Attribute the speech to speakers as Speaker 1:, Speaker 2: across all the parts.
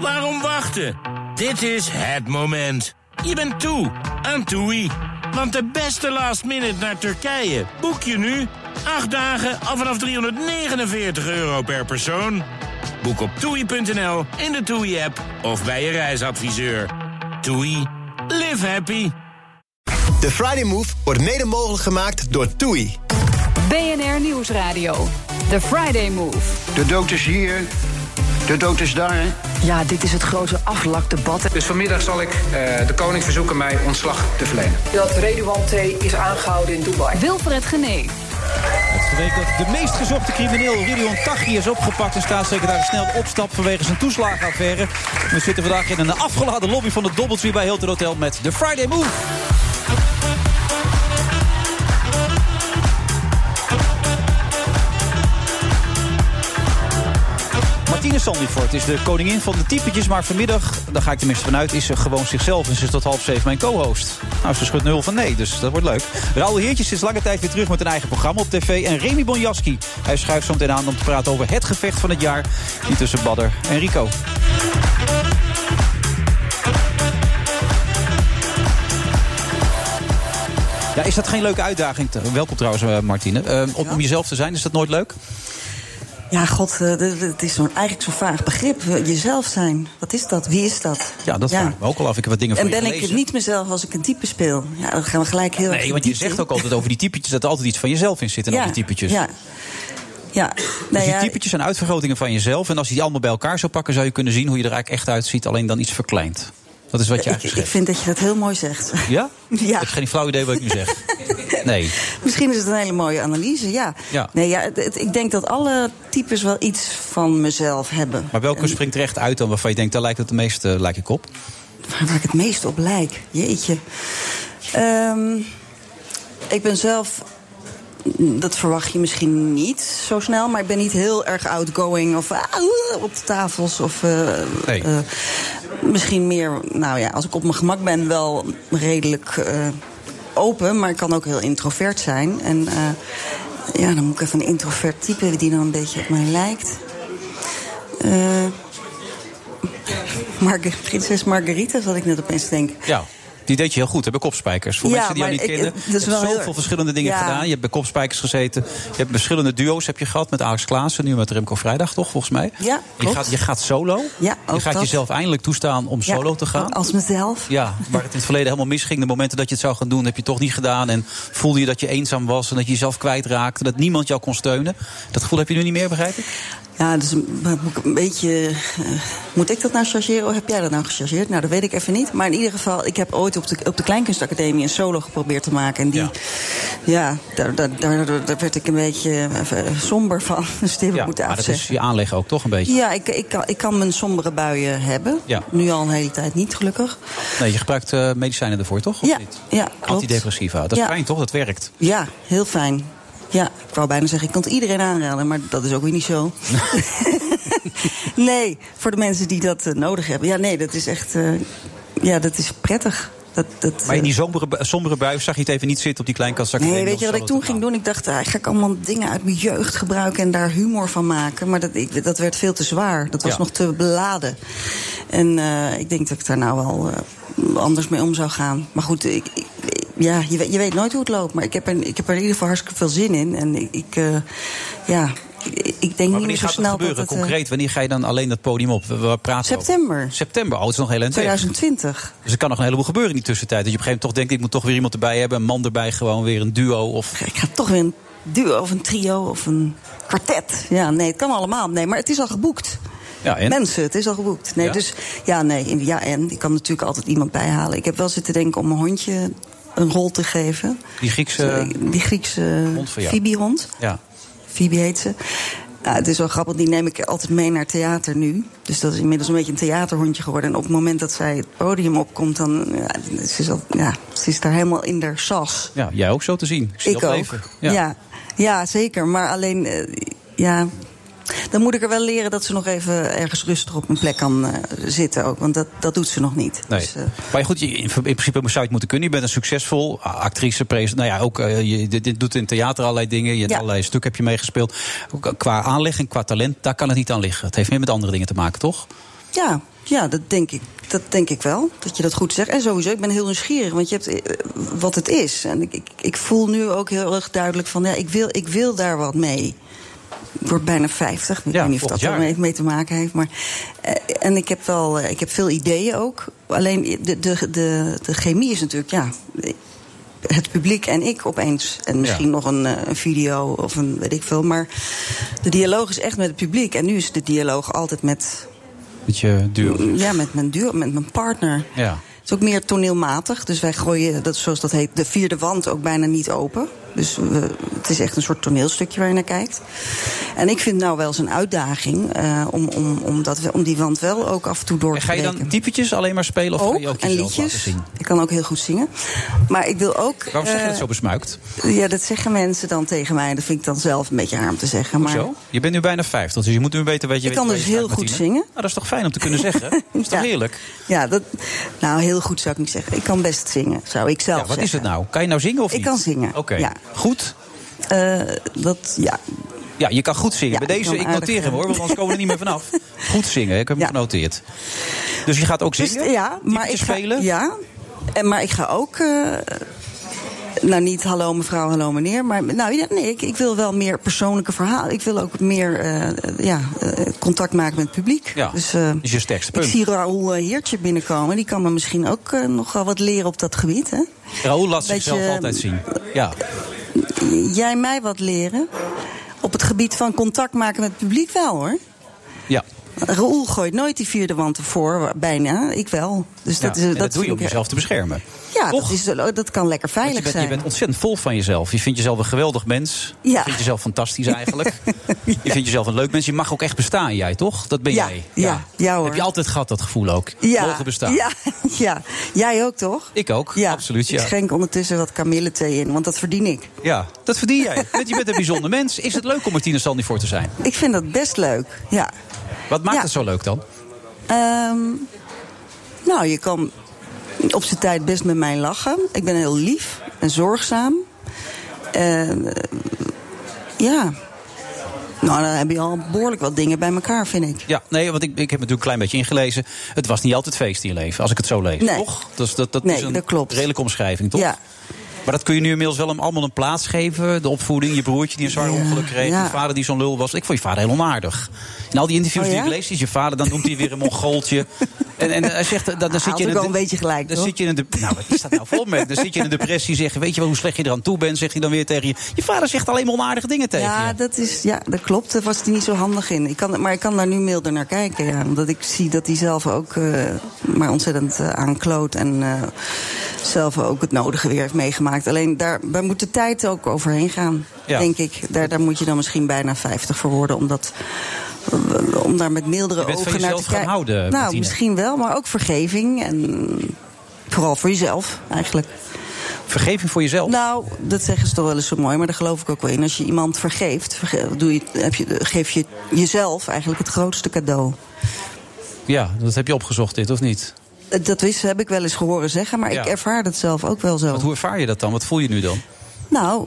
Speaker 1: Waarom wachten? Dit is het moment. Je bent toe aan TUI. Want de beste last minute naar Turkije boek je nu. Acht dagen af vanaf 349 euro per persoon. Boek op toei.nl, in de TUI-app of bij je reisadviseur. TUI, live happy.
Speaker 2: De Friday Move wordt mede mogelijk gemaakt door TUI.
Speaker 3: BNR Nieuwsradio. The Friday Move.
Speaker 4: De dood is hier, de dood is daar.
Speaker 5: Ja, dit is het grote aflakdebat.
Speaker 6: Dus vanmiddag zal ik eh, de koning verzoeken mij ontslag te verlenen.
Speaker 5: Dat Redouan T. is aangehouden in Dubai.
Speaker 3: Wilfred Gené.
Speaker 7: Het is de week dat de meest gezochte crimineel Ridouan Taghi is opgepakt... en staatssecretaris snel opstapt vanwege zijn toeslagenaffaire. We zitten vandaag in een afgeladen lobby van het Doubletree bij Hilton Hotel... met de Friday Move. Martine Sandifort is de koningin van de typetjes... maar vanmiddag, daar ga ik tenminste vanuit, is ze gewoon zichzelf... en ze is tot half zeven mijn co-host. Nou, ze schudt nul van nee, dus dat wordt leuk. Raoul Heertjes is lange tijd weer terug met een eigen programma op tv... en Remy Bonjaski, hij schuift zo meteen aan om te praten over het gevecht van het jaar... die tussen Badder en Rico. Ja, is dat geen leuke uitdaging? Welkom trouwens, eh, Martine. Eh, om, om jezelf te zijn, is dat nooit leuk?
Speaker 8: Ja, god, eh, d- d- het is zo'n, eigenlijk zo'n vaag begrip. Eh, Jezelf zijn. Wat is dat? Wie is dat?
Speaker 7: Ja, dat vraag ik me ook al af. Ik heb wat dingen van
Speaker 8: En
Speaker 7: je
Speaker 8: ben ik
Speaker 7: gelezen.
Speaker 8: niet mezelf als ik een type speel? Ja, dan gaan we gelijk heel erg
Speaker 7: Nee, want je
Speaker 8: diep
Speaker 7: zegt
Speaker 8: in.
Speaker 7: ook altijd over die typetjes dat er altijd iets van jezelf in zit en al die typetjes.
Speaker 8: Ja. ja.
Speaker 7: Dus
Speaker 8: Nou
Speaker 7: die
Speaker 8: ja,
Speaker 7: typetjes zijn uitvergrotingen van jezelf. En als je die allemaal bij elkaar zou pakken, zou je kunnen zien hoe je er eigenlijk echt uitziet, alleen dan iets verkleind. Dat is wat je
Speaker 8: ik,
Speaker 7: eigenlijk
Speaker 8: ik
Speaker 7: zegt.
Speaker 8: vind dat je dat heel mooi zegt.
Speaker 7: Ja?
Speaker 8: Ja.
Speaker 7: Ik heb geen flauw idee wat ik nu zeg. Nee.
Speaker 8: Misschien is het een hele mooie analyse, ja.
Speaker 7: Ja.
Speaker 8: Nee, ja het- het- ik denk dat alle types wel iets van mezelf hebben.
Speaker 7: Maar welke springt er echt uit dan waarvan je denkt, daar lijkt het de meeste eh, lijk ik op?
Speaker 8: Waar, waar ik het meest op lijk. Jeetje. Ehm, ik ben zelf. Dat verwacht je misschien niet zo snel, maar ik ben niet heel erg outgoing of ah, oeh, op de tafels. Of, eh,
Speaker 7: Nee.
Speaker 8: eh, misschien meer, nou ja, als ik op mijn gemak ben, wel redelijk eh, open, maar ik kan ook heel introvert zijn. En eh, ja, dan moet ik even een introvert type die dan een beetje op mij lijkt. Eh Marge- Prinses Margarita zat ik net opeens te denken.
Speaker 7: Ja. Die deed je heel goed, hè, bij Kopspijkers. Voor
Speaker 8: Ja,
Speaker 7: mensen die jou
Speaker 8: maar
Speaker 7: niet
Speaker 8: ik-
Speaker 7: kennen,
Speaker 8: dat is
Speaker 7: je hebt
Speaker 8: wel heel
Speaker 7: zoveel
Speaker 8: erg-
Speaker 7: verschillende dingen
Speaker 8: Ja.
Speaker 7: gedaan. Je hebt bij Kopspijkers gezeten, je hebt verschillende duo's heb je gehad... met Alex Klaassen, nu met Remco Vrijdag, toch, volgens mij?
Speaker 8: Ja,
Speaker 7: Je
Speaker 8: klopt.
Speaker 7: gaat, je gaat solo.
Speaker 8: Ja,
Speaker 7: je
Speaker 8: ook
Speaker 7: gaat
Speaker 8: dat.
Speaker 7: jezelf eindelijk toestaan om
Speaker 8: Ja, Oh,
Speaker 7: solo te gaan.
Speaker 8: Als mezelf.
Speaker 7: Ja, waar het in het verleden helemaal misging. De momenten dat je het zou gaan doen, heb je toch niet gedaan. En voelde je dat je eenzaam was en dat je jezelf kwijtraakte. Dat niemand jou kon steunen. Dat gevoel heb je nu niet meer, begrijp ik? Ah,
Speaker 8: Ja, dus een- maar moet ik een beetje. eh, moet ik dat nou chargeren? Of heb jij dat nou gechargeerd? Nou, dat weet ik even niet. Maar in ieder geval, ik heb ooit op de, op de Kleinkunstacademie een solo geprobeerd te maken. En die.
Speaker 7: Ja.
Speaker 8: Ja, daar, daar, daar, daar werd ik een beetje eh, somber van. Dus die heb ik moeten
Speaker 7: maar dat
Speaker 8: afzeggen.
Speaker 7: is je aanleg ook toch een beetje.
Speaker 8: Ja, ik, ik, kan, ik kan mijn sombere buien hebben.
Speaker 7: Ja.
Speaker 8: Nu al een hele tijd niet, gelukkig.
Speaker 7: Nee, je gebruikt eh, medicijnen ervoor, toch? Of
Speaker 8: Ja,
Speaker 7: niet?
Speaker 8: ja, klopt.
Speaker 7: Antidepressiva. Dat is
Speaker 8: Ja.
Speaker 7: fijn, toch? Dat werkt.
Speaker 8: Ja, heel fijn. Ja, ik wou bijna zeggen, ik kan het iedereen aanraden, maar dat is ook weer niet zo. nee, voor de mensen die dat eh, nodig hebben. Ja, nee, dat is echt. eh, ja, dat is prettig. Dat, dat,
Speaker 7: Maar in
Speaker 8: eh,
Speaker 7: die sombere, bu- sombere bui zag je het even niet zitten op die kleinkastacademie.
Speaker 8: Nee, weet je wat ik toen ging doen? Ik dacht, ah, ga ik allemaal dingen uit mijn jeugd gebruiken en daar humor van maken. Maar dat, ik, dat werd veel te zwaar. Dat was
Speaker 7: Ja.
Speaker 8: nog te beladen. En eh, ik denk dat ik daar nou wel eh, anders mee om zou gaan. Maar goed, ik, ik- ja, je, weet- je weet nooit hoe het loopt. Maar ik heb, er, ik heb er in ieder geval hartstikke veel zin in. En ik, ik, eh, ja, ik, ik denk
Speaker 7: Maar
Speaker 8: niet
Speaker 7: wanneer
Speaker 8: meer zo
Speaker 7: gaat het
Speaker 8: snel
Speaker 7: gebeuren
Speaker 8: dat het... eh,
Speaker 7: concreet? Wanneer ga je dan alleen dat podium op? We, we praten over?
Speaker 8: September.
Speaker 7: September, oh, het is nog heel eind weg.
Speaker 8: 2020.
Speaker 7: Dus er kan nog een heleboel gebeuren in die tussentijd. Dat je op een gegeven moment toch denkt, ik moet toch weer iemand erbij hebben. Een man erbij, gewoon weer een duo. Of
Speaker 8: ik ga toch weer een duo of een trio of een kwartet. Ja, nee, het kan allemaal. Nee, maar het is al geboekt.
Speaker 7: Ja, en?
Speaker 8: Mensen, het is al geboekt. Nee,
Speaker 7: Ja?
Speaker 8: dus ja, nee, in- ja, en ik kan natuurlijk altijd iemand bijhalen. Ik heb wel zitten denken om mijn hondje een rol te geven.
Speaker 7: die Griekse...
Speaker 8: Die Griekse
Speaker 7: eh, hond van jou.
Speaker 8: Fibi-hond.
Speaker 7: Ja.
Speaker 8: Phoebe heet ze. Ja, het is wel grappig, die neem ik altijd mee naar theater nu. Dus dat is inmiddels een beetje een theaterhondje geworden. En op het moment dat zij het podium opkomt, dan ja, ze is al, ja, ze is daar helemaal in haar sas.
Speaker 7: ja, jij ook zo te zien. Ik, zie
Speaker 8: Ik
Speaker 7: dat
Speaker 8: ook.
Speaker 7: leven.
Speaker 8: Ja. Ja. zeker. Maar alleen, eh, ja. Dan moet ik er wel leren dat ze nog even ergens rustig op een plek kan eh, zitten ook. Want dat, dat doet ze nog niet.
Speaker 7: Nee.
Speaker 8: Dus, eh,
Speaker 7: maar goed, je, in, in principe zou je het moeten kunnen. Je bent een succesvol a- actrice, pres- nou ja, ook, eh, je dit, dit doet in theater allerlei dingen. Je hebt
Speaker 8: Ja.
Speaker 7: allerlei stukken heb je meegespeeld. eh, Ook Qua aanleg en qua talent, daar kan het niet aan liggen. Het heeft meer met andere dingen te maken, toch?
Speaker 8: ja, Ja, dat denk ik. Dat denk ik wel, dat je dat goed zegt. En sowieso, ik ben heel nieuwsgierig, want je hebt eh, wat het is. En ik, ik, ik voel nu ook heel erg duidelijk van, ja, ik wil, ik wil daar wat mee. Ik word bijna 50. Ik
Speaker 7: Ja,
Speaker 8: weet niet of
Speaker 7: volgend
Speaker 8: dat er
Speaker 7: jaar.
Speaker 8: mee, mee te maken heeft. Maar, eh, en ik heb wel eh, ik heb veel ideeën ook. Alleen de, de, de, de chemie is natuurlijk, ja. Het publiek en ik opeens. En misschien nog een, eh, een video of een weet ik veel. Maar de dialoog is echt met het publiek. En nu is de dialoog altijd met,
Speaker 7: Beetje duur.
Speaker 8: ja, met, mijn, duo, met mijn partner.
Speaker 7: Ja.
Speaker 8: Het is ook meer toneelmatig. Dus wij gooien, dat, is zoals dat heet, de vierde wand ook bijna niet open. Dus we- het is echt een soort toneelstukje waar je naar kijkt. En ik vind het nou wel eens een uitdaging eh, om, om, om, dat, om die wand wel ook af en toe door
Speaker 7: En
Speaker 8: te
Speaker 7: ga je dan
Speaker 8: breken.
Speaker 7: typetjes alleen maar spelen of ga je ook
Speaker 8: en
Speaker 7: jezelf laten
Speaker 8: liedjes.
Speaker 7: zien?
Speaker 8: Ik kan ook heel goed zingen. Maar ik wil ook.
Speaker 7: Waarom zeg je
Speaker 8: eh,
Speaker 7: dat zo besmuikt?
Speaker 8: Ja, dat zeggen mensen dan tegen mij. Dat vind ik dan zelf een beetje haar om te zeggen. Maar
Speaker 7: Hoezo? Je bent nu bijna 50, dus je moet nu weten wat je
Speaker 8: Ik kan
Speaker 7: weet waar
Speaker 8: dus
Speaker 7: je
Speaker 8: heel
Speaker 7: staat,
Speaker 8: goed
Speaker 7: Martine.
Speaker 8: zingen.
Speaker 7: Nou, dat is toch fijn om te kunnen zeggen? Dat is toch
Speaker 8: Ja.
Speaker 7: heerlijk?
Speaker 8: Ja, dat, nou heel goed zou ik niet zeggen. Ik kan best zingen, zou ik zelf
Speaker 7: Ja, wat is
Speaker 8: zeggen.
Speaker 7: het nou? Kan je nou zingen of
Speaker 8: Ik
Speaker 7: niet?
Speaker 8: kan zingen,
Speaker 7: Oké.
Speaker 8: ja.
Speaker 7: Goed.
Speaker 8: Eh, dat, ja.
Speaker 7: Ja, je kan goed zingen.
Speaker 8: Ja,
Speaker 7: Bij
Speaker 8: ik
Speaker 7: deze,
Speaker 8: kan
Speaker 7: ik
Speaker 8: aardig,
Speaker 7: noteer hem
Speaker 8: eh,
Speaker 7: hoor, want anders komen we er niet meer vanaf. Goed zingen, ik heb hem
Speaker 8: Ja.
Speaker 7: genoteerd. Dus je gaat ook
Speaker 8: Dus,
Speaker 7: zingen?
Speaker 8: ja, maar ik
Speaker 7: Typetjes
Speaker 8: ga,
Speaker 7: spelen?
Speaker 8: Ja, en, maar ik ga ook... eh, nou, niet hallo mevrouw, hallo meneer. Maar nou, ja, nee, ik, ik wil wel meer persoonlijke verhalen. Ik wil ook meer eh, ja, eh, contact maken met het publiek.
Speaker 7: Ja,
Speaker 8: eh,
Speaker 7: dat is je sterkste punt.
Speaker 8: Ik zie Raoul eh, Heertje binnenkomen. Die kan me misschien ook eh, nogal wat leren op dat gebied. Hè?
Speaker 7: Raoul laat
Speaker 8: Beetje, eh,
Speaker 7: zichzelf altijd zien. Ja. Mm-hmm.
Speaker 8: Jij mij wat leren? Op het gebied van contact maken met het publiek wel, hoor.
Speaker 7: ja.
Speaker 8: Raoul gooit nooit die vierde wand ervoor, bijna. Ik wel. Dus dat,
Speaker 7: Ja,
Speaker 8: is-
Speaker 7: en dat doe je
Speaker 8: vind
Speaker 7: om
Speaker 8: ik-
Speaker 7: jezelf te beschermen.
Speaker 8: Ja,
Speaker 7: Toch?
Speaker 8: dat, is, dat kan lekker
Speaker 7: Want je
Speaker 8: veilig
Speaker 7: bent, je
Speaker 8: zijn.
Speaker 7: bent ontzettend vol van jezelf. Je vindt jezelf een geweldig mens.
Speaker 8: Ja.
Speaker 7: Je vindt jezelf fantastisch eigenlijk. Je vindt jezelf een leuk mens. Je mag ook echt bestaan, jij toch? Dat ben
Speaker 8: Ja,
Speaker 7: jij.
Speaker 8: ja, ja, hoor.
Speaker 7: Heb je altijd gehad dat gevoel ook?
Speaker 8: ja,
Speaker 7: Mogen bestaan.
Speaker 8: Ja, ja, jij ook toch?
Speaker 7: Ik ook, absoluut, ja.
Speaker 8: Ik schenk ondertussen wat kamillethee in, want dat verdien ik.
Speaker 7: Ja, dat verdien jij. Want je bent een bijzonder mens. Is het leuk om Martine Sandy voor te zijn?
Speaker 8: Ik vind dat best leuk, ja.
Speaker 7: Wat maakt
Speaker 8: Ja.
Speaker 7: het zo leuk dan?
Speaker 8: Ehm, nou, je kan op zijn tijd best met mij lachen. Ik ben heel lief en zorgzaam. En, eh, ja. Nou, dan heb je al behoorlijk wat dingen bij elkaar, vind ik.
Speaker 7: Ja, nee, want ik, ik heb natuurlijk een klein beetje ingelezen. Het was niet altijd feest in je leven, als ik het zo lees.
Speaker 8: Nee.
Speaker 7: Toch? Dus dat, dat
Speaker 8: Nee,
Speaker 7: is een
Speaker 8: dat klopt.
Speaker 7: redelijke omschrijving, toch?
Speaker 8: Ja.
Speaker 7: Maar dat kun je nu inmiddels wel hem allemaal een plaats geven. De opvoeding, je broertje die een zwaar
Speaker 8: Ja,
Speaker 7: ongeluk kreeg.
Speaker 8: ja.
Speaker 7: Je vader die zo'n lul was. Ik vond je vader heel onaardig. In al die interviews
Speaker 8: Oh, ja?
Speaker 7: die ik lees, is je vader, dan noemt hij weer een mongooltje. En, en hij zegt, dan, dan
Speaker 8: Hij
Speaker 7: zit
Speaker 8: had
Speaker 7: je in
Speaker 8: ook
Speaker 7: de-
Speaker 8: wel een beetje gelijk,
Speaker 7: Dan
Speaker 8: toch?
Speaker 7: zit je in een de- nou, wat is dat nou voor opmerking? Dan zit je in een depressie, zeg je, weet je wel hoe slecht je eraan toe bent? Zegt hij dan weer tegen je, je vader zegt alleen maar onaardige dingen tegen je.
Speaker 8: Ja, dat, is, ja, dat klopt. Daar was hij niet zo handig in. Ik kan, maar ik kan daar nu milder naar kijken. Ja, omdat ik zie dat hij zelf ook eh, maar ontzettend eh, aankloot. En eh, zelf ook het nodige weer heeft meegemaakt. Alleen daar, daar moet de tijd ook overheen gaan,
Speaker 7: Ja.
Speaker 8: denk ik. Daar, daar moet je dan misschien bijna 50 voor worden. Omdat, om daar met mildere
Speaker 7: Je bent van
Speaker 8: ogen naar te
Speaker 7: jezelf gaan
Speaker 8: kijken.
Speaker 7: houden,
Speaker 8: nou,
Speaker 7: Martine.
Speaker 8: misschien wel. Maar ook vergeving. En vooral voor jezelf, eigenlijk.
Speaker 7: Vergeving voor jezelf.
Speaker 8: Nou, dat zeggen ze toch wel eens zo mooi, maar daar geloof ik ook wel in. Als je iemand vergeeft, verge- doe je, heb je, geef je jezelf eigenlijk het grootste cadeau.
Speaker 7: Ja, dat heb je opgezocht dit, of niet?
Speaker 8: Eh, Dat wist, heb ik wel eens gehoord zeggen, maar
Speaker 7: Ja.
Speaker 8: ik ervaar dat zelf ook wel zo.
Speaker 7: Want hoe ervaar je dat dan? Wat voel je nu dan?
Speaker 8: Nou,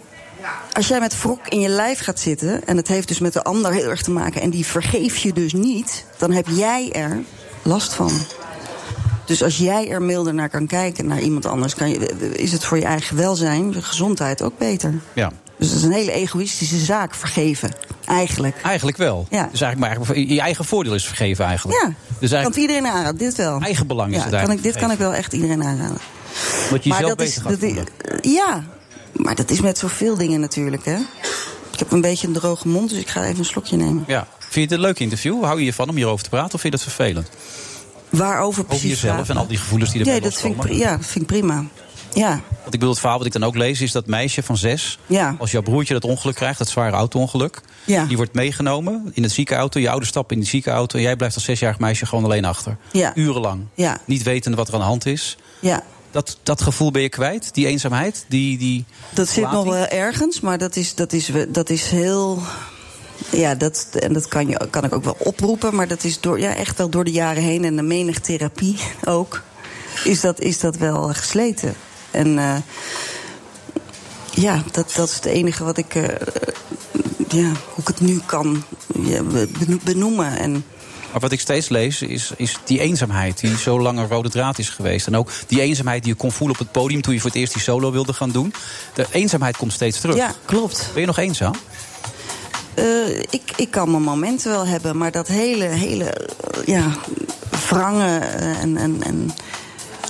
Speaker 8: als jij met wrok in je lijf gaat zitten, en het heeft dus met de ander heel erg te maken, en die vergeef je dus niet, dan heb jij er last van. Dus als jij er milder naar kan kijken, naar iemand anders, kan je, is het voor je eigen welzijn, je gezondheid ook beter.
Speaker 7: Ja.
Speaker 8: Dus dat is een hele egoïstische zaak, vergeven. Eigenlijk.
Speaker 7: Eigenlijk wel.
Speaker 8: Ja.
Speaker 7: Dus eigenlijk maar eigenlijk- je eigen voordeel is vergeven eigenlijk.
Speaker 8: Ja,
Speaker 7: Dus
Speaker 8: kan het
Speaker 7: eigenlijk
Speaker 8: iedereen aanraden, dit wel.
Speaker 7: Eigenbelang is
Speaker 8: ja,
Speaker 7: het
Speaker 8: kan ik,
Speaker 7: eigenlijk
Speaker 8: Dit kan ik wel echt iedereen aanraden.
Speaker 7: wat je jezelf
Speaker 8: is,
Speaker 7: bezig gaat
Speaker 8: is-
Speaker 7: voelen.
Speaker 8: Ja, maar dat is met zoveel dingen natuurlijk, hè. Ik heb een beetje een droge mond, dus ik ga even een slokje nemen.
Speaker 7: Ja. Vind je het een leuk interview? Hou je ervan om hierover te praten? Of vind je dat vervelend?
Speaker 8: Waarover
Speaker 7: Over
Speaker 8: precies
Speaker 7: jezelf
Speaker 8: praten?
Speaker 7: en al die gevoelens die erbij
Speaker 8: Nee, dat vind ik,
Speaker 7: loskomen?
Speaker 8: pri- ja, dat vind ik prima. Ja,
Speaker 7: Want ik bedoel, het verhaal wat ik dan ook lees is dat meisje van zes.
Speaker 8: Ja.
Speaker 7: Als jouw broertje dat ongeluk krijgt, dat zware auto-ongeluk.
Speaker 8: Ja.
Speaker 7: Die wordt meegenomen in het ziekenauto. Je ouders stappen in die ziekenauto. En jij blijft als zesjarig meisje gewoon alleen achter.
Speaker 8: Ja.
Speaker 7: Urenlang.
Speaker 8: Ja.
Speaker 7: Niet wetende wat er aan de hand is.
Speaker 8: ja.
Speaker 7: Dat, dat gevoel ben je kwijt, die eenzaamheid, die, die
Speaker 8: Dat zit nog
Speaker 7: verlating?
Speaker 8: wel ergens, maar dat is, dat is, dat is heel. Ja, dat, en dat kan, je, kan ik ook wel oproepen, maar dat is door, ja, echt wel door de jaren heen en de menig therapie ook. Is dat, is dat wel gesleten. En eh, ja, dat, dat is het enige wat ik. eh, ja, hoe ik het nu kan ja, be- beno- benoemen. En
Speaker 7: Maar wat ik steeds lees is, is die eenzaamheid die zo lang een rode draad is geweest. En ook die eenzaamheid die je kon voelen op het podium toen je voor het eerst die solo wilde gaan doen. De eenzaamheid komt steeds terug.
Speaker 8: Ja, klopt.
Speaker 7: Ben je nog eenzaam?
Speaker 8: Eh, ik, ik kan mijn momenten wel hebben, maar dat hele, hele eh, ja, wrange eh, en, en, en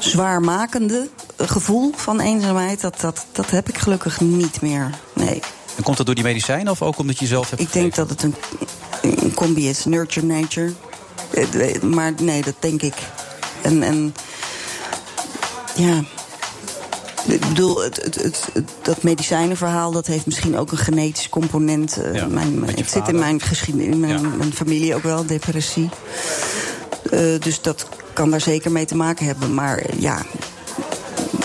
Speaker 8: zwaarmakende eh, gevoel van eenzaamheid, dat, dat, dat heb ik gelukkig niet meer. Nee.
Speaker 7: En komt dat door die medicijnen of ook omdat je zelf hebt
Speaker 8: Ik denk dat het een, een combi is. Nurture, nature. Eh, eh, Maar nee, dat denk ik. En, en ja. Ik bedoel, het, het, het, het- dat medicijnenverhaal dat heeft misschien ook een genetisch component. Eh,
Speaker 7: Ja,
Speaker 8: mijn,
Speaker 7: met je
Speaker 8: het zit
Speaker 7: vader.
Speaker 8: in mijn geschiedenis, in mijn,
Speaker 7: Ja.
Speaker 8: mijn familie ook wel, depressie. Eh, dus dat kan daar zeker mee te maken hebben. Maar eh, ja,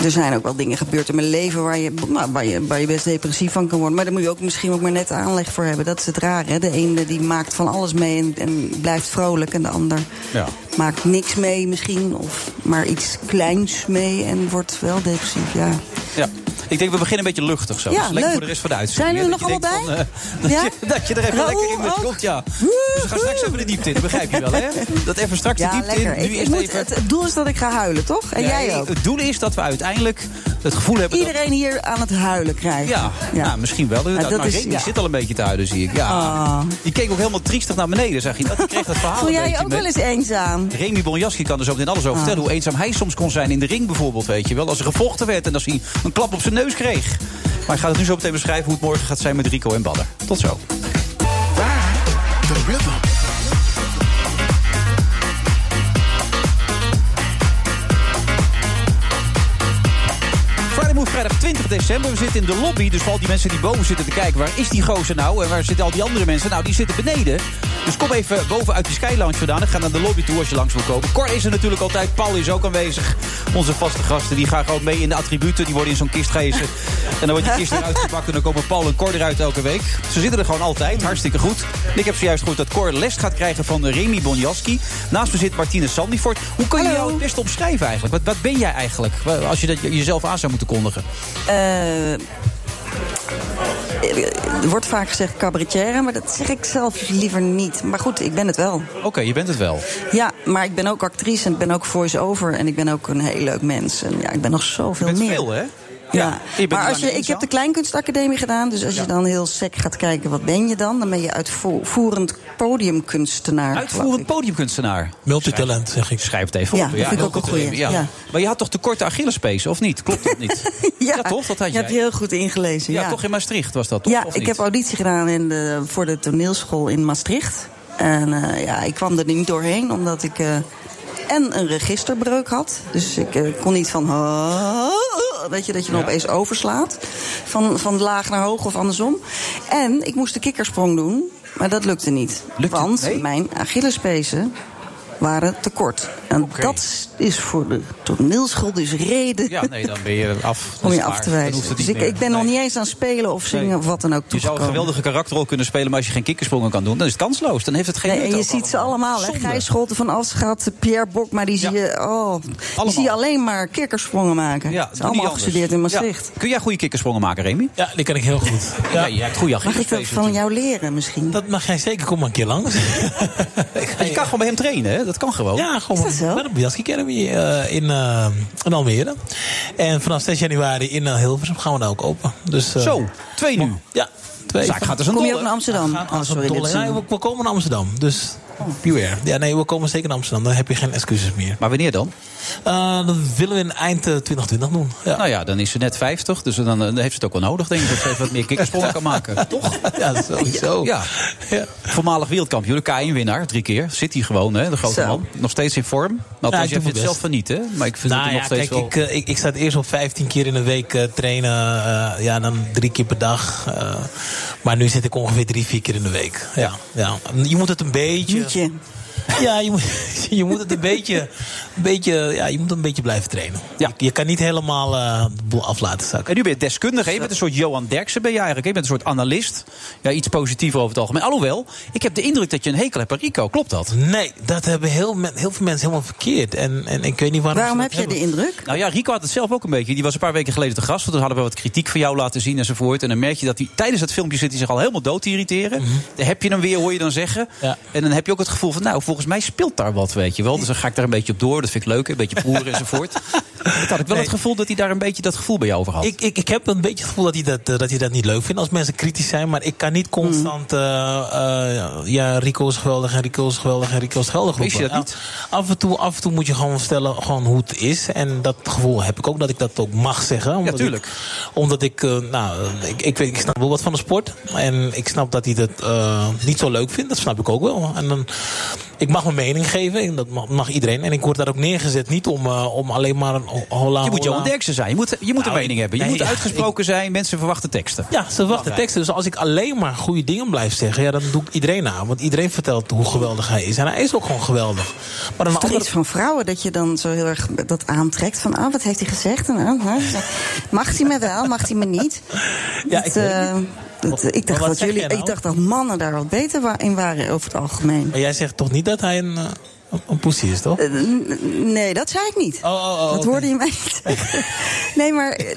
Speaker 8: er zijn ook wel dingen gebeurd in mijn leven waar je, nou, waar, je, waar je best depressief van kan worden. Maar daar moet je ook misschien ook maar net aanleg voor hebben. Dat is het raar, hè? De ene die maakt van alles mee en, en blijft vrolijk. En de ander
Speaker 7: Ja.
Speaker 8: maakt niks mee misschien. Of maar iets kleins mee en wordt wel depressief, ja.
Speaker 7: Ja. Ik denk, we beginnen een beetje luchtig zo.
Speaker 8: Ja,
Speaker 7: dus lekker
Speaker 8: leuk.
Speaker 7: voor de rest van de uitzending.
Speaker 8: Zijn
Speaker 7: hè,
Speaker 8: we er
Speaker 7: dat
Speaker 8: nog
Speaker 7: je
Speaker 8: allemaal
Speaker 7: denkt van, eh,
Speaker 8: Ja?
Speaker 7: dat, je, dat je er even
Speaker 8: Raoul
Speaker 7: lekker in
Speaker 8: ook?
Speaker 7: komt, ja. Dus we gaan straks even de diepte in, dat begrijp je wel, hè? Dat even straks de
Speaker 8: Ja,
Speaker 7: diepte
Speaker 8: lekker.
Speaker 7: in.
Speaker 8: Ik-
Speaker 7: Nu
Speaker 8: ik
Speaker 7: eerst
Speaker 8: moet,
Speaker 7: even...
Speaker 8: het, het doel is dat ik ga huilen, toch? En
Speaker 7: Nee,
Speaker 8: jij ook.
Speaker 7: Het doel is dat we uiteindelijk het gevoel hebben dat...
Speaker 8: Iedereen hier aan het huilen krijgt.
Speaker 7: Ja, nou, misschien wel. inderdaad.
Speaker 8: dat
Speaker 7: maar
Speaker 8: is-
Speaker 7: Remy
Speaker 8: ja.
Speaker 7: zit al een beetje te huilen, zie ik. Ja.
Speaker 8: Ah.
Speaker 7: Die keek ook helemaal triestig naar beneden, zag je dat? Die kreeg dat verhaal
Speaker 8: Voel
Speaker 7: een
Speaker 8: jij je
Speaker 7: beetje
Speaker 8: ook
Speaker 7: mee.
Speaker 8: wel eens Ah. eenzaam?
Speaker 7: Remy Bonjaski kan er zo meteen alles over vertellen. Hoe eenzaam hij soms kon zijn in de ring bijvoorbeeld, weet je wel. Als er gevochten werd en als hij een klap op zijn neus kreeg. Maar ik ga het nu zo meteen beschrijven hoe het morgen gaat zijn met Rico en Badder. Tot zo. Friday Move vrijdag 20 december. We zitten in de lobby, dus voor al die mensen die boven zitten te kijken... waar is die gozer nou en waar zitten al die andere mensen? Nou, die zitten beneden. Dus kom even boven uit die Skylounge vandaan en ga naar de lobby toe als je langs wil komen. Cor is er natuurlijk altijd, Paul is ook aanwezig. Onze vaste gasten, die gaan gewoon mee in de attributen. Die worden in zo'n kist gehezen. En dan wordt die kist eruit gepakt en dan komen Paul en Cor eruit elke week. Ze zitten er gewoon altijd, hartstikke goed. En ik heb zojuist gehoord dat Cor les gaat krijgen van Remy Bonjaski. Naast me zit Martine Sandifort. Hoe kun je
Speaker 8: Hallo.
Speaker 7: jou het beste omschrijven eigenlijk? Wat, wat ben jij eigenlijk, als je dat jezelf aan zou moeten kondigen?
Speaker 8: Eh, er wordt vaak gezegd cabaretière, maar dat zeg ik zelf liever niet. Maar goed, ik ben het wel.
Speaker 7: Oké, je bent het wel.
Speaker 8: Ja, maar ik ben ook actrice en ik ben ook voice-over en ik ben ook een heel leuk mens. En ja, ik ben nog zoveel
Speaker 7: Je bent
Speaker 8: meer.
Speaker 7: veel, hè?
Speaker 8: Ja,
Speaker 7: je bent
Speaker 8: maar
Speaker 7: lang
Speaker 8: als je, ik
Speaker 7: eenzaam.
Speaker 8: heb de Kleinkunstacademie gedaan, dus als je dan heel sec gaat kijken, wat ben je dan? Dan ben je uitvoerend podiumkunstenaar. geloof
Speaker 7: Uitvoerend
Speaker 8: ik.
Speaker 7: podiumkunstenaar.
Speaker 9: Multitalent, zeg ik.
Speaker 7: Schrijf het even
Speaker 8: Ja,
Speaker 7: op.
Speaker 8: dat vind ik ook een
Speaker 7: dat,
Speaker 8: goeie,
Speaker 7: eh,
Speaker 8: ja.
Speaker 7: Maar je had toch te korte Achillespees, of niet? Klopt dat niet? toch? Dat had
Speaker 8: je
Speaker 7: jij.
Speaker 8: hebt je heel goed ingelezen.
Speaker 7: ja,
Speaker 8: ja.
Speaker 7: toch in Maastricht was dat, toch?
Speaker 8: Ja,
Speaker 7: Of
Speaker 8: ik
Speaker 7: niet?
Speaker 8: heb auditie gedaan in de, voor de toneelschool in Maastricht. En eh, ja, ik kwam er niet doorheen omdat ik eh, en een registerbreuk had. Dus ik eh, kon niet van. Weet je, dat je dan opeens overslaat. Van, van laag naar hoog of andersom. En ik moest de kikkersprong doen, maar dat lukte niet.
Speaker 7: Lukte-
Speaker 8: want
Speaker 7: nee?
Speaker 8: mijn Achillespezen waren te kort. En
Speaker 7: Oké.
Speaker 8: dat is voor de toneelschool dus reden
Speaker 7: Ja, nee, dan ben je af.
Speaker 8: om
Speaker 7: Dat
Speaker 8: je
Speaker 7: is
Speaker 8: af
Speaker 7: klaar.
Speaker 8: te
Speaker 7: Dan hoeft
Speaker 8: wijzen.
Speaker 7: het
Speaker 8: Dus
Speaker 7: niet
Speaker 8: ik,
Speaker 7: meer.
Speaker 8: ik ben nog
Speaker 7: Nee.
Speaker 8: niet eens aan spelen of zingen
Speaker 7: Nee.
Speaker 8: of wat dan ook
Speaker 7: Je zou een
Speaker 8: toegekomen.
Speaker 7: geweldige karakterrol kunnen spelen, maar als je geen kikkersprongen kan doen, dan is het kansloos. Dan heeft het geen
Speaker 8: Nee,
Speaker 7: nut
Speaker 8: en je
Speaker 7: ook
Speaker 8: ziet ze allemaal. Hè?
Speaker 7: Zonde.
Speaker 8: Gijs Scholten van Afschat, Pierre Bok, maar die zie
Speaker 7: Ja.
Speaker 8: je, oh,
Speaker 7: Allemaal.
Speaker 8: die zie je alleen maar kikkersprongen maken.
Speaker 7: Ja,
Speaker 8: Ze
Speaker 7: doe
Speaker 8: zijn
Speaker 7: niet
Speaker 8: allemaal
Speaker 7: anders.
Speaker 8: afgestudeerd in
Speaker 7: Ja.
Speaker 8: Maastricht.
Speaker 7: Kun jij goede kikkersprongen maken, Remy?
Speaker 9: Ja, die kan ik heel goed. Ja,
Speaker 7: Ja, je hebt goede
Speaker 8: Mag ik dat
Speaker 7: Achillespees.
Speaker 8: van jou leren misschien?
Speaker 9: Dat mag jij zeker. Kom maar een keer langs.
Speaker 7: natuurlijk. Je kan gewoon bij hem trainen, hè? Dat kan gewoon.
Speaker 9: Ja, gewoon.
Speaker 8: Is dat zo?
Speaker 9: Bij de Biaski Academy eh, in, eh, in Almere. En vanaf 6 januari in eh, Hilversum gaan we daar ook open. Dus, eh,
Speaker 7: Zo, twee nu.
Speaker 9: Ja, twee.
Speaker 7: Zaak gaat dus een
Speaker 8: Kom je
Speaker 7: dolle.
Speaker 8: ook naar Amsterdam?
Speaker 9: Gaat
Speaker 8: Oh,
Speaker 9: als een
Speaker 8: sorry, dit
Speaker 9: dolle.
Speaker 8: is
Speaker 9: Nee, we,
Speaker 8: een-
Speaker 9: we komen naar Amsterdam. Dus
Speaker 7: Oh,
Speaker 9: beware. Ja, nee, we komen zeker naar Amsterdam. Dan heb je geen excuses meer.
Speaker 7: Maar wanneer dan?
Speaker 9: Eh, dat willen we in eind eh, 2020 doen. Ja.
Speaker 7: Nou ja, dan is ze net 50, dus dan, eh, dan heeft ze het ook wel nodig, denk ik. Dat ze even wat meer kikkersprongen kan maken. Toch?
Speaker 9: Ja, sowieso.
Speaker 7: Ja.
Speaker 9: Ja.
Speaker 7: Voormalig wereldkampioen, de KM-winnaar, drie keer. Zit hij gewoon, hè, de grote
Speaker 8: Zo.
Speaker 7: man. Nog steeds in vorm. Nou,
Speaker 9: Ja,
Speaker 7: ja,
Speaker 9: ik
Speaker 7: je
Speaker 9: doe
Speaker 7: vindt het
Speaker 9: mijn
Speaker 7: zelf van niet, hè? Maar ik vind
Speaker 9: Nou
Speaker 7: het
Speaker 9: ja,
Speaker 7: nog steeds
Speaker 9: kijk,
Speaker 7: wel...
Speaker 9: ik, eh, ik, ik sta het eerst op 15 keer in de week eh, trainen. eh, ja, dan drie keer per dag. eh, maar nu zit ik ongeveer drie, vier keer in de week. Ja, ja. Je moet het een beetje...
Speaker 8: Moet je?
Speaker 9: Ja, je moet, je moet het een beetje, een beetje, ja, je moet een beetje blijven trainen.
Speaker 7: Ja.
Speaker 9: Je, je kan niet helemaal eh, de boel af laten zakken.
Speaker 7: En nu ben je deskundige. hè? Je bent een soort Johan Derksen ben je eigenlijk. hè? Je bent een soort analist. Ja, iets positiever over het algemeen. Alhoewel, ik heb de indruk dat je een hekel hebt aan Rico. Klopt dat?
Speaker 9: Nee, dat hebben heel, men- heel veel mensen helemaal verkeerd. En, en ik weet niet waarom.
Speaker 8: Waarom
Speaker 9: ze
Speaker 8: heb
Speaker 9: dat
Speaker 8: je de
Speaker 9: hebben.
Speaker 8: indruk?
Speaker 7: Nou ja, Rico had het zelf ook een beetje. Die was een paar weken geleden te gast. Want toen hadden we wat kritiek van jou laten zien enzovoort. En dan merk je dat hij tijdens dat filmpje zit hij zich al helemaal dood te irriteren. Dan heb je hem weer, hoor je dan zeggen.
Speaker 9: Mhm. Ja.
Speaker 7: En dan heb je ook het gevoel van, nou, volgens mij speelt daar wat, weet je wel. Dus dan ga ik daar een beetje op door. Dat vind ik leuk, een beetje poeren enzovoort. Dat had ik wel
Speaker 9: Nee.
Speaker 7: het gevoel dat hij daar een beetje dat gevoel bij jou over had.
Speaker 9: Ik, ik, ik heb een beetje het gevoel dat hij dat, eh, dat hij dat niet leuk vindt als mensen kritisch zijn. Maar ik kan niet
Speaker 7: Mhm.
Speaker 9: constant. eh, eh, ja, Rico is geweldig en Rico is geweldig en Rico is geweldig.
Speaker 7: Is je
Speaker 9: roepen.
Speaker 7: dat niet?
Speaker 9: Af en, toe, af en toe moet je gewoon vertellen gewoon hoe het is. En dat gevoel heb ik ook dat ik dat ook mag zeggen. Omdat
Speaker 7: tuurlijk.
Speaker 9: Ik, omdat ik. eh, nou, eh, ik, ik, weet, ik snap wel wat van de sport. En ik snap dat hij dat eh, niet zo leuk vindt. Dat snap ik ook wel. En dan, ik mag mijn mening geven. En dat mag, mag iedereen. En ik word daar ook neergezet. Niet om, eh, om alleen maar een ho- hola.
Speaker 7: je moet Johan
Speaker 9: hola.
Speaker 7: Derksen zijn. Je moet, je moet
Speaker 9: Nou,
Speaker 7: een mening
Speaker 9: ik-
Speaker 7: hebben. Je
Speaker 9: nee,
Speaker 7: moet
Speaker 9: ja,
Speaker 7: uitgesproken zijn. Mensen verwachten teksten.
Speaker 9: Ja, ze wachten teksten. Dus als ik alleen maar goede dingen blijf zeggen, ja, dan doe ik iedereen aan. Want iedereen vertelt hoe geweldig hij is. En hij is ook gewoon geweldig. Maar dan
Speaker 8: Is toch iets van vrouwen dat je dan zo heel erg dat aantrekt? Van, ah, wat heeft hij gezegd? En, ah, hè? Mag hij me wel, mag hij me niet?
Speaker 9: Ja, ik
Speaker 8: dat,
Speaker 9: weet het
Speaker 8: eh, dat- ik,
Speaker 9: Maar
Speaker 8: dacht
Speaker 9: wat
Speaker 8: dat
Speaker 9: zeg
Speaker 8: jullie,
Speaker 9: jij nou?
Speaker 8: ik dacht dat mannen daar wat beter wa- in waren over het algemeen.
Speaker 9: Maar jij zegt toch niet dat hij een, eh, een- een poesie is, toch?
Speaker 8: Eh, n- Nee, dat zei ik niet.
Speaker 9: Oh, oh, oh,
Speaker 8: dat
Speaker 9: oké.
Speaker 8: hoorde je mij niet. zeggen. nee, maar eh,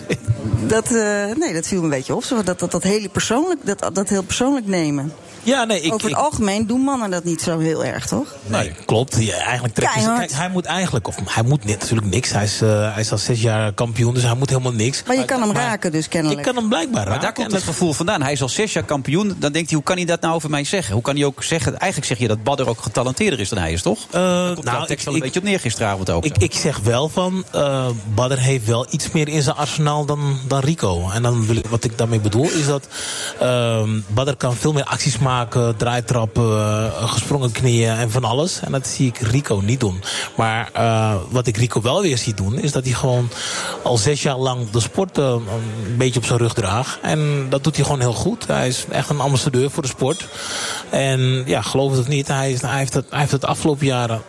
Speaker 8: dat, eh, nee, dat viel me een beetje op. Zo, Dat, dat, dat, hele persoonlijk, dat, dat heel persoonlijk nemen.
Speaker 9: Ja, nee, ik.
Speaker 8: over het
Speaker 9: ik-
Speaker 8: algemeen doen mannen dat niet zo heel erg, toch?
Speaker 9: Nee, klopt. Ja, eigenlijk trekt hij zich-
Speaker 8: Keihard.
Speaker 9: Kijk, hij moet eigenlijk, of hij moet ni- natuurlijk niks. Hij is, eh, hij is al zes jaar kampioen, dus hij moet helemaal niks.
Speaker 8: Maar je kan hem raken dus
Speaker 9: Ah, Ik
Speaker 8: kennelijk.
Speaker 9: kan hem blijkbaar
Speaker 7: Maar
Speaker 9: raken.
Speaker 7: daar
Speaker 9: En
Speaker 7: komt
Speaker 9: dat-
Speaker 7: het gevoel vandaan. Hij is al zes jaar kampioen. Dan denkt hij, hoe kan hij dat nou over mij zeggen? Hoe kan hij ook zeggen... Eigenlijk zeg je dat Badder ook getalenteerder is dan hij is, toch?
Speaker 9: Eh,
Speaker 7: Daar komt
Speaker 9: nou,
Speaker 7: nou, tekst wel
Speaker 9: ik-
Speaker 7: een beetje op neer gisteravond ook.
Speaker 9: Ik, ik zeg wel van, eh Badder heeft wel iets meer in zijn arsenaal dan, dan Rico. En dan wil ik, wat ik daarmee bedoel is dat ehm Badder kan veel meer acties maken, draaitrappen, eh, gesprongen knieën en van alles. En dat zie ik Rico niet doen. Maar eh, wat ik Rico wel weer zie doen, is dat hij gewoon al zes jaar lang de sport eh, een beetje op zijn rug draagt. En dat doet hij gewoon heel goed. Hij is echt een ambassadeur voor de sport. En ja, geloof het of niet, hij, is, hij, heeft, het, hij heeft het afgelopen jaren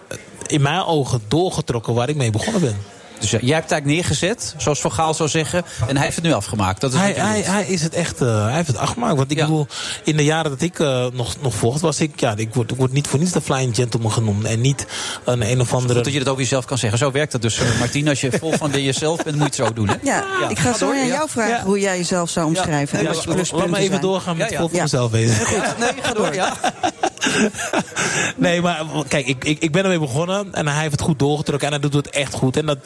Speaker 9: in mijn ogen doorgetrokken waar ik mee begonnen ben.
Speaker 7: Dus ja, jij hebt het eigenlijk neergezet, zoals Van Gaal zou zeggen. En hij heeft het nu afgemaakt. Dat is
Speaker 9: Hij,
Speaker 7: wat je
Speaker 9: hij,
Speaker 7: bedoelt.
Speaker 9: hij is het echt, eh, hij heeft het afgemaakt. Want ik
Speaker 7: Ja.
Speaker 9: bedoel, in de jaren dat ik eh, nog, nog vocht, was ik, ja, ik word, ik word niet voor niets de flying gentleman genoemd. En niet een een of andere.
Speaker 7: Goed dat je dat ook jezelf kan zeggen. Zo werkt dat dus, eh, Martien. Als je vol van jezelf bent, moet je het zo doen. Hè?
Speaker 8: Ja,
Speaker 9: Ah,
Speaker 7: Ja.
Speaker 8: ik ga
Speaker 7: Ga
Speaker 8: zo
Speaker 7: door,
Speaker 8: aan
Speaker 7: ja.
Speaker 8: jou vragen
Speaker 9: Ja.
Speaker 8: hoe jij jezelf zou omschrijven. en
Speaker 7: Ja,
Speaker 9: Ja,
Speaker 8: wat
Speaker 7: laat-
Speaker 9: laat-
Speaker 8: je
Speaker 9: laat me
Speaker 8: pluspunten
Speaker 9: even
Speaker 8: zijn.
Speaker 9: doorgaan met
Speaker 7: Ja,
Speaker 9: ja,
Speaker 7: ja.
Speaker 9: God
Speaker 8: Ja.
Speaker 9: vanzelf bezig.
Speaker 7: Nee, ga door, ja.
Speaker 9: Nee, maar kijk, ik, ik, ik ben ermee begonnen en hij heeft het goed doorgetrokken en hij doet het echt goed. En dat,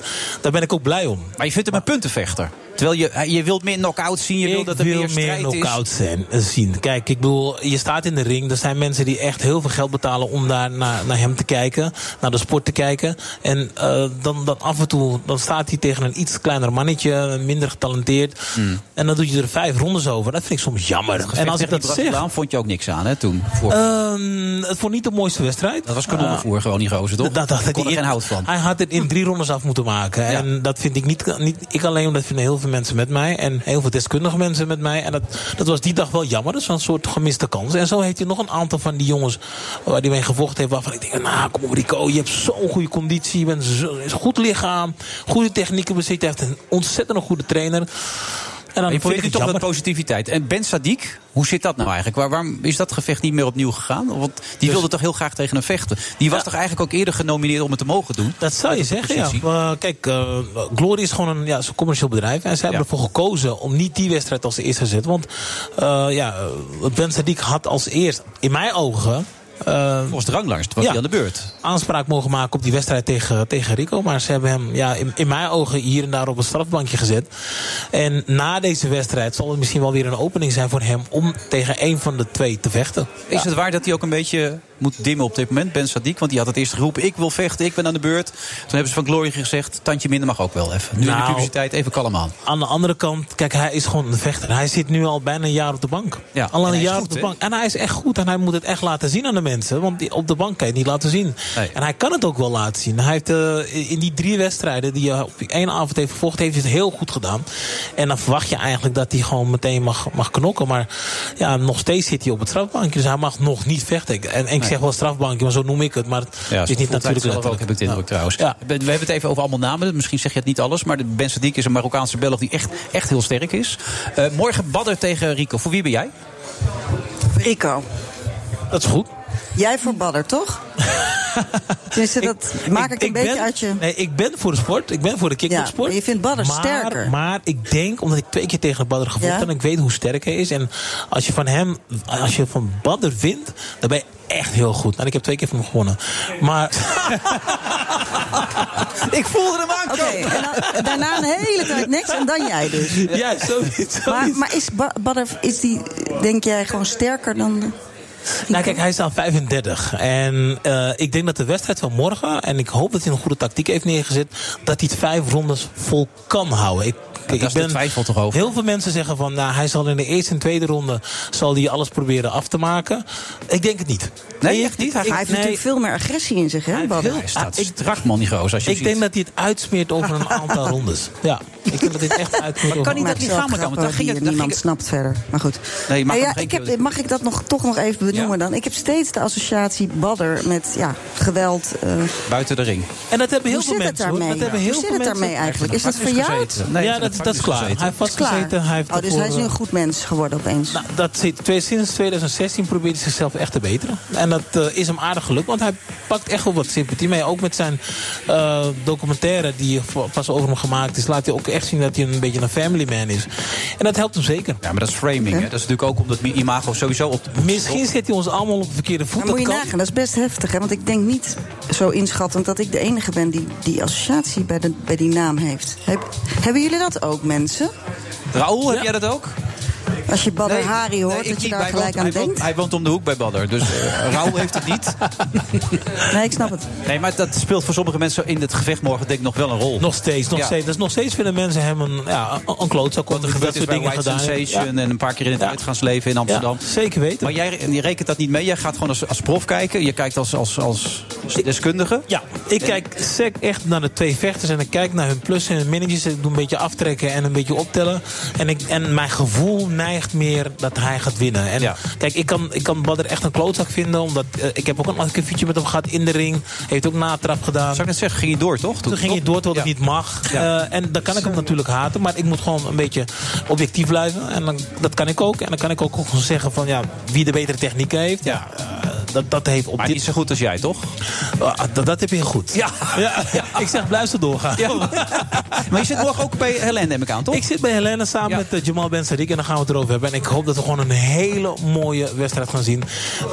Speaker 9: daar ben ik ook blij om.
Speaker 7: Maar je vindt hem een puntenvechter. Terwijl je, je wilt meer knock-out zien, je wilt dat er
Speaker 9: wil
Speaker 7: meer strijd is.
Speaker 9: knock-out zijn, eh, zien. Kijk, ik bedoel, je staat in de ring. Er zijn mensen die echt heel veel geld betalen om daar naar, naar hem te kijken. Naar de sport te kijken. En eh, dan, dan af en toe dan staat hij tegen een iets kleiner mannetje. Minder getalenteerd.
Speaker 7: Hmm.
Speaker 9: En dan doe je er vijf rondes over. Dat vind ik soms jammer. En als ik dat zeg...
Speaker 7: Daarom vond je ook niks aan, hè, toen. Voor,
Speaker 9: ehm, het vond niet de mooiste wedstrijd. Ah.
Speaker 7: dat was kanonnenvoer, gewoon die gozer, toch?
Speaker 9: eh, Dat, dat, dat
Speaker 7: kon er
Speaker 9: hij-
Speaker 7: geen hout van.
Speaker 9: Hij had het in drie rondes af moeten maken. En dat vind ik niet, niet. Ik alleen, dat vinden heel veel mensen met mij. En heel veel deskundige mensen met mij. En dat, dat was die dag wel jammer. Dat is wel een soort gemiste kans. En zo heeft hij nog een aantal van die jongens. waar hij mee gevochten heeft. waarvan ik denk: Nou, kom op, Rico. Je hebt zo'n goede conditie. Je bent zo, is goed lichaam. Goede technieken bezit. Je hebt een ontzettend goede trainer. En dan
Speaker 7: Maar je
Speaker 9: vind ik
Speaker 7: probeert nu
Speaker 9: het
Speaker 7: toch wat
Speaker 9: jammer.
Speaker 7: positiviteit. En Ben Sadik, hoe zit dat nou eigenlijk? Waar, waarom is dat gevecht niet meer opnieuw gegaan? Want die wilde toch heel graag tegen hem vechten. Die was
Speaker 9: Dus- Ja.
Speaker 7: toch eigenlijk ook eerder genomineerd om het te mogen doen?
Speaker 9: Dat zou je zeggen, ja.
Speaker 7: positie.
Speaker 9: Maar kijk, eh, Glory is gewoon een, ja, is een commercieel bedrijf. En ze hebben
Speaker 7: Ja.
Speaker 9: ervoor gekozen om niet die wedstrijd als eerste te zetten. Want eh, ja, Ben Sadiq had als eerst, in mijn ogen... eh,
Speaker 7: Volgens de ranglijst was
Speaker 9: Ja.
Speaker 7: hij aan de beurt.
Speaker 9: aanspraak mogen maken op die wedstrijd tegen, tegen Rico. Maar ze hebben hem ja, in, in mijn ogen hier en daar op een strafbankje gezet. En na deze wedstrijd zal het misschien wel weer een opening zijn voor hem... om tegen één van de twee te vechten.
Speaker 7: Is het waar dat hij ook een beetje moet dimmen op dit moment, Ben Sadik? Want die had het eerst geroepen, ik wil vechten, ik ben aan de beurt. Toen hebben ze van Glory gezegd, tandje minder mag ook wel even. Nu in
Speaker 9: Nou.
Speaker 7: de publiciteit, even kalm aan.
Speaker 9: Aan de andere kant, kijk, hij is gewoon een vechter. Hij zit nu al bijna een jaar op de bank.
Speaker 7: Ja,
Speaker 9: al
Speaker 7: en
Speaker 9: een
Speaker 7: hij is
Speaker 9: jaar
Speaker 7: goed,
Speaker 9: op de
Speaker 7: hè?
Speaker 9: bank. En hij is echt goed en hij moet het echt laten zien aan de mensen. Want die- op de bank kan je het niet laten zien.
Speaker 7: Nee.
Speaker 9: En hij kan het ook wel laten zien. Hij heeft eh, in die drie wedstrijden die hij op die één avond heeft gevochten, heeft hij het heel goed gedaan. En dan verwacht je eigenlijk dat hij gewoon meteen mag, mag knokken. Maar ja, nog steeds zit hij op het strafbankje. Dus hij mag nog niet vechten. Ik- En, en ik zeg wel strafbankje, maar zo noem ik het. Maar het
Speaker 7: Ja,
Speaker 9: is niet natuurlijk
Speaker 7: zelf ook, heb ik dit
Speaker 9: Ja.
Speaker 7: ook trouwens.
Speaker 9: Ja.
Speaker 7: We we hebben het even over allemaal namen. Misschien zeg je het niet alles. Maar de Ben Sadik is een Marokkaanse Belg die echt, echt heel sterk is. Eh, morgen Badder tegen Rico. Voor wie ben jij?
Speaker 8: Rico,
Speaker 9: Dat is goed.
Speaker 8: jij voor Badder, toch? Tenminste, dat maak ik, een beetje
Speaker 9: ben,
Speaker 8: uit je...
Speaker 9: Nee, ik ben voor de sport. Ik ben voor de
Speaker 8: Ja,
Speaker 9: kickboxsport.
Speaker 8: maar je vindt Badder
Speaker 9: maar,
Speaker 8: sterker.
Speaker 9: Maar ik denk, omdat ik twee keer tegen Badder gevochten
Speaker 8: Ja.
Speaker 9: heb... en ik weet hoe sterk hij is. En als je van hem, als je van Badder wint... dan ben je echt heel goed. En ik heb twee keer van hem gewonnen. Maar
Speaker 7: Ik voelde hem aan.
Speaker 8: Oké, en dan- daarna een hele tijd niks en dan jij dus.
Speaker 9: ja, zoiets.
Speaker 8: Maar,
Speaker 9: zoiets.
Speaker 8: maar is Ba- Badder, is die, denk jij, gewoon sterker dan... de-
Speaker 9: Nou, kijk, hij is aan 35. En eh, ik denk dat de wedstrijd van morgen, en ik hoop dat hij een goede tactiek heeft neergezet, dat hij het vijf rondes vol kan houden. Ik, ik
Speaker 7: daar is de twijfel toch over?
Speaker 9: Heel veel mensen zeggen van, nou, hij zal in de eerste en tweede ronde zal hij alles proberen af te maken. Ik denk het niet.
Speaker 7: Nee, echt niet? Hij
Speaker 8: Hij
Speaker 7: gaat-
Speaker 8: heeft
Speaker 9: nee.
Speaker 8: natuurlijk veel meer agressie in zich, hè, Badder?
Speaker 7: Hij staat
Speaker 9: Ah, ik-
Speaker 7: strak, man, die gozer. Als je
Speaker 9: Ik denk dat hij het uitsmeert over een aantal rondes. Ja, ik denk dat dit echt uitsmeert over
Speaker 7: kan
Speaker 8: Maar
Speaker 7: niet dat
Speaker 8: het
Speaker 7: die
Speaker 8: is wel
Speaker 7: gaan, maar dan-
Speaker 8: grappig
Speaker 7: dan ging
Speaker 8: die
Speaker 7: het- dan
Speaker 8: niemand
Speaker 7: ging
Speaker 8: snapt verder. Maar goed.
Speaker 7: Nee, je mag
Speaker 8: Eh,
Speaker 7: nog
Speaker 8: ja,
Speaker 7: één
Speaker 8: ik
Speaker 7: keer
Speaker 8: heb,
Speaker 7: wat-
Speaker 8: mag ik dat nog, toch nog even benoemen
Speaker 7: Ja.
Speaker 8: dan? Ik heb steeds de associatie badder met ja, geweld. eh.
Speaker 7: Buiten de ring.
Speaker 9: En dat hebben heel
Speaker 8: hoe
Speaker 9: veel
Speaker 8: zit het
Speaker 9: mensen. hoor.
Speaker 8: daarmee?
Speaker 9: Dat
Speaker 8: Hoe
Speaker 9: hebben heel
Speaker 8: zit
Speaker 9: veel
Speaker 8: het
Speaker 9: mensen.
Speaker 8: daarmee eigenlijk? Is dat verjaard?
Speaker 7: Gezeten.
Speaker 9: ja, dat, dat is klaar. Hij heeft
Speaker 8: Is klaar.
Speaker 9: vastgezeten. Hij heeft
Speaker 8: oh, dus hij is
Speaker 9: ervoor,
Speaker 8: nu een
Speaker 9: eh,
Speaker 8: goed mens geworden opeens.
Speaker 9: Nou, dat zit, twee- sinds 2016 probeert hij zichzelf echt te beteren. En dat eh, is hem aardig gelukt, want hij pakt echt wel wat sympathie mee. Ook met zijn eh, documentaire die voor- pas over hem gemaakt is, laat hij ook echt zien dat hij een beetje een family man is. En dat helpt hem zeker.
Speaker 7: Ja, maar dat is framing. Hè? Dat is natuurlijk ook omdat mi- imago sowieso op de
Speaker 9: Misschien zet hij ons allemaal op de verkeerde voet.
Speaker 8: Maar moet je
Speaker 9: dat kan.
Speaker 8: nagaan, dat is best heftig. Hè? Want ik denk niet zo inschattend dat ik de enige ben die die associatie bij, de, bij die naam heeft. Heb- hebben jullie dat ook, mensen?
Speaker 7: Raoul, heb jij dat ook?
Speaker 8: Als je Badder Hari hoort,
Speaker 7: nee, ik
Speaker 8: dat je
Speaker 7: niet.
Speaker 8: daar
Speaker 7: Hij
Speaker 8: gelijk
Speaker 7: woont-
Speaker 8: aan
Speaker 7: hij woont-
Speaker 8: denkt?
Speaker 7: Hij woont om de hoek bij Badder, dus eh, Raoul heeft het niet.
Speaker 8: Nee, ik snap het.
Speaker 7: Nee, maar dat speelt voor sommige mensen in het gevecht morgen denk ik nog wel een rol.
Speaker 9: Nog steeds, nog
Speaker 7: Ja.
Speaker 9: steeds. Dus nog steeds vinden mensen hem een, ja, een- een klootzak. omdat hij
Speaker 7: gebeurd
Speaker 9: Dat
Speaker 7: is
Speaker 9: soort
Speaker 7: bij
Speaker 9: dingen
Speaker 7: White
Speaker 9: gedaan. heeft.
Speaker 7: Sensation en een paar keer in het
Speaker 9: Ja.
Speaker 7: uitgaansleven in Amsterdam.
Speaker 9: Ja, zeker weten.
Speaker 7: Maar jij en je rekent dat niet mee. Jij gaat gewoon als, als prof kijken. Je kijkt als, als, als deskundige.
Speaker 9: Ja, ik kijk sec echt naar de twee vechters en ik kijk naar hun plussen en hun minnetjes. Ik doe een beetje aftrekken en een beetje optellen. En, ik, en mijn gevoel neigt meer dat hij gaat winnen. En
Speaker 7: Ja.
Speaker 9: kijk, ik kan, ik kan Badr echt een klootzak vinden, omdat eh, ik heb ook een akkefietje met hem gehad in de ring. Heeft ook natrap gedaan.
Speaker 7: Zou ik net zeggen, ging je door toch?
Speaker 9: Toen ging je door terwijl het
Speaker 7: Ja.
Speaker 9: niet mag.
Speaker 7: Ja.
Speaker 9: Eh, en dan kan ik hem natuurlijk haten. Maar ik moet gewoon een beetje objectief blijven. En dan, dat kan ik ook. En dan kan ik ook gewoon zeggen van ja, wie de betere techniek heeft.
Speaker 7: Ja.
Speaker 9: eh, dat, dat heeft op
Speaker 7: Maar
Speaker 9: dit
Speaker 7: niet zo goed als jij, toch?
Speaker 9: Ah, dat, dat heb je goed.
Speaker 7: Ja.
Speaker 9: ja. Ik zeg, blijf zo doorgaan.
Speaker 7: maar je zit morgen ook bij Helene, neem ik aan, toch?
Speaker 9: Ik zit bij Helene samen
Speaker 7: Ja.
Speaker 9: met eh, Jamal Ben Sadik en dan gaan we het erover hebben. En ik hoop dat we gewoon een hele mooie wedstrijd gaan zien.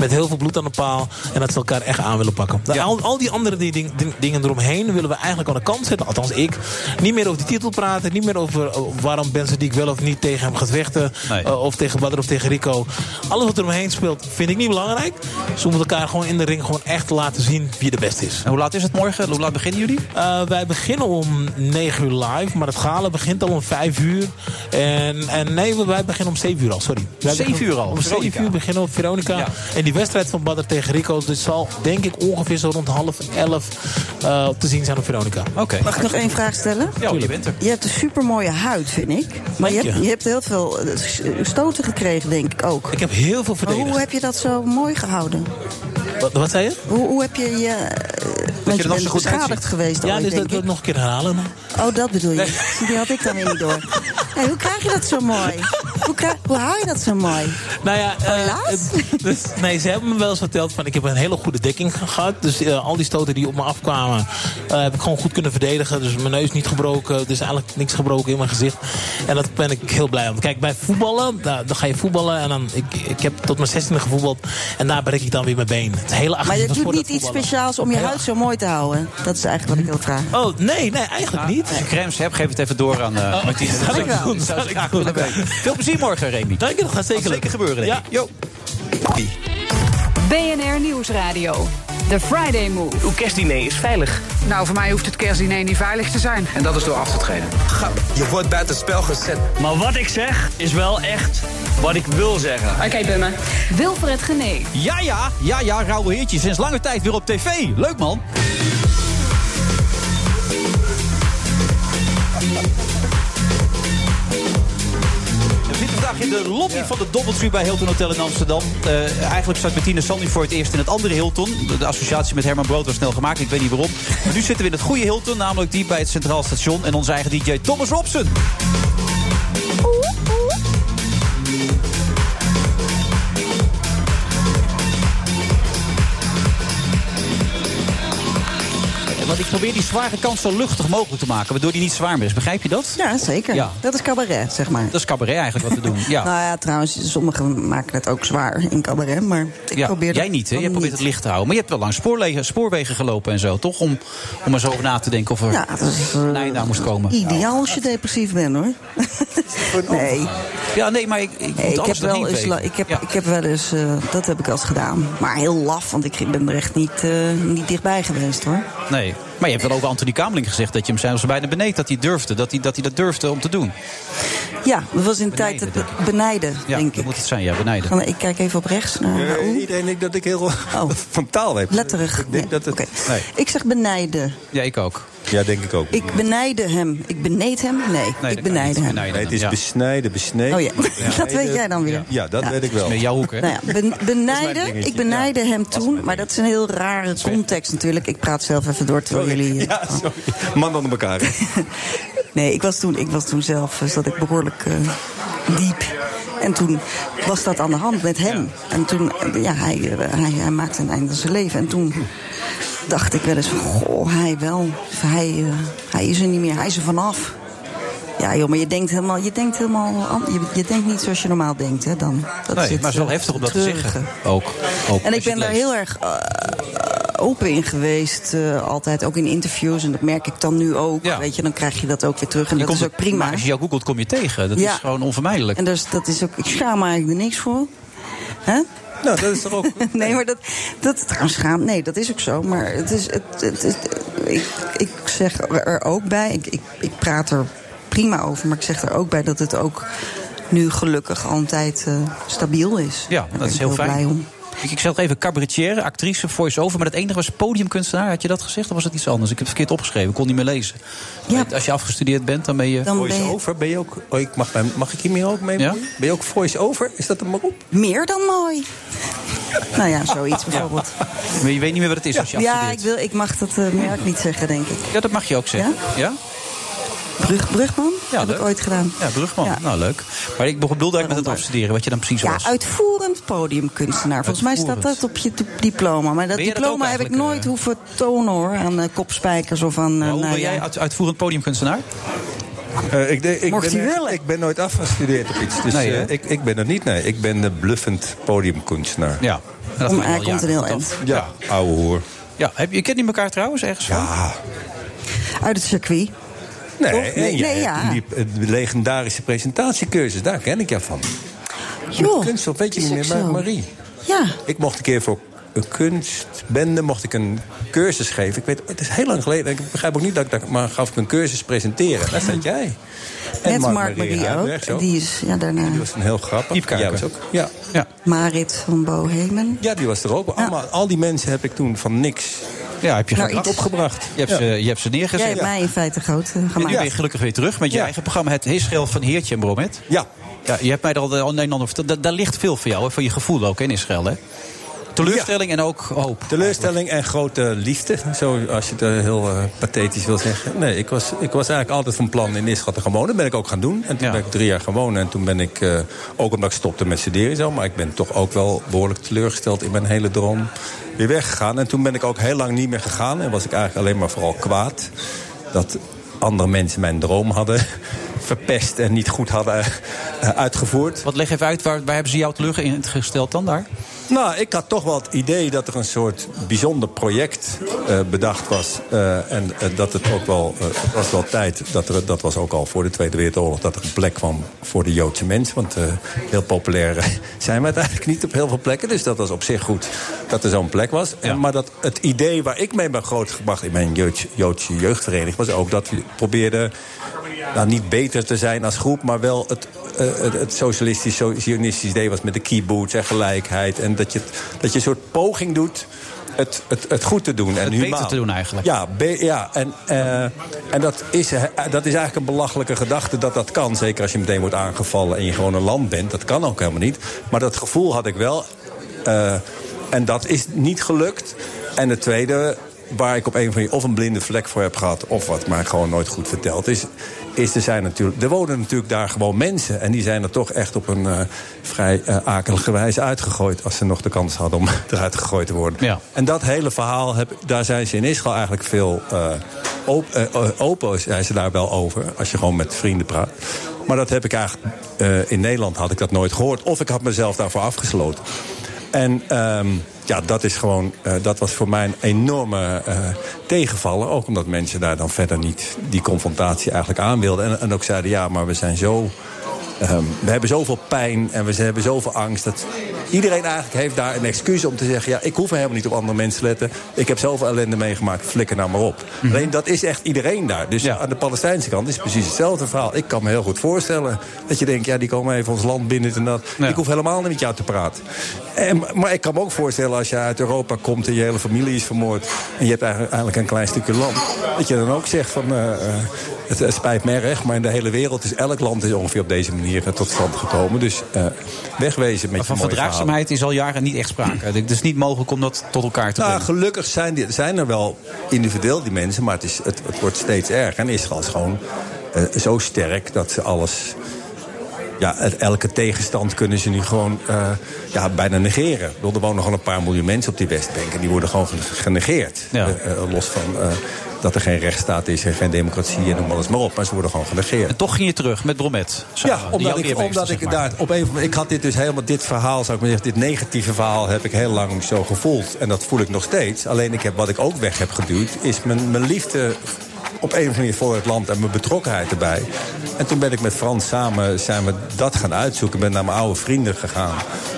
Speaker 9: Met heel veel bloed aan de paal. En dat ze elkaar echt aan willen pakken. Nou,
Speaker 7: Ja.
Speaker 9: Al, al die andere die, ding- ding- dingen eromheen willen we eigenlijk aan de kant zetten. Althans, ik. Niet meer over die titel praten. Niet meer over eh, waarom Ben Sadik wel of niet tegen hem gaat vechten.
Speaker 7: Nee.
Speaker 9: Eh, of tegen Badr of tegen Rico. Alles wat eromheen speelt vind ik niet belangrijk. Ze moeten elkaar gewoon in de ring gewoon echt laten zien wie de beste is.
Speaker 7: En hoe laat is het morgen? Hoe laat beginnen jullie?
Speaker 9: Eh, wij beginnen om 9 uur live, maar het gala begint al om 5 uur. En, en nee, we- wij beginnen om 7 uur al, sorry. Wij
Speaker 7: 7
Speaker 9: beginnen
Speaker 7: uur al,
Speaker 9: Om 7
Speaker 7: Veronica.
Speaker 9: uur beginnen we op Veronica.
Speaker 7: Ja.
Speaker 9: En die wedstrijd van Badder tegen Rico, dus zal denk ik ongeveer zo rond half 11 eh, te zien zijn op Veronica.
Speaker 7: Oké.
Speaker 8: Mag ik nog één vraag stellen?
Speaker 7: Ja, je bent er.
Speaker 8: Je hebt een supermooie huid, vind ik. Maar je
Speaker 9: Dank je.
Speaker 8: hebt, je hebt heel veel eh, s- stoten gekregen, denk ik ook.
Speaker 9: Ik heb heel veel
Speaker 8: Maar
Speaker 9: verdedigd.
Speaker 8: hoe heb je dat zo mooi gehouden?
Speaker 9: wat, wat zei je?
Speaker 8: Hoe, hoe heb je je... eh, want
Speaker 7: er
Speaker 8: je
Speaker 7: nog
Speaker 8: bent
Speaker 7: zo goed
Speaker 8: beschadigd
Speaker 7: uitziet.
Speaker 8: geweest
Speaker 9: Ja,
Speaker 8: ooit,
Speaker 9: dus dat
Speaker 8: denk
Speaker 9: wil
Speaker 8: ik.
Speaker 9: ik nog een keer herhalen.
Speaker 8: Oh, dat bedoel je. Zie, Die had ik dan weer niet door. Hé, hoe krijg je dat zo mooi? Hoe, krijg- hoe hou je dat zo mooi?
Speaker 9: Nou ja, eh,
Speaker 8: helaas?
Speaker 9: het- dus, nee, ze hebben me wel eens verteld van ik heb een hele goede dekking gehad. Dus eh, al die stoten die op me afkwamen, eh, heb ik gewoon goed kunnen verdedigen. Dus mijn neus niet gebroken. Er is eigenlijk niks gebroken in mijn gezicht. En dat ben ik heel blij om. Kijk, bij voetballen, daar, dan ga je voetballen. En dan, ik, ik heb tot mijn 16e gevoetbald. En daar breek ik dan weer mijn been. Het hele
Speaker 8: Maar je
Speaker 9: agressieve
Speaker 8: doet
Speaker 9: sport,
Speaker 8: niet
Speaker 9: dat
Speaker 8: iets
Speaker 9: voetballen.
Speaker 8: speciaals om je huid zo mooi te houden. Dat is eigenlijk wat ik wil vragen.
Speaker 9: Oh, nee, nee, eigenlijk niet.
Speaker 7: Als je crèmes hebt, geef het even door aan eh Martine.
Speaker 9: zal ik
Speaker 7: zou-
Speaker 9: doen,
Speaker 7: zou
Speaker 9: zal
Speaker 7: ze
Speaker 9: ik
Speaker 7: graag
Speaker 9: doen.
Speaker 7: willen weten. Veel plezier morgen, Remy.
Speaker 9: Dank je, dat gaat zeker,
Speaker 7: Zeker,
Speaker 9: lukken.
Speaker 7: zeker gebeuren, denk
Speaker 9: Ja.
Speaker 7: ik. Yo.
Speaker 3: BNR Nieuwsradio. The Friday Move.
Speaker 10: Uw kerstdiner is veilig.
Speaker 5: Nou, voor mij hoeft het kerstdiner niet veilig te zijn.
Speaker 6: En dat is door af te treden.
Speaker 11: Je wordt buitenspel gezet.
Speaker 10: Maar wat ik zeg is wel echt wat ik wil zeggen.
Speaker 3: Wilfred Gené.
Speaker 7: Ja, ja, ja, ja, rauwe heertje. Sinds lange tijd weer op tv. Leuk, man. We zitten vandaag in de lobby van de Doubletree bij Hilton Hotel in Amsterdam. Eh, eigenlijk zat Bettina Sandy voor het eerst in het andere Hilton. De, de associatie met Herman Brood was snel gemaakt, ik weet niet waarom. Maar nu zitten we in het goede Hilton, namelijk die bij het Centraal Station. En onze eigen DJ Thomas Robson.
Speaker 9: Wat ik
Speaker 7: ik probeer die zware kant zo luchtig mogelijk te maken, waardoor die niet zwaar meer is. Begrijp je dat?
Speaker 8: Ja, zeker.
Speaker 7: Ja.
Speaker 8: Dat is cabaret, zeg maar.
Speaker 7: Dat is cabaret eigenlijk wat we doen. Ja.
Speaker 8: Nou ja, trouwens, sommigen maken het ook zwaar in cabaret. Maar ik
Speaker 7: ja,
Speaker 8: probeer dat
Speaker 7: jij niet, hè?
Speaker 8: dan
Speaker 7: Jij probeert
Speaker 8: niet.
Speaker 7: het licht te houden. Maar je hebt wel langs spoorwegen, spoorwegen gelopen en zo, toch? Om, om er zo over na te denken of er
Speaker 8: Ja, dat is, eh,
Speaker 7: nee daar moest komen.
Speaker 8: Ideaal als je depressief bent, hoor. nee.
Speaker 7: Ja, nee, maar ik, ik, moet
Speaker 8: Nee, ik, heb
Speaker 7: alles
Speaker 8: wel
Speaker 7: nog
Speaker 8: eens,
Speaker 7: niet
Speaker 8: la-
Speaker 7: weten.
Speaker 8: ik, heb, ik heb wel eens, eh, dat heb ik wel eens gedaan. Maar heel laf, want ik ben er echt niet, eh, niet dichtbij geweest hoor.
Speaker 7: Nee, maar je hebt wel over Anthony Kameling gezegd dat je hem zelfs bijna beneed dat hij durfde. Dat hij dat, hij dat durfde om te doen.
Speaker 8: Ja, dat was in tijd het be- benijden.
Speaker 7: Ja, dat moet het zijn, ja, benijden.
Speaker 8: Gaan we- Ik kijk even op rechts naar Raoul.
Speaker 11: ik denk Eh, dat ik heel van taal heb.
Speaker 8: eh, nou. Oh. Letterig.
Speaker 11: Ik denk dat het...
Speaker 7: Nee.
Speaker 8: Ik zeg benijden.
Speaker 7: Ja, ik ook.
Speaker 11: Ja, denk ik ook.
Speaker 8: Ik benijde hem. Ik beneed hem? Nee, ik benijde hem.
Speaker 11: Nee, het is
Speaker 7: ja.
Speaker 11: besnijden, besneden.
Speaker 8: Oh ja, dat weet jij dan weer.
Speaker 11: Ja, dat weet ik wel.
Speaker 7: Met jouw hoek, hè?
Speaker 8: Nou ja, ben- benijden,
Speaker 11: dingetje,
Speaker 8: ik benijde hem toen, maar dat is een heel rare context natuurlijk. Ik praat zelf even door terwijl jullie... eh,
Speaker 11: Ja, sorry. Man onder elkaar. hè.
Speaker 8: Nee, ik was toen, ik was toen zelf, eh, zat ik behoorlijk eh, diep. En toen was dat aan de hand met hem. En toen, eh, ja, hij, eh, hij, hij maakte een einde aan zijn leven. En toen dacht ik wel eens van, goh, hij wel. Of Hij, eh, hij is er niet meer, hij is er vanaf. Ja joh, maar je denkt helemaal, je denkt helemaal, an- je, je denkt niet zoals je normaal denkt hè dan. Dat
Speaker 7: nee,
Speaker 8: is het,
Speaker 7: maar het is wel
Speaker 8: eh,
Speaker 7: heftig om dat te
Speaker 8: treurige.
Speaker 7: zeggen. Ook. ook
Speaker 8: En
Speaker 7: als
Speaker 8: ik
Speaker 7: je
Speaker 8: ben
Speaker 7: het
Speaker 8: daar
Speaker 7: leest.
Speaker 8: heel erg eh, open in geweest, eh, altijd. Ook in interviews, en dat merk ik dan nu ook.
Speaker 7: Ja.
Speaker 8: Weet je, dan krijg je dat ook weer terug. En
Speaker 7: Je
Speaker 8: dat
Speaker 7: komt
Speaker 8: is ook
Speaker 7: er-
Speaker 8: prima.
Speaker 7: Maar als je jou googelt, kom je tegen. Dat
Speaker 8: Ja.
Speaker 7: is gewoon onvermijdelijk.
Speaker 8: En dus, dat is ook, ik schaam me eigenlijk er niks voor. hè?
Speaker 11: Nou, dat is toch ook...
Speaker 8: Nee, maar dat, dat trouwens schaam, nee, dat is ook zo. Maar het is, het, het, het- ik, ik zeg er ook bij, ik, ik, ik praat er prima over, maar ik zeg er ook bij dat het ook nu gelukkig altijd eh, stabiel is.
Speaker 7: Ja,
Speaker 8: Daar
Speaker 7: dat
Speaker 8: ben
Speaker 7: is
Speaker 8: ik
Speaker 7: heel fijn.
Speaker 8: blij om.
Speaker 7: Ik, ik zat even cabaretier, actrice, voice-over. Maar het enige was podiumkunstenaar. Had je dat gezegd of was dat iets anders? Ik heb het verkeerd opgeschreven, ik kon niet meer lezen.
Speaker 8: Ja.
Speaker 7: Als je afgestudeerd bent, dan ben je...
Speaker 8: Dan ben je
Speaker 11: Voice-over, ben je ook... Oh, ik mag, mijn- mag ik hiermee ook mee?
Speaker 7: Ja?
Speaker 11: bemoeien? Ben je ook voice-over? Is dat een beroep?
Speaker 8: meer dan mooi. nou ja, zoiets bijvoorbeeld.
Speaker 7: Maar je weet niet meer wat het is als je
Speaker 8: Ja,
Speaker 7: afstudeert.
Speaker 8: ik, wil, ik mag dat eh, merk niet zeggen, denk ik.
Speaker 7: Ja, dat mag je ook zeggen. Ja? Ja,
Speaker 8: Brug, Brugman? heb
Speaker 7: leuk.
Speaker 8: ik ooit gedaan.
Speaker 7: Ja, Brugman.
Speaker 8: Ja.
Speaker 7: Nou, leuk. Maar ik bedoel eigenlijk met het afstuderen, wat je dan precies
Speaker 8: Ja,
Speaker 7: was.
Speaker 8: uitvoerend podiumkunstenaar. Volgens mij staat
Speaker 7: Uitvoerend.
Speaker 8: dat op je d- diploma. Maar dat
Speaker 7: Ben je dat
Speaker 8: diploma
Speaker 7: ook
Speaker 8: heb ik
Speaker 7: eigenlijk,
Speaker 8: nooit
Speaker 7: eh?
Speaker 8: hoeven tonen hoor. Aan eh, kopspijkers of aan. eh,
Speaker 7: Maar hoe
Speaker 8: nou
Speaker 7: ben
Speaker 8: ja.
Speaker 7: jij uit- uitvoerend podiumkunstenaar?
Speaker 11: Eh, ik, denk- ik
Speaker 8: Mocht
Speaker 11: ben,
Speaker 8: hij
Speaker 11: echt-
Speaker 8: willen.
Speaker 11: Ik ben nooit afgestudeerd op iets. Dus
Speaker 7: Nee, hè?
Speaker 11: eh, ik, ik ben er niet, nee. Ik ben de bluffend podiumkunstenaar.
Speaker 7: Ja. En dat
Speaker 8: Om-
Speaker 7: gaat wel
Speaker 8: hij komt
Speaker 7: jaren
Speaker 8: er heel
Speaker 7: goed
Speaker 8: eind.
Speaker 7: af.
Speaker 11: Ja, ouwe hoor.
Speaker 7: Ja, heb, je kent niet elkaar trouwens ergens van?
Speaker 11: Ja.
Speaker 8: Uit het circuit.
Speaker 11: Nee,
Speaker 8: Toch?
Speaker 11: en
Speaker 8: Nee,
Speaker 11: jij
Speaker 8: nee,
Speaker 11: hebt
Speaker 8: ja.
Speaker 11: die eh, legendarische presentatiecursus, daar ken ik jou van.
Speaker 8: Joh,
Speaker 11: Kunststof, weet je
Speaker 8: is
Speaker 11: niet meer,
Speaker 8: ook
Speaker 11: maar
Speaker 8: zo.
Speaker 11: Marie.
Speaker 8: Ja.
Speaker 11: Ik mocht een keer voor een kunstbende mocht ik een cursus geven. Ik weet, het is heel lang geleden. Ik begrijp ook niet dat ik dat... Maar gaf ik een cursus presenteren. Daar staat jij. En
Speaker 8: Net Mark
Speaker 11: Marie
Speaker 8: Marie
Speaker 11: Huibrecht
Speaker 8: ook. Die is ja, daarna.
Speaker 11: Die was een heel grappig.
Speaker 7: Iep Kuiken.
Speaker 11: Jij was ook. Ja.
Speaker 7: Ja.
Speaker 8: Marit van Bohemen.
Speaker 11: ja, die was er ook. Allemaal, al die mensen heb ik toen van niks
Speaker 7: Ja, heb je
Speaker 8: Nou,
Speaker 7: gebracht.
Speaker 8: iets
Speaker 11: opgebracht.
Speaker 7: Je hebt, ze, je hebt ze neergezet.
Speaker 8: Jij hebt mij in feite groot eh,
Speaker 7: En nu ben
Speaker 8: gemaakt.
Speaker 7: je gelukkig weer terug met je
Speaker 11: Ja.
Speaker 7: eigen programma. Het Israël van Heertje en Bromet.
Speaker 11: Ja.
Speaker 7: Ja, je hebt mij er al een en ander verteld. Daar, daar ligt veel voor jou, hè, van je gevoel ook hè, in Israël. Hè? Teleurstelling en ook hoop.
Speaker 11: Teleurstelling en grote liefde, zo als je het eh, heel eh, pathetisch wil zeggen. Nee, ik was, ik was eigenlijk altijd van plan in Israël te gaan wonen. Dat ben ik ook gaan doen. En toen
Speaker 7: Ja.
Speaker 11: ben ik drie jaar gaan wonen. En toen ben ik, eh, ook omdat ik stopte met studeren en zo... maar ik ben toch ook wel behoorlijk teleurgesteld in mijn hele droom... weer weggegaan. En toen ben ik ook heel lang niet meer gegaan. En was ik eigenlijk alleen maar vooral kwaad. Dat andere mensen mijn droom hadden verpest en niet goed hadden eh, uitgevoerd.
Speaker 7: Wat leg even uit, waar, waar hebben ze jou teleurgesteld dan daar?
Speaker 11: Nou, ik had toch wel het idee dat er een soort bijzonder project eh, bedacht was. Eh, en eh, dat het ook wel, eh, het was wel tijd, dat, er, dat was ook al voor de Tweede Wereldoorlog, dat er een plek kwam voor de Joodse mens. Want eh, heel populair eh, zijn we uiteindelijk niet op heel veel plekken. Dus dat was op zich goed dat er zo'n plek was. En, maar dat het idee waar ik mee ben grootgebracht in mijn Joodse, Joodse jeugdvereniging was ook dat we probeerden nou, niet beter te zijn als groep, maar wel het, eh, het, het socialistisch, zo- zionistisch idee was met de kibbutz en gelijkheid. En dat je, het- dat je een soort poging doet het, het, het goed te doen. En
Speaker 7: Het beter
Speaker 11: humaan.
Speaker 7: te doen eigenlijk.
Speaker 11: Ja, be- ja en, eh, en dat, is, eh, dat is eigenlijk een belachelijke gedachte dat dat kan. Zeker als je meteen wordt aangevallen en je gewoon een land bent. Dat kan ook helemaal niet. Maar dat gevoel had ik wel. Eh, en dat is niet gelukt. En het tweede waar ik op een van die of een blinde vlek voor heb gehad, of wat mij gewoon nooit goed verteld is, is er zijn natuurlijk, er wonen natuurlijk daar gewoon mensen en die zijn er toch echt op een eh, vrij eh, akelige wijze uitgegooid als ze nog de kans hadden om eruit gegooid te worden.
Speaker 7: Ja.
Speaker 11: En dat hele verhaal, heb, daar zijn ze in Israël eigenlijk veel eh, op- eh, eh, open zijn ze daar wel over. Als je gewoon met vrienden praat. Maar dat heb ik eigenlijk eh, in Nederland had ik dat nooit gehoord. Of ik had mezelf daarvoor afgesloten. En ehm, ja, dat is gewoon, eh, dat was voor mij een enorme eh tegenvallen. Ook omdat mensen daar dan verder niet die confrontatie eigenlijk aan wilden. En, en ook zeiden, ja, maar we zijn zo Ehm, we hebben zoveel pijn en we z- hebben zoveel angst. Dat iedereen eigenlijk heeft daar een excuus om te zeggen... ja, ik hoef helemaal niet op andere mensen te letten. Ik heb zoveel ellende meegemaakt, flikker nou maar op. Alleen dat is echt iedereen daar. Dus aan de Palestijnse kant is precies hetzelfde verhaal. Ik kan me heel goed voorstellen dat je denkt... ja, die komen even ons land binnen en dat. Ik hoef helemaal niet met jou te praten. En, maar ik kan me ook voorstellen als je uit Europa komt... en je hele familie is vermoord en je hebt eigenlijk eigenlijk een klein stukje land... dat je dan ook zegt van... eh, eh, het, het spijt me erg, maar in de hele wereld is elk land is ongeveer op deze manier eh, tot stand gekomen. Dus eh, wegwezen met je
Speaker 7: Van
Speaker 11: mooie verhalen.
Speaker 7: verdraagzaamheid is al jaren niet echt sprake. Het is niet mogelijk om dat tot elkaar te
Speaker 11: Nou,
Speaker 7: brengen.
Speaker 11: gelukkig zijn, die- zijn er wel individueel die mensen, maar het, is, het, het wordt steeds erger. En Israël is gewoon eh, zo sterk dat ze alles. Ja, het- elke tegenstand kunnen ze nu gewoon eh, ja, bijna negeren. Ik bedoel, Er wonen gewoon een paar miljoen mensen op die Westbank... en die worden gewoon gen- genegeerd. Eh, eh, los van eh, dat er geen rechtsstaat is en geen democratie en noem alles maar op. Maar ze worden gewoon genegeerd.
Speaker 7: En toch ging je terug met Bromet.
Speaker 11: Ja,
Speaker 7: Die
Speaker 11: omdat
Speaker 7: jouw
Speaker 11: ik,
Speaker 7: eermeester,
Speaker 11: omdat
Speaker 7: zeg
Speaker 11: ik
Speaker 7: maar.
Speaker 11: daar op een moment- Ik had dit dus helemaal dit verhaal, zou ik maar zeggen, dit negatieve verhaal heb ik heel lang zo gevoeld. En dat voel ik nog steeds. Alleen ik heb, wat ik ook weg heb geduwd, is mijn, mijn liefde op een of andere manier voor het land en mijn betrokkenheid erbij. En toen ben ik met Frans samen zijn we dat gaan uitzoeken. Ik ben naar mijn oude vrienden gegaan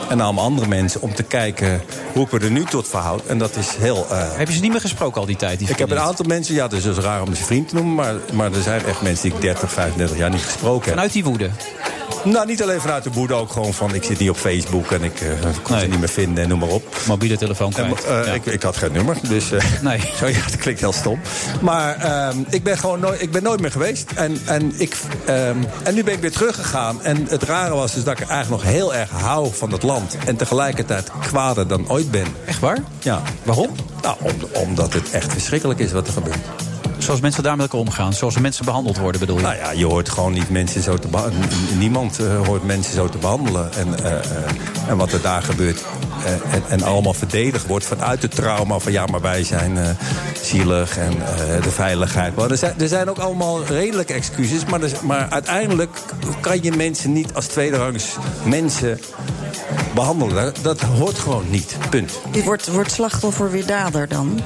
Speaker 11: en naar mijn andere mensen om te kijken hoe ik me er nu tot verhoud. En dat is heel. eh,
Speaker 7: Heb je ze niet meer gesproken al die tijd? Die
Speaker 11: ik heb een
Speaker 7: vrienden?
Speaker 11: aantal mensen, ja, dat is dus raar om ze vriend te noemen, maar, maar er zijn echt mensen die ik 30, 35 jaar niet gesproken heb.
Speaker 7: Vanuit die woede?
Speaker 11: Nou, niet alleen vanuit de woede, ook gewoon van ik zit niet op Facebook en ik eh, kon ze niet meer vinden en noem maar op.
Speaker 7: Mobiele telefoon
Speaker 11: kwijt. ik, ik had geen nummer, dus eh, zo, ja, dat klinkt heel stom. Maar ehm, ik ben gewoon nooit, ik ben nooit meer geweest en, en, ik, ehm, en nu ben ik weer teruggegaan. En het rare was dus dat ik eigenlijk nog heel erg hou van het land en tegelijkertijd kwader dan ooit ben.
Speaker 7: Echt waar?
Speaker 11: Ja.
Speaker 7: Waarom?
Speaker 11: Nou, om- omdat het echt verschrikkelijk is wat er gebeurt.
Speaker 7: Zoals mensen daar met elkaar omgaan, zoals mensen behandeld worden bedoel je?
Speaker 11: Nou ja, je hoort gewoon niet mensen zo te behandelen. Niemand eh, hoort mensen zo te behandelen. En, eh, eh, en wat er daar gebeurt. eh, en, en allemaal verdedigd wordt vanuit het trauma. Van ja, maar wij zijn eh, zielig en eh, de veiligheid. Maar er zijn, er zijn ook allemaal redelijke excuses. Maar, er- maar uiteindelijk kan je mensen niet als tweederangs mensen behandelen. Dat- Dat hoort gewoon niet. Punt.
Speaker 8: Dit wordt, wordt slachtoffer weer dader dan?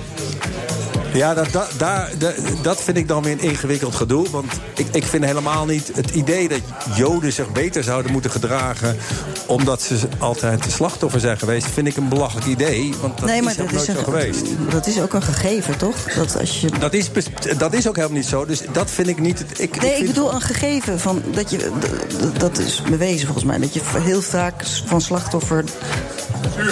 Speaker 11: Ja, dat, dat, daar, da- dat vind ik dan weer een ingewikkeld gedoe. Want ik, ik vind helemaal niet het idee dat Joden zich beter zouden moeten gedragen. omdat ze altijd de slachtoffer zijn geweest. vind ik een belachelijk idee. Want dat is helemaal nooit zo geweest.
Speaker 8: dat is ook een gegeven, toch? Dat als je...
Speaker 11: Dat is, bes- dat is ook helemaal niet zo. Dus dat vind ik niet. het- Ik,
Speaker 8: Nee, ik
Speaker 11: vind-
Speaker 8: bedoel een gegeven van dat je. d- d- Dat is bewezen volgens mij. Dat je heel vaak s- van slachtoffer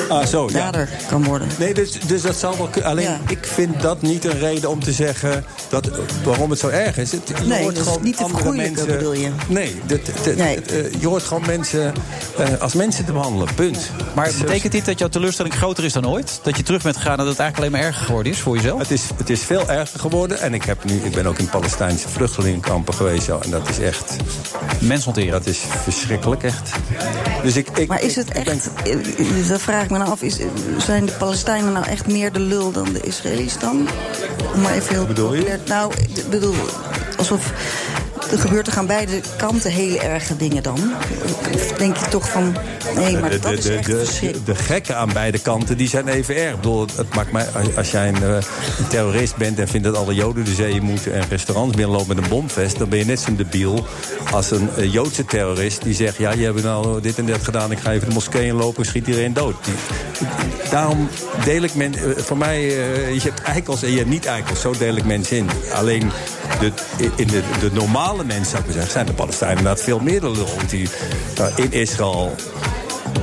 Speaker 11: Ah, zo, ja.
Speaker 8: dader kan worden.
Speaker 11: Nee, dus, dus dat zal wel kunnen. Alleen ik vind dat niet een reden om te zeggen dat, eh, waarom het zo erg is. Het, je
Speaker 8: Nee,
Speaker 11: hoort
Speaker 8: dat is
Speaker 11: gewoon
Speaker 8: niet te
Speaker 11: andere
Speaker 8: vergoeilijken,
Speaker 11: mensen,
Speaker 8: bedoel je?
Speaker 11: Nee, dat, dat- dat, eh, je hoort gewoon mensen eh, als mensen te behandelen. Punt.
Speaker 7: Maar betekent dit dat jouw teleurstelling groter is dan ooit? Dat je terug bent gegaan en dat het eigenlijk alleen maar erger geworden is voor jezelf?
Speaker 11: Het is, het is veel erger geworden. En ik, heb nu, ik ben ook in Palestijnse vluchtelingenkampen geweest. Zo, en dat is echt...
Speaker 7: Mensontering.
Speaker 11: Dat is verschrikkelijk, echt. Dus ik, ik,
Speaker 8: Maar is het echt. eh, Dat vraag ik me nou af. Is, zijn de Palestijnen nou echt meer de lul dan de Israëli's dan? Om maar even heel
Speaker 11: bedoel je?
Speaker 8: populair- Nou, ik bedoel, alsof. Er gebeurt er aan beide kanten hele erge dingen dan. Denk je toch van. Nee, maar
Speaker 11: de,
Speaker 8: dat is
Speaker 11: de,
Speaker 8: echt
Speaker 11: de,
Speaker 8: verschrikkelijk.
Speaker 11: de gekken aan beide kanten die zijn even erg. Ik bedoel, het maakt mij, als, als jij een, eh, een terrorist bent en vindt dat alle Joden de zee moeten en restaurants binnenlopen met een bomvest, dan ben je net zo'n debiel als een eh, Joodse terrorist die zegt: Ja, je hebt nou dit en dat gedaan, ik ga even de moskee inlopen en schiet iedereen dood. Die- daarom deel ik men, eh, voor mij, eh, je hebt eikels en je hebt niet eikels, zo deel ik mensen in. Alleen de, in de, de normale mensen, zou ik maar zeggen, zijn de Palestijnen inderdaad veel meer de lul. Want die, nou, in Israël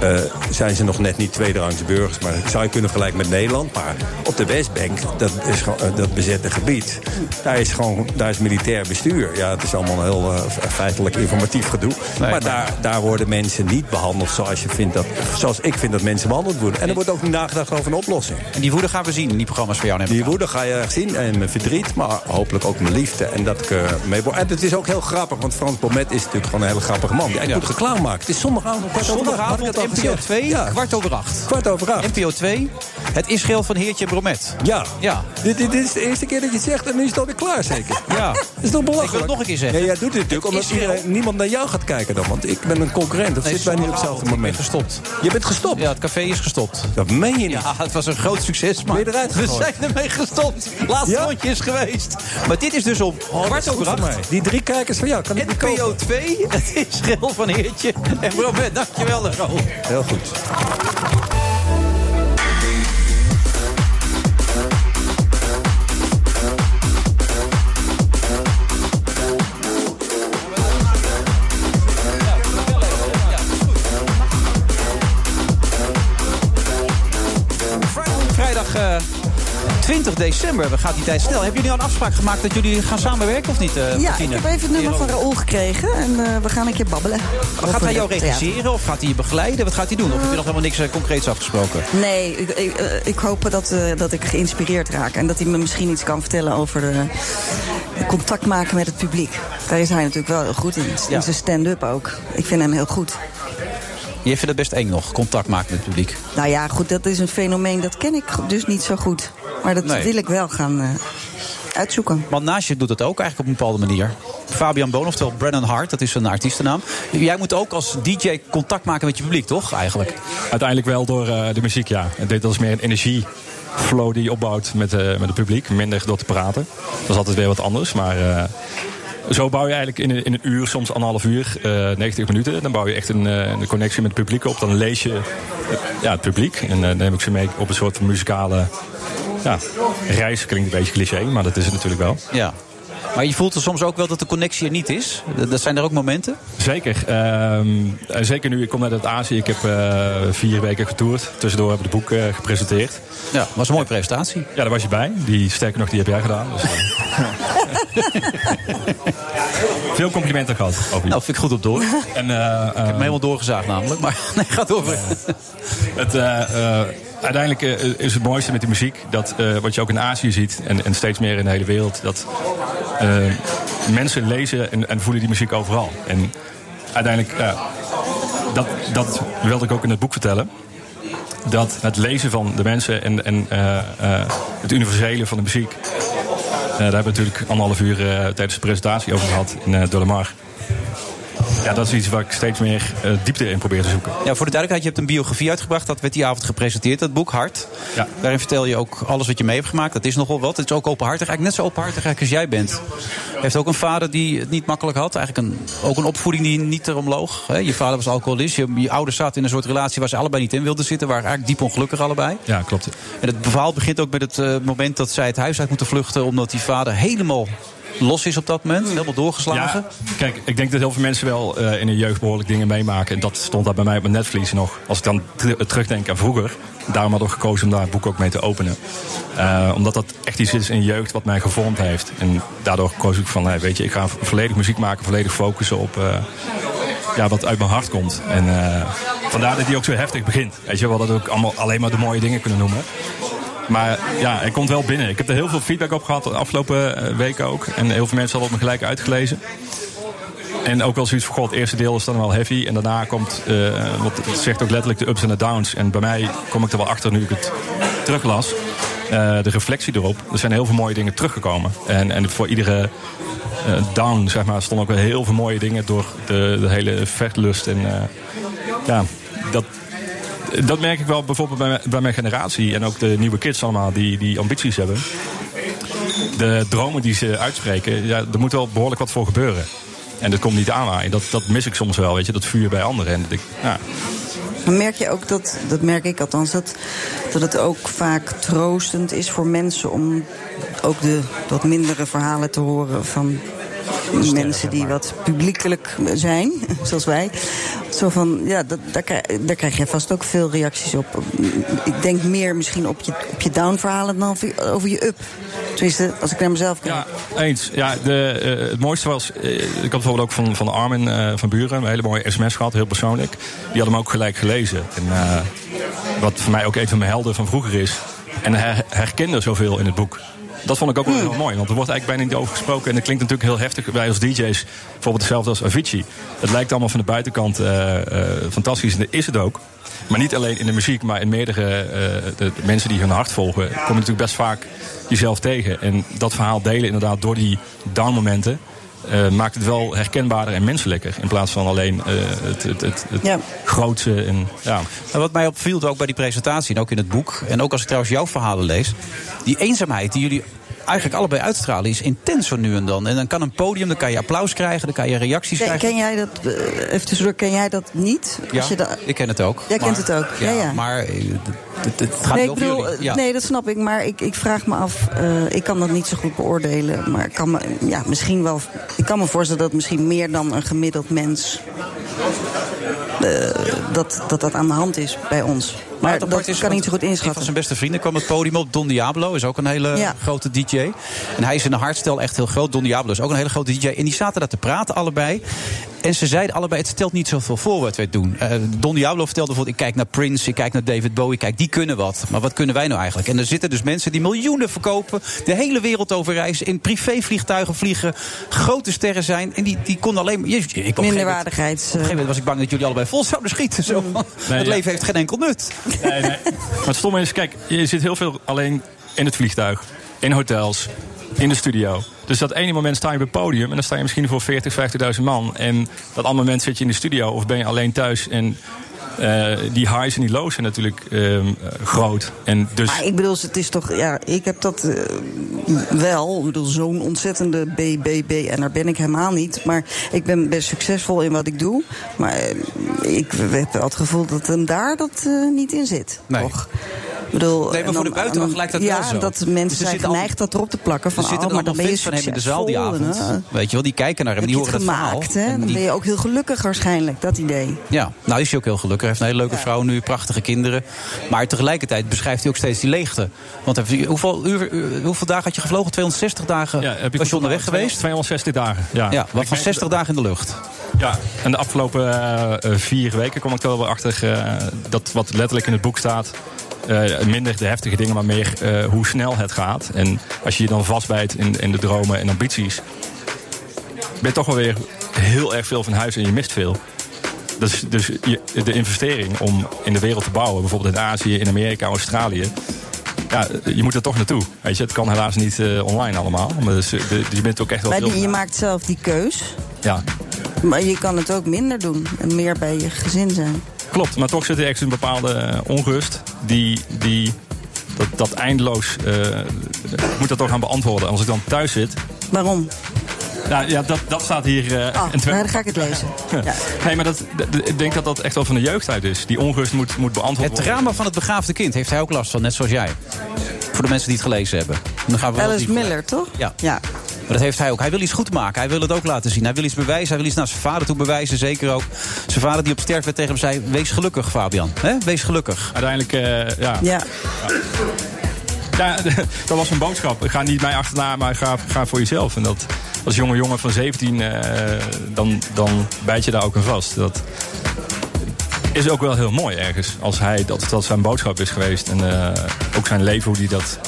Speaker 11: eh, zijn ze nog net niet tweederangs burgers. Maar dat zou je kunnen vergelijken met Nederland. Maar op de Westbank, dat, is gewoon, eh, dat bezette gebied, daar is, gewoon, daar is militair bestuur. Ja, het is allemaal heel eh, feitelijk informatief gedoe. maar daar, daar worden mensen niet behandeld zoals, je vindt dat, zoals ik vind dat mensen behandeld worden. En er wordt ook niet nagedacht over een oplossing.
Speaker 7: En die woede gaan we zien in die programma's voor jou. Neem ik
Speaker 11: Die
Speaker 7: aan.
Speaker 11: woede ga je erg zien en mijn verdriet, maar hopelijk ook mijn liefde. En dat ik eh, mee word. En het is ook heel grappig, want Frans Bomet is natuurlijk gewoon een hele grappige man. Ja, ik moet reclame maken. Het is zondagavond, kwart over acht. Had ik
Speaker 7: Zondagavond,
Speaker 11: het al
Speaker 7: NPO
Speaker 11: gezegd?
Speaker 7: 2,
Speaker 11: Ja.
Speaker 7: kwart over acht.
Speaker 11: Kwart over acht.
Speaker 7: NPO 2, het Israël van Heertje en Bromet.
Speaker 11: Ja.
Speaker 7: Ja.
Speaker 11: Dit, dit is de eerste keer dat je het zegt en nu is het alweer klaar zeker.
Speaker 7: Ja.
Speaker 11: Dat is toch belachelijk?
Speaker 7: Ik wil het nog een keer zeggen.
Speaker 11: Nee, jij doet het natuurlijk omdat
Speaker 7: Israël-
Speaker 11: iedereen- niemand naar jou gaat kijken dan. Want ik ben een concurrent. Dat
Speaker 7: Nee,
Speaker 11: zitten wij niet op
Speaker 7: zondagavond,
Speaker 11: hetzelfde moment.
Speaker 7: Ik ben gestopt.
Speaker 11: Je bent gestopt.
Speaker 7: Ja, het café is gestopt.
Speaker 11: Dat meen je niet.
Speaker 7: Ja, het was een groot succes, maar
Speaker 11: Ben je eruit
Speaker 7: we
Speaker 11: gegooid?
Speaker 7: zijn ermee gestopt. Laatste
Speaker 11: Ja? Oh,
Speaker 7: rondje is geweest. Maar dit is dus om kwart over acht.
Speaker 11: Die drie kijkers van jou, kan ik die
Speaker 7: NPO
Speaker 11: kopen?
Speaker 7: 2, het is Schil van Heertje en Bromet. Dankjewel, Ro.
Speaker 11: Heel goed.
Speaker 7: Vrijdag eh, 20 december, we gaan die tijd snel. Hebben jullie al een afspraak gemaakt dat jullie gaan samenwerken of niet, eh,
Speaker 8: Ja, ik
Speaker 7: Martine?
Speaker 8: heb even het nummer
Speaker 7: Hero.
Speaker 8: van Raoul gekregen en eh, we gaan een keer babbelen.
Speaker 7: Maar gaat
Speaker 8: over
Speaker 7: hij jou
Speaker 8: het theater.
Speaker 7: regisseren of gaat hij je begeleiden? Wat gaat hij doen? Of heb je nog helemaal niks eh, concreets afgesproken?
Speaker 8: Nee, ik, ik, eh, ik hoop dat, eh, dat ik geïnspireerd raak. En dat hij me misschien iets kan vertellen over eh, contact maken met het publiek. Daar is hij natuurlijk wel heel goed in. In
Speaker 7: Ja.
Speaker 8: zijn stand-up ook. Ik vind hem heel goed.
Speaker 7: Je vindt het best eng nog, contact maken met het publiek.
Speaker 8: Nou ja, goed, dat is een fenomeen. Dat ken ik dus niet zo goed. Maar dat
Speaker 7: Nee.
Speaker 8: wil ik wel gaan eh, uitzoeken.
Speaker 7: Want naast je doet dat ook eigenlijk op een bepaalde manier. Fabian Boon, oftewel Brennan Hart, dat is zijn artiestennaam. Jij moet ook als DJ contact maken met je publiek, toch? Eigenlijk.
Speaker 12: Uiteindelijk wel door eh, de muziek, ja. En dit dat is meer een energieflow die je opbouwt met, eh, met het publiek. Minder door te praten. Dat is altijd weer wat anders. Maar eh, zo bouw je eigenlijk in, een- in een uur, soms anderhalf uur, eh 90 minuten. Dan bouw je echt een, eh, een connectie met het publiek op. Dan lees je eh, ja, het publiek. En eh, dan neem ik ze mee op een soort van muzikale ja, reis. Klinkt een beetje cliché, maar dat is het natuurlijk wel.
Speaker 7: Ja. Maar je voelt er soms ook wel dat de connectie er niet is. D- Dat zijn er ook momenten.
Speaker 12: Zeker. Ehm, en zeker nu, ik kom net uit Azië. Ik heb eh, vier weken getoerd. Tussendoor heb ik het boek eh, gepresenteerd.
Speaker 7: Ja, was een mooie presentatie.
Speaker 12: Ja, daar was je bij. Die, sterker nog, die heb jij gedaan. Dus, eh. Veel complimenten gehad. Over je.
Speaker 7: Nou, vind ik goed op door. Ik
Speaker 12: En, eh,
Speaker 7: heb
Speaker 12: eh,
Speaker 7: hem helemaal doorgezaagd namelijk. Maar nee, gaat over.
Speaker 12: het, eh, eh, uiteindelijk eh, is het mooiste met die muziek dat eh, wat je ook in Azië ziet en, en steeds meer in de hele wereld, dat eh, mensen lezen en, en voelen die muziek overal. En uiteindelijk, ja, dat, dat wilde ik ook in het boek vertellen. Dat het lezen van de mensen en, en eh, eh, het universele van de muziek. eh, daar hebben we natuurlijk anderhalf uur eh, tijdens de presentatie over gehad in eh Dolemar. Ja, dat is iets waar ik steeds meer eh, diepte in probeer te zoeken.
Speaker 7: Ja, voor de duidelijkheid, je hebt een biografie uitgebracht. Dat werd die avond gepresenteerd, dat boek Hart.
Speaker 12: Ja.
Speaker 7: Daarin vertel je ook alles wat je mee hebt gemaakt. Dat is nogal wat. Het is ook openhartig. Eigenlijk net zo openhartig eigenlijk als jij bent. Je heeft ook een vader die het niet makkelijk had. Eigenlijk een, ook een opvoeding die niet erom loog. hè. Je vader was alcoholist. Je, je ouders zaten in een soort relatie waar ze allebei niet in wilden zitten. Waren eigenlijk diep ongelukkig allebei.
Speaker 12: Ja, klopt.
Speaker 7: En het verhaal begint ook met het eh, moment dat zij het huis uit moeten vluchten. Omdat die vader helemaal los is op dat moment. Helemaal doorgeslagen.
Speaker 12: Ja, kijk, ik denk dat heel veel mensen wel eh, in hun jeugd behoorlijk dingen meemaken. En dat stond daar bij mij op mijn netvlies nog. Als ik dan ter- terugdenk aan vroeger. Daarom had ik gekozen om daar het boek ook mee te openen. Eh, omdat dat echt iets is in je jeugd wat mij gevormd heeft. En daardoor koos ik van, hey, weet je, ik ga vo- volledig muziek maken. Volledig focussen op eh, ja, wat uit mijn hart komt. En eh, vandaar dat die ook zo heftig begint. Weet je, we hadden ook allemaal alleen maar de mooie dingen kunnen noemen. Maar ja, hij komt wel binnen. Ik heb er heel veel feedback op gehad de afgelopen eh, weken ook. En heel veel mensen hadden het me gelijk uitgelezen. En ook wel zoiets van, god, het eerste deel is dan wel heavy. En daarna komt, eh wat het zegt ook letterlijk, de ups en de downs. En bij mij kom ik er wel achter nu ik het teruglas. eh, de reflectie erop. Er zijn heel veel mooie dingen teruggekomen. En, en voor iedere eh, down, zeg maar, stonden ook wel heel veel mooie dingen door de, de hele vechtlust. En eh, ja, dat, dat merk ik wel bijvoorbeeld bij, mijn- bij mijn generatie. En ook de nieuwe kids allemaal die, die ambities hebben. De dromen die ze uitspreken, ja, er moet wel behoorlijk wat voor gebeuren. En dat komt niet aanwaaien. Dat, dat mis ik soms wel, weet je. Dat vuur bij anderen. En dat ik, nou, ja,
Speaker 8: Dan merk je ook dat, dat merk ik althans, dat, dat het ook vaak troostend is voor mensen om ook de wat mindere verhalen te horen van mensen die wat publiekelijk zijn, zoals wij. Zo van, ja, dat, daar, krijg, daar krijg je vast ook veel reacties op. Ik denk meer misschien op je, op je down-verhalen dan over je- over je up. Tenminste, als ik naar mezelf kijk.
Speaker 12: Eens. Ja, de, eh, het mooiste was. eh, ik had bijvoorbeeld ook van, van Armin eh, van Buren een hele mooie sms gehad, heel persoonlijk. Die had hem ook gelijk gelezen. En, eh, wat voor mij ook een van mijn helden van vroeger is. En her, herkende zoveel in het boek. Dat vond ik ook wel heel mooi, want er wordt eigenlijk bijna niet over gesproken. En dat klinkt natuurlijk heel heftig. Wij als DJ's, bijvoorbeeld hetzelfde als Avicii. Het lijkt allemaal van de buitenkant eh, eh, fantastisch en dat is het ook. Maar niet alleen in de muziek, maar in meerdere eh, de de mensen die hun hart volgen, kom je natuurlijk best vaak jezelf tegen. En dat verhaal delen inderdaad door die downmomenten. eh, maakt het wel herkenbaarder en menselijker. In plaats van alleen eh, het, het, het, het grootse. En, ja.
Speaker 7: En wat mij opviel ook bij die presentatie en ook in het boek... en ook als ik trouwens jouw verhalen lees... die eenzaamheid die jullie eigenlijk allebei uitstralen is intens zo nu en dan. En dan kan een podium, dan kan je applaus krijgen, dan kan je reacties
Speaker 8: Ken,
Speaker 7: krijgen.
Speaker 8: ken jij dat, eh, even tussendoor, ken jij dat niet?
Speaker 7: Ja,
Speaker 8: Als je da-
Speaker 7: ik ken het ook.
Speaker 8: Jij kent het ook, ja, ja.
Speaker 7: Maar eh, het, het gaat
Speaker 8: nee,
Speaker 7: niet
Speaker 8: ik
Speaker 7: over
Speaker 8: bedoel,
Speaker 7: jullie.
Speaker 8: eh,
Speaker 7: Ja.
Speaker 8: nee, dat snap ik. Maar ik, ik vraag me af, eh, ik kan dat niet zo goed beoordelen. Maar ik kan me, ja, misschien wel, ik kan me voorstellen dat misschien meer dan een gemiddeld mens. eh, dat, dat dat aan de hand is bij ons. Maar,
Speaker 7: het
Speaker 8: dat
Speaker 7: aparte is,
Speaker 8: kan ik
Speaker 7: want
Speaker 8: niet zo goed
Speaker 7: Een van
Speaker 8: inschatten.
Speaker 7: zijn beste vrienden kwam het podium op. Don Diablo is ook een hele
Speaker 8: Ja.
Speaker 7: grote DJ. En hij is in de hardstel echt heel groot. Don Diablo is ook een hele grote DJ. En die zaten daar te praten, allebei. En ze zeiden allebei: het stelt niet zoveel voor wat wij doen. Eh, Don Diablo vertelde bijvoorbeeld: ik kijk naar Prince, ik kijk naar David Bowie, ik kijk, die kunnen wat. Maar wat kunnen wij nou eigenlijk? En er zitten dus mensen die miljoenen verkopen, de hele wereld over reizen, in privévliegtuigen vliegen, grote sterren zijn. En die, die konden alleen maar. Jezus, ik op een gegeven moment-
Speaker 8: Minderwaardigheids,
Speaker 7: Op een gegeven moment was ik bang dat jullie allebei vol zouden schieten. Zo.
Speaker 8: Mm.
Speaker 7: van,
Speaker 12: Nee,
Speaker 7: het
Speaker 12: ja.
Speaker 7: leven heeft geen enkel nut.
Speaker 12: Maar het stomme is, kijk, je zit heel veel alleen in het vliegtuig, in hotels, in de studio. Dus dat ene moment sta je op het podium en dan sta je misschien voor 40, 50.000 man. En dat andere moment zit je in de studio of ben je alleen thuis. En eh, die highs en die lows zijn natuurlijk ehm, eh, groot. En dus
Speaker 8: Maar ik bedoel, het is toch. Ja, ik heb dat eh, wel. Ik bedoel, zo'n ontzettende BBB. En daar ben ik helemaal niet. Maar ik ben best succesvol in wat ik doe. Maar eh, ik heb wel het gevoel dat hem daar dat eh, niet in zit.
Speaker 7: Nee.
Speaker 8: Ik bedoel,
Speaker 7: Nee, maar
Speaker 8: en
Speaker 7: voor de buitenwacht
Speaker 8: dan-
Speaker 7: lijkt dat
Speaker 8: ja,
Speaker 7: wel zo.
Speaker 8: dat
Speaker 7: Dus
Speaker 8: mensen
Speaker 7: er
Speaker 8: zijn
Speaker 7: zitten al-
Speaker 8: geneigd dat erop te plakken. Van,
Speaker 7: er zitten
Speaker 8: oh, maar dan ben je
Speaker 7: allemaal fans van hem in de zaal die
Speaker 8: succesvol
Speaker 7: avond.
Speaker 8: en, eh,
Speaker 7: Weet je wel, die kijken naar hem en
Speaker 8: heb
Speaker 7: die
Speaker 8: je het
Speaker 7: horen het verhaal.
Speaker 8: gemaakt, hè?
Speaker 7: En
Speaker 8: Dan
Speaker 7: die-
Speaker 8: ben je ook heel gelukkig waarschijnlijk, dat idee.
Speaker 7: Ja, nou is hij ook heel gelukkig. Hij heeft een hele leuke vrouw nu, prachtige kinderen. Maar tegelijkertijd beschrijft hij ook steeds die leegte. Want hij- hoeveel, uur, uur- hoeveel dagen had je gevlogen? 260 dagen was je onderweg geweest?
Speaker 12: 260 dagen, ja.
Speaker 7: Ja, wat
Speaker 12: Ik
Speaker 7: van
Speaker 12: merk-
Speaker 7: 60 dagen in de lucht.
Speaker 12: Ja, en de afgelopen eh, eh, vier weken kom ik er wel weer achter eh, dat wat letterlijk in het boek staat. eh, minder de heftige dingen, maar meer eh, hoe snel het gaat. En als je je dan vastbijt in, in de dromen en ambities, ben je toch wel weer heel erg veel van huis en je mist veel. Dus, dus je- de investering om in de wereld te bouwen, bijvoorbeeld in Azië, in Amerika, Australië. Ja, je moet er toch naartoe. Weet je, het kan helaas niet eh, online allemaal. Maar dus, eh, de- je bent ook echt wel
Speaker 8: Maar
Speaker 12: veel.
Speaker 8: die, je maakt zelf die keus.
Speaker 12: Ja,
Speaker 8: Maar je kan het ook minder doen. En meer bij je gezin zijn.
Speaker 12: Klopt, maar toch zit er ergens een bepaalde eh, onrust die. die dat, dat eindeloos. eh, ik moet dat toch gaan beantwoorden. Als ik dan thuis zit.
Speaker 8: Waarom?
Speaker 12: Nou ja, dat, dat staat hier. eh,
Speaker 8: Ah,
Speaker 12: in twee-
Speaker 8: nou, dan ga ik het lezen.
Speaker 12: Nee, maar dat, dat- ik denk dat dat echt wel van de jeugd uit is. Die onrust moet, moet beantwoord
Speaker 7: Het
Speaker 12: worden.
Speaker 7: drama van het begaafde kind heeft hij ook last van, net zoals jij. Voor de mensen die het gelezen hebben. Dan gaan we wel
Speaker 8: Alice
Speaker 7: dieper.
Speaker 8: Miller, toch?
Speaker 7: Ja.
Speaker 8: ja.
Speaker 7: Maar dat heeft hij ook. Hij wil iets goed maken. Hij wil het ook laten zien. Hij wil iets bewijzen. Hij wil iets naar zijn vader toe bewijzen. Zeker ook. Zijn vader die op sterfbed tegen hem zei... Wees gelukkig, Fabian. hè? Wees gelukkig.
Speaker 12: Uiteindelijk, eh, ja.
Speaker 8: Ja.
Speaker 12: Ja, dat was een boodschap. Ga niet mij achterna, maar ga, ga voor jezelf. En dat als jonge jongen van 17, eh, dan, dan bijt je daar ook in vast. Dat is ook wel heel mooi ergens. Als hij, dat, dat zijn boodschap is geweest. En eh, ook zijn leven, hoe, die dat,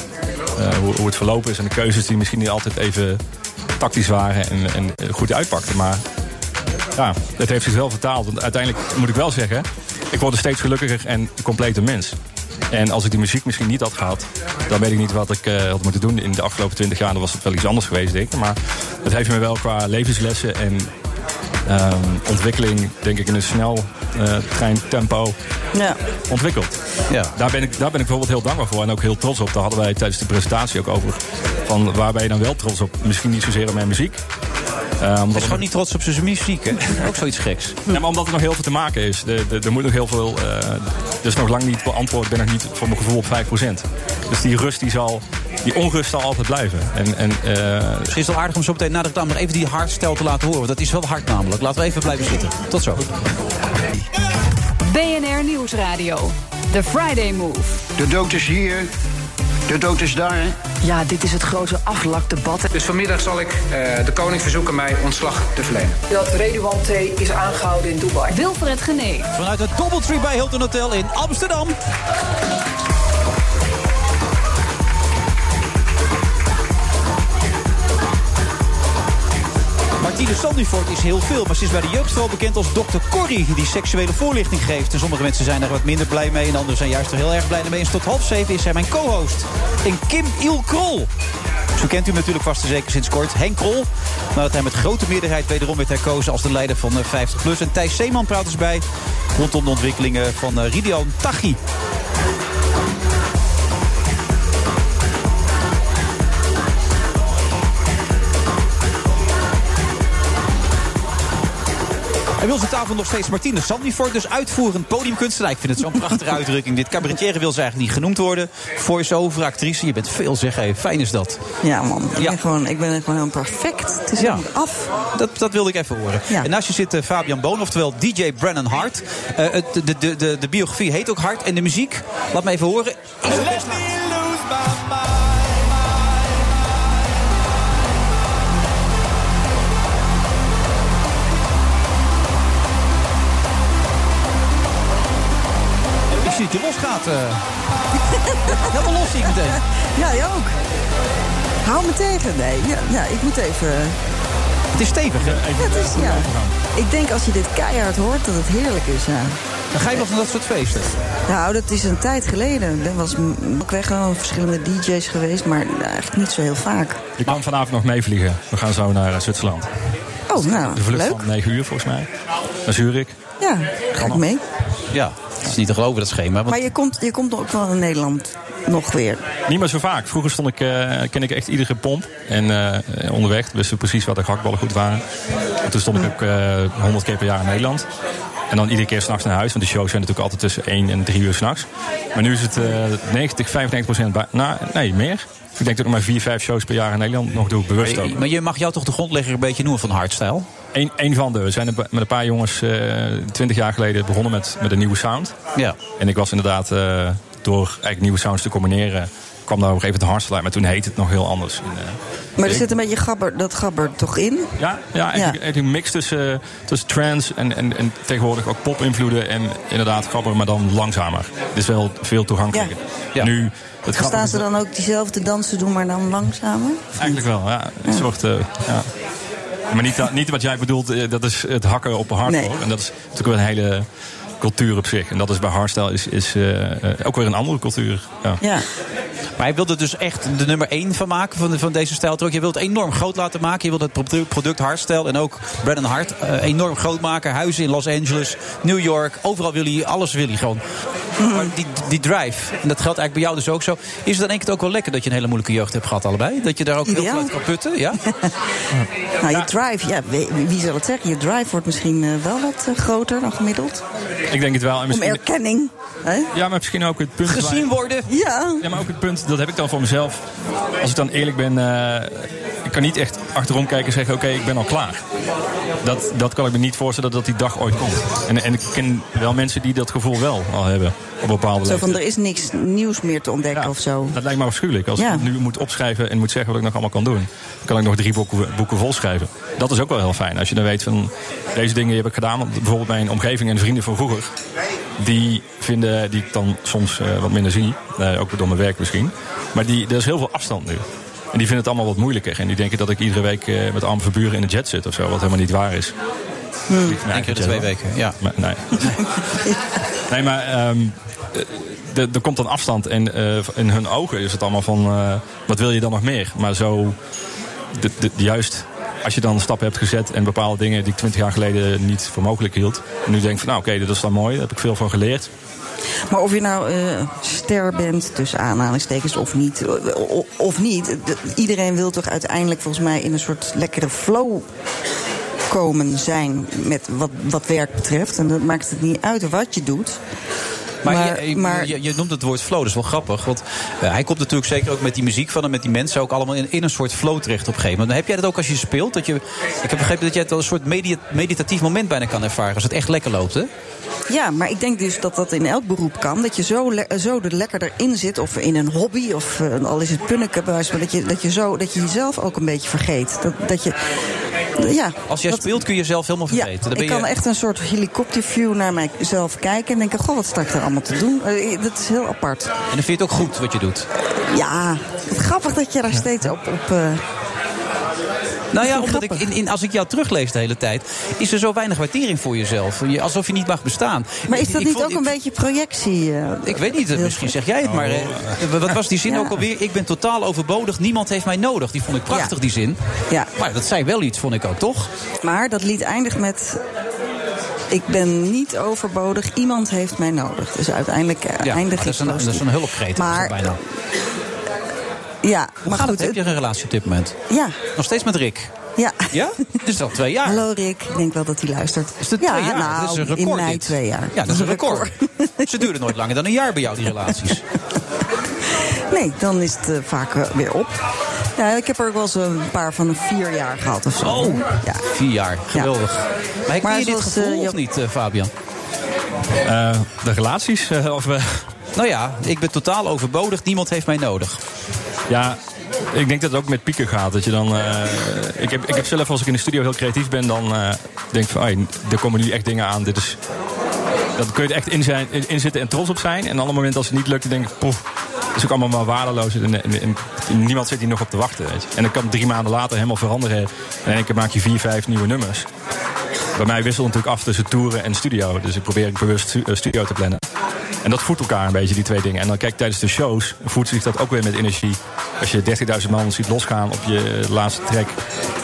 Speaker 12: eh, hoe, hoe het verlopen is. En de keuzes die misschien niet altijd even tactisch waren en, en eh, goed uitpakten. Maar ja, het heeft zich wel vertaald. Want uiteindelijk moet ik wel zeggen, ik word een steeds gelukkiger en een completer mens. En als ik die muziek misschien niet had gehad, dan weet ik niet wat ik eh, had moeten doen in de afgelopen twintig jaar. Dan was het wel iets anders geweest, denk ik. Maar het heeft me wel qua levenslessen en ehm, ontwikkeling, denk ik, in een snel eh, treintempo
Speaker 8: Ja.
Speaker 12: ontwikkeld. Daar, ben ik, daar ben ik bijvoorbeeld heel dankbaar voor en ook heel trots op. Daar hadden wij tijdens de presentatie ook over. Van waar ben je dan wel trots op? Misschien niet zozeer op mijn muziek. Eh, omdat
Speaker 7: Hij is gewoon niet trots op zijn muziek, hè? Ook zoiets geks.
Speaker 12: ja, maar omdat er nog heel veel te maken is. Er, er- er moet nog heel veel eh, Dus nog lang niet beantwoord, ben nog niet voor mijn gevoel op 5%. Dus die rust die zal, die onrust zal altijd blijven. En, en, eh,
Speaker 7: Misschien is het wel aardig om zo meteen na de reclame nog even die hardstijl te laten horen. Want dat is wel hard namelijk. Laten we even blijven zitten. Tot zo.
Speaker 3: BNR Nieuwsradio. The Friday Move.
Speaker 4: De dood is hier, de dood is daar.
Speaker 5: Ja, dit is het grote aflakdebat.
Speaker 6: Dus vanmiddag zal ik eh, de koning verzoeken mij ontslag te verlenen.
Speaker 5: Dat Redouan T. is aangehouden in Dubai.
Speaker 3: Wilfred Genee.
Speaker 7: Vanuit het Doubletree bij Hilton Hotel in Amsterdam. Martine Sandifort is heel veel, maar ze is bij de jeugd vooral bekend als Dr. Corrie, die seksuele voorlichting geeft. En sommige mensen zijn er wat minder blij mee, en anderen zijn juist er heel erg blij mee. En tot half zeven is zij mijn co-host. En Kim Il Krol. Zo kent u hem natuurlijk vast en zeker sinds kort. Henk Krol, nadat hij met grote meerderheid wederom werd herkozen als de leider van eh, 50PLUS. En Thijs Zeeman praat ons bij rondom de ontwikkelingen van eh, Ridian Taghi. En bij ons aan tafel nog steeds Martine Sandifort, dus uitvoerend podiumkunstenaar. Ik vind het zo'n prachtige uitdrukking. Dit cabaretier wil ze eigenlijk niet genoemd worden. Voice-over, actrice, je bent veel zeg. Hey, fijn is dat.
Speaker 8: Ja, man. Ik, Ben, gewoon, ik ben gewoon heel perfect. Het is helemaal af.
Speaker 7: Dat, dat wilde ik even horen. En naast je zit eh, Fabian Boon, oftewel DJ Brennan Hart. Eh, het- de, de, de, de biografie heet ook Hart. En de muziek, laat me even horen, is ook best Ik zie dat je losgaat. eh. Helemaal los zie ik meteen.
Speaker 8: Ja, jij ook. Hou me tegen. Nee, ja, ja, ik moet even...
Speaker 7: Het is stevig, hè?
Speaker 8: Ja, het is, ja. Ik denk als je dit keihard hoort, dat het heerlijk is, ja.
Speaker 7: Dan ga je nog naar dat soort feesten.
Speaker 8: Nou, dat is een tijd geleden. Er was m- ook weg al verschillende DJ's geweest, maar eigenlijk niet zo heel vaak.
Speaker 12: je kan vanavond nog meevliegen. We gaan zo naar eh, Zwitserland.
Speaker 8: Oh, nou,
Speaker 12: De vlucht
Speaker 8: leuk.
Speaker 12: van 9 uur volgens mij. Naar Zurich.
Speaker 8: Ja, ga ik mee.
Speaker 7: Ja, het is niet te geloven dat schema.
Speaker 8: Maar je komt, je komt ook wel in Nederland nog weer.
Speaker 12: Niet meer zo vaak. Vroeger stond ik, eh, ken ik echt iedere pomp. En eh, onderweg wisten we precies waar de gehaktballen goed waren. En toen stond ik ook eh 100 keer per jaar in Nederland. En dan iedere keer s'nachts naar huis. Want de shows zijn natuurlijk altijd tussen 1 en 3 uur s'nachts. Maar nu is het eh 90, 95 procent. bij- Nou, nee, meer. Ik denk dat ik maar 4, 5 shows per jaar in Nederland nog doe. Bewust ook.
Speaker 7: Maar je mag jou toch de grondlegger een beetje noemen van hardstyle?
Speaker 12: Eén één van de. We zijn er be- met een paar jongens eh, twintig jaar geleden begonnen met, met een nieuwe sound.
Speaker 7: Ja.
Speaker 12: En ik was inderdaad eh, door eigenlijk nieuwe sounds te combineren... kwam daar op een gegeven moment een hardstyle. Maar toen heette het nog heel anders. En, eh,
Speaker 8: Maar er
Speaker 12: ik-
Speaker 8: zit een beetje gabber, dat gabber toch in?
Speaker 12: Ja, ja, eigenlijk, eigenlijk een mix tussen, eh, tussen trance en, en, en tegenwoordig ook pop-invloeden. En inderdaad grapper, maar dan langzamer. Het is wel veel toegankelijker. Nu, het
Speaker 8: Gaan
Speaker 12: grappige
Speaker 8: Staan
Speaker 12: is
Speaker 8: ze dan ook diezelfde dansen doen, maar dan langzamer?
Speaker 12: Eigenlijk wel, ja. Een soort, eh, ja. Maar niet, dat- niet wat jij bedoelt, eh, dat is het hakken op hardcore. En dat is natuurlijk wel een hele cultuur op zich. En dat is bij hardstyle is, is, eh, eh, ook weer een andere cultuur. Ja.
Speaker 7: Maar hij wilde dus echt de nummer 1 van maken van, de- van deze stijl. Terwijl Je wilt het enorm groot laten maken. Je wilt het produ- product hardstyle en ook Brandon Hart eh, enorm groot maken. Huizen in Los Angeles, New York. Overal wil hij, alles wil hij gewoon. Maar die, die drive, en dat geldt eigenlijk bij jou dus ook zo. Is het dan denk ik ook wel lekker dat je een hele moeilijke jeugd hebt gehad allebei? Dat je daar ook heel
Speaker 8: Ideaal.
Speaker 7: veel uit kan putten, ja?
Speaker 8: Nou, je drive, ja, wie, wie zal het zeggen? Je drive wordt misschien eh, wel wat eh, groter dan gemiddeld.
Speaker 12: Ik denk het wel. Nou, En
Speaker 8: Om
Speaker 12: misschien-
Speaker 8: erkenning. Hè?
Speaker 12: Ja, maar misschien ook het punt...
Speaker 8: Gezien
Speaker 7: worden.
Speaker 8: Ja.
Speaker 12: Ja, maar ook het punt, dat heb ik dan voor mezelf. Als ik dan eerlijk ben, eh, ik kan niet echt achterom kijken en zeggen... oké, ik ben al klaar. Dat, dat kan ik me niet voorstellen dat die dag ooit komt. En, en ik ken wel mensen die dat gevoel wel al hebben. Op bepaalde
Speaker 8: Zo van,
Speaker 12: leeftijd.
Speaker 8: er is niks nieuws meer te ontdekken of zo.
Speaker 12: Dat lijkt me afschuwelijk. Als
Speaker 8: Ja.
Speaker 12: ik nu moet opschrijven en moet zeggen wat ik nog allemaal kan doen... dan kan ik nog drie boeken, boeken volschrijven. Dat is ook wel heel fijn. Als je dan weet van deze dingen heb ik gedaan. Want bijvoorbeeld mijn omgeving en vrienden van vroeger... die vinden, die ik dan soms eh, wat minder zie. eh, ook door mijn werk misschien. Maar die, er is heel veel afstand nu. En die vinden het allemaal wat moeilijker. En die denken dat ik iedere week eh, met arme verburen in de jet zit of zo. Wat helemaal niet waar is.
Speaker 7: Hmm. Eén keer de twee weken, ja.
Speaker 12: Maar, nee. nee, maar ehm, eh, er- er komt dan afstand. En eh, in hun ogen is het allemaal van... eh, wat wil je dan nog meer? Maar zo... de- de- juist als je dan een stap hebt gezet... en bepaalde dingen die ik twintig jaar geleden niet voor mogelijk hield... en nu denk ik van, nou oké, dat is dan mooi. Daar heb ik veel van geleerd.
Speaker 8: Maar of je nou eh, ster bent, tussen aanhalingstekens, of niet, eh, o- of niet eh, iedereen wil toch uiteindelijk volgens mij in een soort lekkere flow komen zijn met wat, wat werk betreft. En dat maakt het niet uit wat je doet.
Speaker 7: Maar, je, je, je noemt het woord flow, dat is wel grappig. Want eh, hij komt natuurlijk zeker ook met die muziek van en met die mensen ook allemaal in, in een soort flow terecht op een gegeven moment. Heb jij dat ook als je speelt? Dat je, ik heb begrepen dat jij het wel een soort media- meditatief moment bijna kan ervaren. Als het echt lekker loopt, hè?
Speaker 8: Ja, maar ik denk dus dat dat in elk beroep kan. Dat je zo, le- eh, zo er lekker erin zit. Of in een hobby. Of eh, al is het punniken. bij wijze van- Dat je, dat, je zo, dat je jezelf ook een beetje vergeet. Dat, dat je, ja,
Speaker 7: Als jij speelt kun je jezelf helemaal vergeten. Dan ben
Speaker 8: ik kan
Speaker 7: je,
Speaker 8: echt een soort helikopterview naar mijzelf kijken. En denken, goh, wat sta ik daar allemaal te doen? Eh, Dat is heel apart.
Speaker 7: En dan vind je het ook goed wat je doet.
Speaker 8: Ja, wat grappig dat je daar steeds op... op eh,
Speaker 7: Nou ja, omdat ik in, in, als ik jou teruglees de hele tijd, is er zo weinig waardering voor jezelf. Je- Alsof je niet mag bestaan.
Speaker 8: Maar is
Speaker 7: Ik-
Speaker 8: dat
Speaker 7: ik
Speaker 8: niet
Speaker 7: vond-
Speaker 8: ook een beetje projectie? eh?
Speaker 7: Ik weet niet, misschien zeg jij het, maar eh, wat was die zin
Speaker 8: Ja.
Speaker 7: ook alweer? Ik ben totaal overbodig, niemand heeft mij nodig. Die vond ik prachtig, die zin.
Speaker 8: Ja.
Speaker 7: Maar dat zei wel iets, vond ik ook, toch? Ah,
Speaker 8: Maar dat lied eindigt met... Ik ben niet overbodig, iemand heeft mij nodig. Dus uiteindelijk eh,
Speaker 7: Ja, maar
Speaker 8: eindigt
Speaker 7: dat is een,
Speaker 8: het
Speaker 7: dat is een hulpkreet. Maar,
Speaker 8: Maar-
Speaker 7: bijna.
Speaker 8: Ja,
Speaker 7: Hoe gaat het? Heb je een relatie op dit moment?
Speaker 8: Ja.
Speaker 7: Nog steeds met Rick?
Speaker 8: Ja.
Speaker 7: Ja? Het is al twee jaar.
Speaker 8: Hallo Rick, ik denk wel dat hij luistert.
Speaker 7: Is het
Speaker 8: ja,
Speaker 7: twee jaar?
Speaker 8: nou,
Speaker 7: dat is een record.
Speaker 8: in mei
Speaker 7: dit.
Speaker 8: twee jaar.
Speaker 7: Ja, dat is een record. Ze duren nooit langer dan een jaar bij jou, die relaties.
Speaker 8: Nee, dan is het eh, vaak eh, weer op. Ja, ik heb er ook wel eens een paar van een vier jaar gehad of zo.
Speaker 7: Oh,
Speaker 8: Ja.
Speaker 7: vier jaar. Geweldig. Maar heb
Speaker 8: Maar
Speaker 7: je dit
Speaker 8: zoals,
Speaker 7: gevoel
Speaker 8: eh,
Speaker 7: of niet, eh, Fabian?
Speaker 12: Eh, de relaties? eh, of, eh,
Speaker 7: Nou ja, ik ben totaal overbodig. Niemand heeft mij nodig.
Speaker 12: Ja, ik denk dat het ook met pieken gaat. Dat je dan, eh, ik, heb, ik heb zelf, als ik in de studio heel creatief ben, dan eh, denk ik van, "Ai, er komen nu echt dingen aan. Dit is, dan kun je er echt in, zijn, in, in zitten en trots op zijn. En op het moment als het niet lukt, dan denk ik, poef, het is ook allemaal maar waardeloos. En, en- en niemand zit hier nog op te wachten. Weet je. En dan kan het drie maanden later helemaal veranderen. En in één keer maak je vier, vijf nieuwe nummers. Bij mij wisselt het natuurlijk af tussen toeren en studio. Dus ik probeer ik bewust stu- eh, studio te plannen. En dat voedt elkaar een beetje, die twee dingen. En dan kijk tijdens de shows voedt zich dat ook weer met energie. Als je 30.000 man ziet losgaan op je laatste track.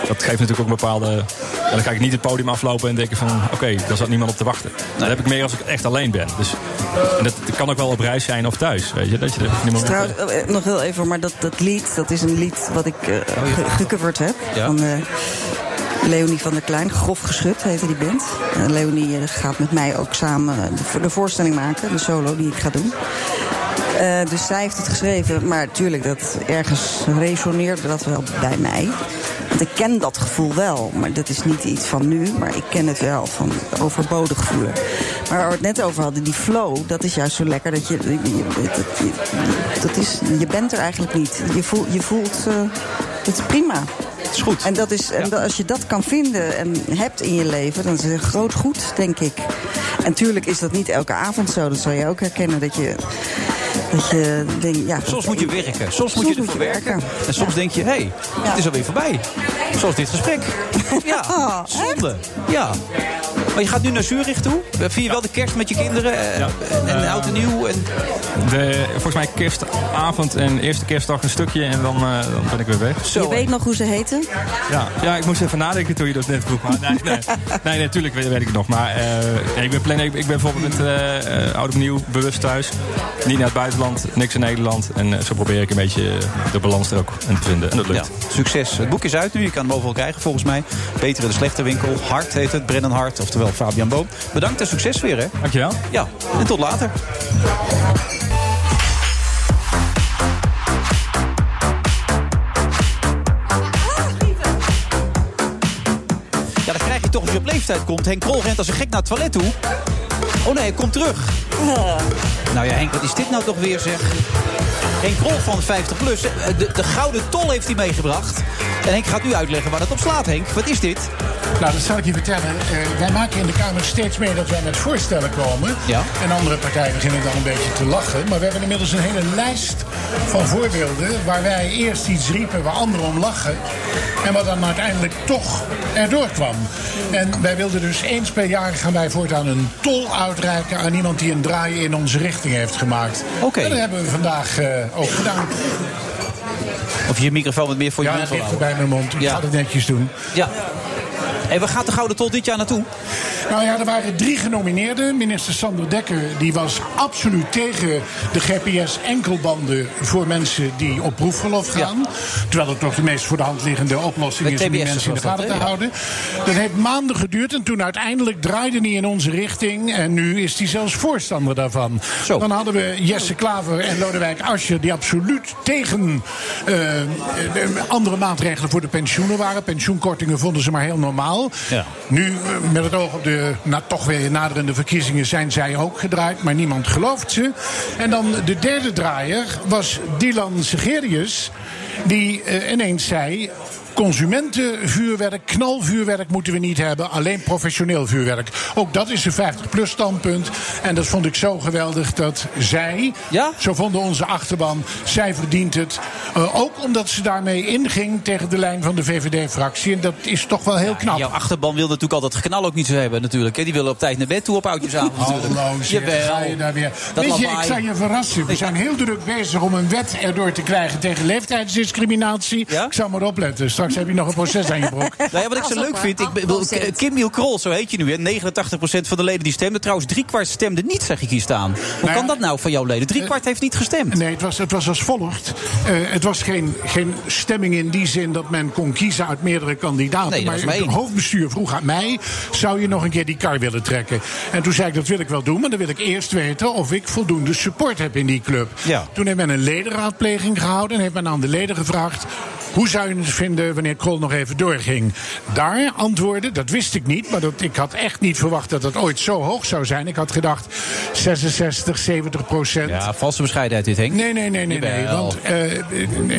Speaker 12: Dat geeft natuurlijk ook een bepaalde... En dan ga ik niet het podium aflopen en denken van... Oké, daar zat niemand op te wachten. Dat heb ik meer als ik echt alleen ben. Dus, en dat kan ook wel op reis zijn of thuis. Weet je, dat je er op die
Speaker 8: Dus
Speaker 12: moment-
Speaker 8: trouwens, eh, eh, nog heel even, maar dat, dat lied, dat is een lied wat ik eh, ge- gecoverd heb.
Speaker 12: Ja.
Speaker 8: Van eh, Leonie van der Klein, Grof Geschud heette die band. En Leonie eh, gaat met mij ook samen eh, de, vo- de voorstelling maken, de solo die ik ga doen. Eh, dus zij heeft het geschreven, maar tuurlijk, dat ergens resoneerde dat wel bij mij. Want ik ken dat gevoel wel, maar dat is niet iets van nu, maar ik ken het wel van overbodig voelen. Maar waar we het net over hadden, die flow, dat is juist zo lekker dat je. je- je- dat, je- dat is, je bent er eigenlijk niet. Je voelt. Je voelt eh, het is prima. Het
Speaker 7: is goed.
Speaker 8: En, dat is, en dat- als je dat kan vinden en hebt in je leven, dan is het een groot goed, denk ik. En tuurlijk is dat niet elke avond zo. Dat zal je ook herkennen dat je. Dat je denkt, ja,
Speaker 7: Soms moet je werken. Soms moet
Speaker 8: Soms
Speaker 7: je
Speaker 8: moet
Speaker 7: ervoor
Speaker 8: je
Speaker 7: werken.
Speaker 8: werken.
Speaker 7: En soms denk je, hé, hey, het is alweer voorbij. Zoals dit gesprek. Ja,
Speaker 8: Oh,
Speaker 7: zonde. Ja. Maar je gaat nu naar Zurich toe. Eh, Vier je wel de kerst met je kinderen. eh, En, en oud en nieuw. En...
Speaker 12: De, volgens mij kerstavond en eerste kerstdag een stukje. En dan, eh, dan ben ik weer weg.
Speaker 8: je weet nog hoe ze heten?
Speaker 12: Ja, ja, ik moest even nadenken toen je dat net vroeg. Maar nee, nee, nee, natuurlijk weet, weet ik het nog. Maar eh, nee, ik ben plan. Ik, ik ben bijvoorbeeld met eh, eh, oud opnieuw bewust thuis. Niet naar het buitenland, niks in Nederland. En eh, zo probeer ik een beetje eh, de balans er ook in te vinden. En dat lukt.
Speaker 7: Succes. Het boek is uit nu. Je kan hem overal krijgen volgens mij. Beter in de slechte winkel. Hart heet het. Brennan Hart. Oftewel Fabian Boom. Bedankt en succes weer. Hè.
Speaker 12: Dankjewel.
Speaker 7: Ja. En tot later. Ja, dat krijg je toch als je op leeftijd komt. Henk Krol rent als een gek naar het toilet toe. Oh nee, hij komt terug. Nou ja, Henk, wat is dit nou toch weer, zeg? Henk Krol van 50 plus. eh, De, de gouden tol heeft hij meegebracht. En Henk gaat nu uitleggen waar dat op slaat, Henk. Wat is dit?
Speaker 13: Nou, dat zal ik je vertellen. Eh, wij maken in de Kamer steeds meer dat wij met voorstellen komen.
Speaker 7: Ja.
Speaker 13: En andere partijen beginnen dan een beetje te lachen. Maar we hebben inmiddels een hele lijst van voorbeelden... waar wij eerst iets riepen waar anderen om lachen... en wat dan uiteindelijk toch erdoor kwam. En wij wilden dus eens per jaar gaan wij voortaan een tol uitreiken... aan iemand die een draai in onze richting heeft gemaakt. Oké. En dat hebben we vandaag eh, ook gedaan.
Speaker 7: Of je microfoon wat meer voor je
Speaker 13: Ja,
Speaker 7: mond wil
Speaker 13: dichter
Speaker 7: houden.
Speaker 13: bij mijn mond. Ik ga het netjes doen.
Speaker 7: Ja. Hey, waar gaat de Gouden Tol dit jaar naartoe?
Speaker 13: Nou ja, er waren drie genomineerden. Minister Sander Dekker die was absoluut tegen de GPS-enkelbanden voor mensen die op proefverlof gaan. Terwijl het toch de meest voor de hand liggende oplossing
Speaker 7: Met
Speaker 13: is om die
Speaker 7: TBS'ers
Speaker 13: mensen in de
Speaker 7: was
Speaker 13: gaten
Speaker 7: dat,
Speaker 13: te
Speaker 7: hè? Ja.
Speaker 13: houden. Dat heeft maanden geduurd en toen uiteindelijk draaide hij in onze richting. En nu is hij zelfs voorstander daarvan. Dan hadden we Jesse Klaver en Lodewijk Asscher die absoluut tegen eh, eh, andere maatregelen voor de pensioenen waren. Pensioenkortingen vonden ze maar heel normaal.
Speaker 9: Ja.
Speaker 13: Nu, eh, met het oog op de na, toch weer naderende verkiezingen, zijn zij ook gedraaid, maar niemand gelooft ze. En dan de derde draaier was Dylan Segerius, die eh, ineens zei. Consumentenvuurwerk, knalvuurwerk moeten we niet hebben, alleen professioneel vuurwerk. Ook dat is een 50-plus standpunt. En dat vond ik zo geweldig dat zij, zo vonden onze achterban, zij verdient het. Eh, ook omdat ze daarmee inging tegen de lijn van de VVD-fractie. En dat is toch wel heel knap.
Speaker 7: Jouw achterban wil natuurlijk altijd dat geknal ook niet zo hebben, natuurlijk. hè. Die willen op tijd naar bed toe op oudjesavond.
Speaker 13: Oh, Hallo, zeg, ga je daar weer. Weet je, ik zal je verrassen. We zijn heel druk bezig om een wet erdoor te krijgen tegen leeftijdsdiscriminatie. Ik zal maar opletten. Straks heb je nog een proces aan je broek.
Speaker 7: Nou ja, wat ik zo leuk vind, ik bedoel, K- Kim Miel Krol, zo heet je nu, hè? 89% van de leden die stemden. Trouwens, driekwart stemde niet, zeg ik hier staan. Hoe kan dat nou van jouw leden? Driekwart heeft niet gestemd.
Speaker 13: Nee, het was, het was als volgt. Eh, het was geen, geen stemming in die zin dat men kon kiezen uit meerdere kandidaten.
Speaker 7: Nee, dat was maar
Speaker 13: het
Speaker 7: één.
Speaker 13: hoofdbestuur vroeg aan mij: zou je nog een keer die kar willen trekken? En toen zei ik: dat wil ik wel doen, maar dan wil ik eerst weten of ik voldoende support heb in die club.
Speaker 7: Ja.
Speaker 13: Toen heeft men een ledenraadpleging gehouden en heeft men aan de leden gevraagd. Hoe zou je het vinden wanneer Krol nog even doorging? Daar antwoorden, dat wist ik niet, maar dat, ik had echt niet verwacht dat dat ooit zo hoog zou zijn. Ik had gedacht 66, 70 procent.
Speaker 7: Ja, valse bescheidenheid dit, Henk.
Speaker 13: Nee, nee, nee, nee. nee
Speaker 7: Jawel.
Speaker 13: want eh, eh,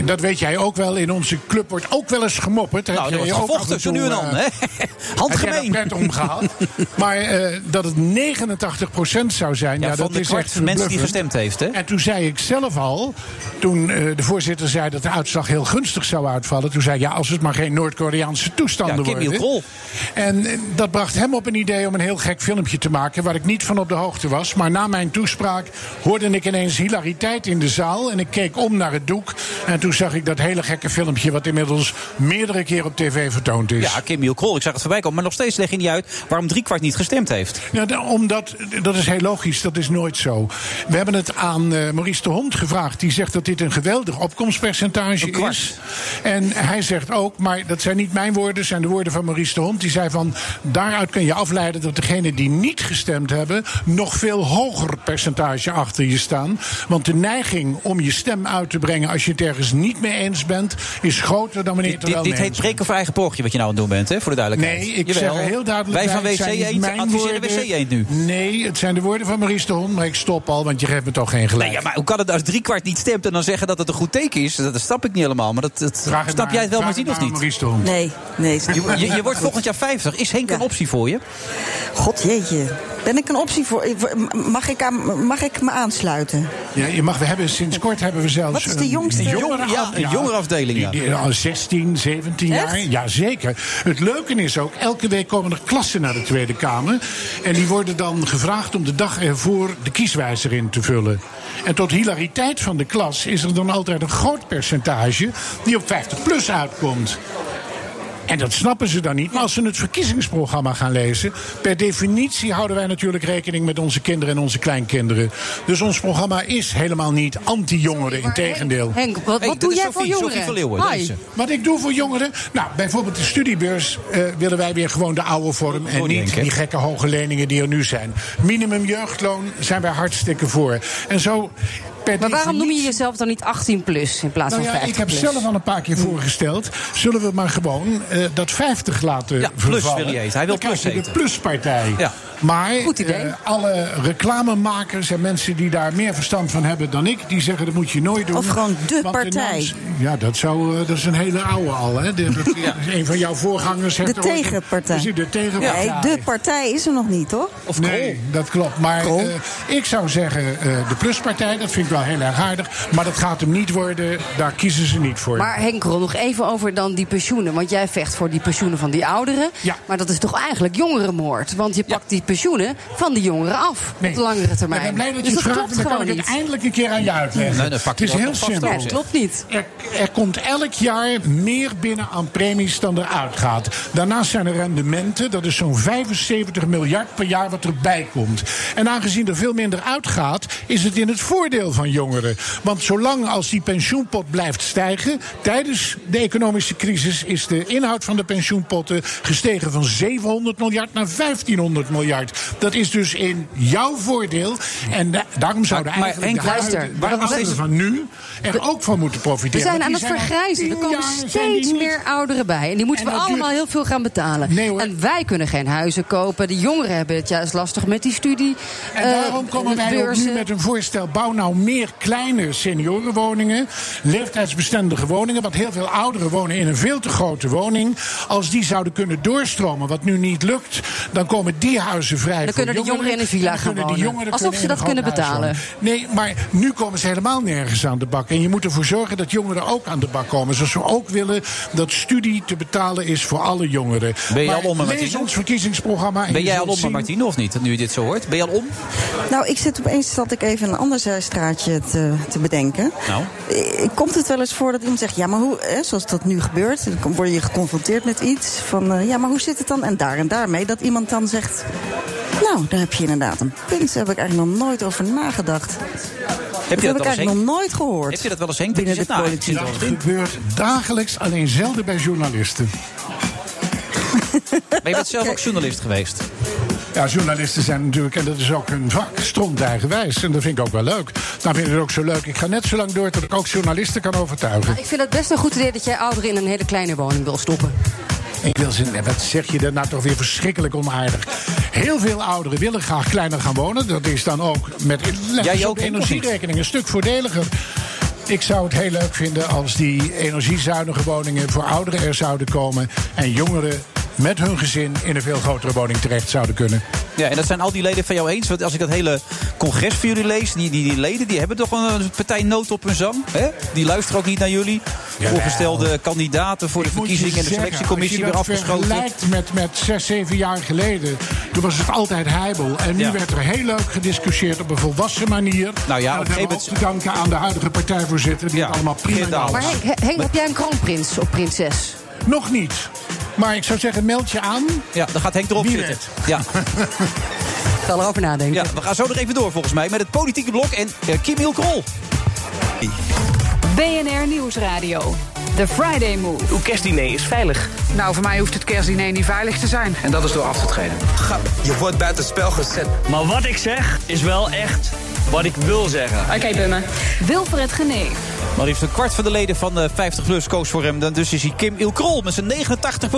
Speaker 13: dat weet jij ook wel. In onze club wordt ook wel eens gemopperd. Heb
Speaker 7: Nou, er
Speaker 13: jij
Speaker 7: wordt
Speaker 13: ook
Speaker 7: gevochten,
Speaker 13: af toe,
Speaker 7: zo nu en
Speaker 13: eh,
Speaker 7: dan, hè? Handgemeen.
Speaker 13: heb jij dat pret omgehaald. maar eh, dat het 89% zou zijn,
Speaker 7: Ja,
Speaker 13: ja,
Speaker 7: van
Speaker 13: dat
Speaker 7: de
Speaker 13: is
Speaker 7: kwart
Speaker 13: echt
Speaker 7: van mensen die
Speaker 13: verbluffend.
Speaker 7: gestemd heeft, hè?
Speaker 13: En toen zei ik zelf al, toen eh, de voorzitter zei dat de uitslag heel gunstig zou uitvallen... toen zei ik, ja, als het maar geen Noord-Koreaanse toestanden
Speaker 7: Ja, Kim
Speaker 13: worden.
Speaker 7: Il-krol.
Speaker 13: En eh, dat bracht hem op een idee om een heel gek filmpje te maken... waar ik niet van op de hoogte was. Maar na mijn toespraak hoorde ik ineens hilariteit in de zaal... en ik keek om naar het doek. En toen zag ik dat hele gekke filmpje... wat inmiddels meerdere keer op tv vertoond is.
Speaker 7: Ja, Kim Miel Krol, ik zag het voorbij komen. Maar nog steeds leg je niet uit waarom driekwart niet gestemd heeft.
Speaker 13: Ja, da- nou, omdat, dat is heel logisch, dat is nooit zo. We hebben het aan eh, Maurice de Hond gevraagd. Die zegt dat dit een geweldig opkomstpercentage is. En hij zegt ook, maar dat zijn niet mijn woorden, zijn de woorden van Maurice de Hond. Die zei van, daaruit kun je afleiden dat degenen die niet gestemd hebben... nog veel hoger percentage achter je staan. Want de neiging om je stem uit te brengen als je het ergens niet mee eens bent... is groter dan wanneer je
Speaker 7: Dit,
Speaker 13: het er wel
Speaker 7: dit, dit
Speaker 13: mee
Speaker 7: heet
Speaker 13: eens
Speaker 7: preken voor eigen porgje wat je nou aan het doen bent, hè? Voor de duidelijkheid.
Speaker 13: Nee, ik
Speaker 7: Jawel.
Speaker 13: zeg er heel duidelijk
Speaker 7: Wij van
Speaker 13: bij, het
Speaker 7: WC
Speaker 13: zijn niet
Speaker 7: Eend
Speaker 13: mijn
Speaker 7: adviseren
Speaker 13: woorden.
Speaker 7: WC Eend nu.
Speaker 13: Nee, het zijn de woorden van Maurice de Hond, maar ik stop al, want je geeft me toch geen gelijk.
Speaker 7: Nee, ja, maar hoe kan het nou als driekwart niet stemt en dan zeggen dat het een goed teken is? Dat, dat snap ik niet helemaal. Maar dat, dat-
Speaker 13: Vraag het
Speaker 7: snap
Speaker 13: maar-
Speaker 7: jij het wel
Speaker 13: vraag
Speaker 7: maar
Speaker 13: het
Speaker 7: zien of
Speaker 13: maar aan Maurice
Speaker 7: niet?
Speaker 13: de Hond.
Speaker 8: Nee, nee.
Speaker 7: Je, je, je wordt volgend jaar 50. Is Henk een optie voor je?
Speaker 8: God jeetje. Ben ik een optie voor? Mag ik, aan, mag ik me aansluiten?
Speaker 13: Ja, je mag, we hebben, sinds kort hebben we zelfs...
Speaker 8: Wat is de jongste?
Speaker 13: Een
Speaker 8: Jong-
Speaker 13: jongere,
Speaker 8: ja,
Speaker 7: een jongerenafdeling, ja.
Speaker 13: Die, die- al 16, 17 jaar. Jazeker. Het leuke is ook, elke week komen er klassen naar de Tweede Kamer. En die worden dan gevraagd om de dag ervoor de kieswijzer in te vullen. En tot hilariteit van de klas is er dan altijd een groot percentage... die op 50 plus uitkomt. En dat snappen ze dan niet. Maar als ze het verkiezingsprogramma gaan lezen. per definitie houden wij natuurlijk rekening met onze kinderen en onze kleinkinderen. Dus ons programma is helemaal niet anti-jongeren. Integendeel.
Speaker 14: Henk, wat- Hey, wat doe dit is jij voor Sophie, jongeren? Sophie van Leeuwen, Hi. deze.
Speaker 13: Wat ik doe voor jongeren. Nou, bijvoorbeeld de studiebeurs eh, willen wij weer gewoon de oude vorm. En
Speaker 7: Henk,
Speaker 13: niet
Speaker 7: hè?
Speaker 13: die gekke hoge leningen die er nu zijn. Minimum jeugdloon zijn wij hartstikke voor. En zo. Per
Speaker 14: Maar waarom
Speaker 13: definitie-
Speaker 14: noem je jezelf dan niet 18 plus in plaats
Speaker 13: nou
Speaker 14: van
Speaker 13: ja,
Speaker 14: 50
Speaker 13: ik heb
Speaker 14: plus?
Speaker 13: zelf al een paar
Speaker 8: Hm.
Speaker 13: keer voorgesteld. Zullen we maar gewoon eh, dat 50 laten
Speaker 7: Ja, plus
Speaker 13: vervallen?
Speaker 7: wil hij eten. Hij
Speaker 13: Dan
Speaker 7: wil
Speaker 13: krijg
Speaker 7: plus
Speaker 13: je de
Speaker 7: eten.
Speaker 13: pluspartij. Maar eh, alle reclamemakers en mensen die daar meer verstand van hebben dan ik... die zeggen dat moet je nooit doen.
Speaker 8: Of gewoon de
Speaker 13: Want
Speaker 8: partij.
Speaker 13: naam is- ja, dat, zou, eh, dat is een hele oude al. Hè? De, dat-
Speaker 8: Ja.
Speaker 13: Een van jouw voorgangers heeft
Speaker 8: De
Speaker 13: er ooit een-
Speaker 8: tegenpartij.
Speaker 13: Precies, de tegenpartij.
Speaker 8: Nee, de partij is er nog niet, hoor.
Speaker 13: nee, dat klopt. Maar eh, ik zou zeggen, eh, de pluspartij, dat vind ik wel wel heel erg aardig. Maar dat gaat hem niet worden. Daar kiezen ze niet voor.
Speaker 14: Maar Henk Krol, nog even over dan die pensioenen. Want jij vecht voor die pensioenen van die ouderen. Maar dat is toch eigenlijk jongerenmoord? Want je pakt die pensioenen van die jongeren af. Op de langere termijn.
Speaker 13: Ik ben blij dat je
Speaker 14: dus
Speaker 13: het
Speaker 14: dat
Speaker 13: vraagt.
Speaker 14: klopt
Speaker 13: en Dan
Speaker 14: gewoon
Speaker 13: kan ik
Speaker 14: niet.
Speaker 13: het eindelijk een keer aan je uitleggen.
Speaker 7: Nee, dat pakt
Speaker 13: het is
Speaker 7: wel
Speaker 13: heel
Speaker 7: vast ook,
Speaker 13: simpel.
Speaker 7: Ja, het klopt
Speaker 14: niet.
Speaker 13: Er, er komt elk jaar meer binnen aan premies dan er uitgaat. Daarnaast zijn er rendementen. Dat is zo'n 75 miljard per jaar wat erbij komt. En aangezien er veel minder uitgaat, is het in het voordeel van jongeren. Want zolang als die pensioenpot blijft stijgen... tijdens de economische crisis is de inhoud van de pensioenpotten... gestegen van 700 miljard naar 1500 miljard. Dat is dus in jouw voordeel. En da- daarom zouden
Speaker 7: Maar- maar
Speaker 13: eigenlijk
Speaker 7: Henk,
Speaker 13: de
Speaker 7: luister,
Speaker 13: huidige- de
Speaker 7: waarom is
Speaker 13: ouderen
Speaker 7: deze-
Speaker 13: van nu er ook van moeten
Speaker 14: We
Speaker 13: profiteren.
Speaker 14: zijn aan
Speaker 13: Want
Speaker 14: het
Speaker 13: die zijn
Speaker 14: vergrijzen. Er
Speaker 13: al tien
Speaker 14: komen
Speaker 13: jaar zijn die
Speaker 14: steeds
Speaker 13: niet-
Speaker 14: meer ouderen bij. En die moeten
Speaker 13: En
Speaker 14: we
Speaker 13: dat
Speaker 14: allemaal heel veel gaan betalen. en wij kunnen geen huizen kopen. De jongeren hebben het juist lastig met die studie.
Speaker 13: En
Speaker 14: eh,
Speaker 13: daarom komen wij ook nu
Speaker 14: beurzen.
Speaker 13: met een voorstel. Bouw nou meer kleine seniorenwoningen. Leeftijdsbestendige woningen. Want heel veel ouderen wonen in een veel te grote woning. Als die zouden kunnen doorstromen, wat nu niet lukt. Dan komen die huizen vrij.
Speaker 14: Dan
Speaker 13: voor
Speaker 14: kunnen de jongeren in een
Speaker 13: En
Speaker 14: villa
Speaker 13: dan
Speaker 14: gaan
Speaker 13: kunnen die
Speaker 14: wonen.
Speaker 13: jongeren
Speaker 14: Alsof
Speaker 13: kunnen
Speaker 14: ze
Speaker 13: in
Speaker 14: dat
Speaker 13: een
Speaker 14: kunnen
Speaker 13: groot huis
Speaker 14: betalen.
Speaker 13: wonen. Nee, maar nu komen ze helemaal nergens aan de bak. En je moet ervoor zorgen dat jongeren ook aan de bak komen. Zoals we ook willen dat studie te betalen is voor alle jongeren.
Speaker 7: Ben je
Speaker 13: Maar
Speaker 7: al om,
Speaker 13: Lees
Speaker 7: Martine?
Speaker 13: ons verkiezingsprogramma. en
Speaker 7: Ben
Speaker 13: je
Speaker 7: jij al
Speaker 13: zult
Speaker 7: om,
Speaker 13: zien-
Speaker 7: Martine, of niet? Nu je dit zo hoort. Ben je al om?
Speaker 8: Nou, ik zit opeens zat ik even een ander eh, straatje te, te bedenken.
Speaker 7: Nou.
Speaker 8: Eh, Komt het wel eens voor dat iemand zegt, ja, maar hoe, eh, zoals dat nu gebeurt, dan kom- word je geconfronteerd met iets van, eh, ja, maar hoe zit het dan? En daar en daarmee, dat iemand dan zegt, nou, daar heb je inderdaad een punt, daar heb ik eigenlijk nog nooit over nagedacht.
Speaker 7: Heb je dat,
Speaker 8: heb ik
Speaker 7: wel eens,
Speaker 8: eigenlijk nog
Speaker 7: Henk?
Speaker 8: nooit gehoord.
Speaker 7: Heb je dat wel eens, Henk?
Speaker 8: Binnen
Speaker 7: Dat je
Speaker 8: de
Speaker 7: zegt, nou, ik
Speaker 8: politiek.
Speaker 7: zit er wel eens
Speaker 13: Dat gebeurt dagelijks, alleen zelden bij journalisten.
Speaker 7: Maar je bent zelf ook journalist geweest.
Speaker 13: Ja, journalisten zijn natuurlijk, en dat is ook hun vak, stront eigenwijs. En dat vind ik ook wel leuk. Dan vind ik het ook zo leuk. Ik ga net zo lang door tot ik ook journalisten kan overtuigen.
Speaker 14: Ik vind het best een goed idee dat jij ouderen in een hele kleine woning wil stoppen.
Speaker 13: Ik wil ze, wat zeg je daar nou toch weer verschrikkelijk onaardig. Heel veel ouderen willen graag kleiner gaan wonen. Dat is dan ook met
Speaker 7: Jij
Speaker 13: Jij
Speaker 7: ook,
Speaker 13: ook
Speaker 7: Henk, of niet?
Speaker 13: energierekening een stuk voordeliger. Ik zou het heel leuk vinden als die energiezuinige woningen voor ouderen er zouden komen. En jongeren met hun gezin in een veel grotere woning terecht zouden kunnen.
Speaker 7: Ja, en dat zijn al die leden van jou eens. Want als ik dat hele congres voor jullie lees, die, die, die leden die hebben toch een partij nood op hun zang. Hè? Die luisteren ook niet naar jullie. Voorgestelde kandidaten voor de verkiezingen en de
Speaker 13: zeggen,
Speaker 7: selectiecommissie weer
Speaker 13: Als je dat
Speaker 7: afgeschoten.
Speaker 13: vergelijkt met, met zes, zeven jaar geleden. Toen was het altijd heibel. En nu
Speaker 7: Ja.
Speaker 13: werd er heel leuk gediscussieerd op een volwassen manier.
Speaker 7: Nou ja,
Speaker 13: En
Speaker 7: op
Speaker 13: dat
Speaker 7: een
Speaker 13: hebben we ook
Speaker 7: gegeven
Speaker 13: te danken aan de huidige partijvoorzitter. Die het allemaal prima
Speaker 7: Geert Daalder.
Speaker 13: doet.
Speaker 14: Maar Henk, Henk, heb jij een kroonprins of prinses?
Speaker 13: Nog niet. Maar ik zou zeggen, meld je aan.
Speaker 7: Ja, dan gaat Henk erop
Speaker 13: Wie
Speaker 7: zitten. Ja.
Speaker 14: Ik zal erover nadenken.
Speaker 7: ja, we gaan zo nog even door volgens mij met het politieke blok en eh, Kim Il Krol.
Speaker 3: BNR Nieuwsradio. The Friday Move.
Speaker 15: Uw kerstdiner is veilig.
Speaker 16: Nou, voor mij hoeft het kerstdiner niet veilig te zijn.
Speaker 15: En dat is door af te treden.
Speaker 10: Je wordt buitenspel gezet. Maar wat ik zeg is wel echt wat ik wil zeggen.
Speaker 3: Oké, Bummer. Wilfred Geneef.
Speaker 7: Maar liefst een kwart van de leden van de 50PLUS koos voor hem. Dan Dus is hij Kim Il Krol met zijn 89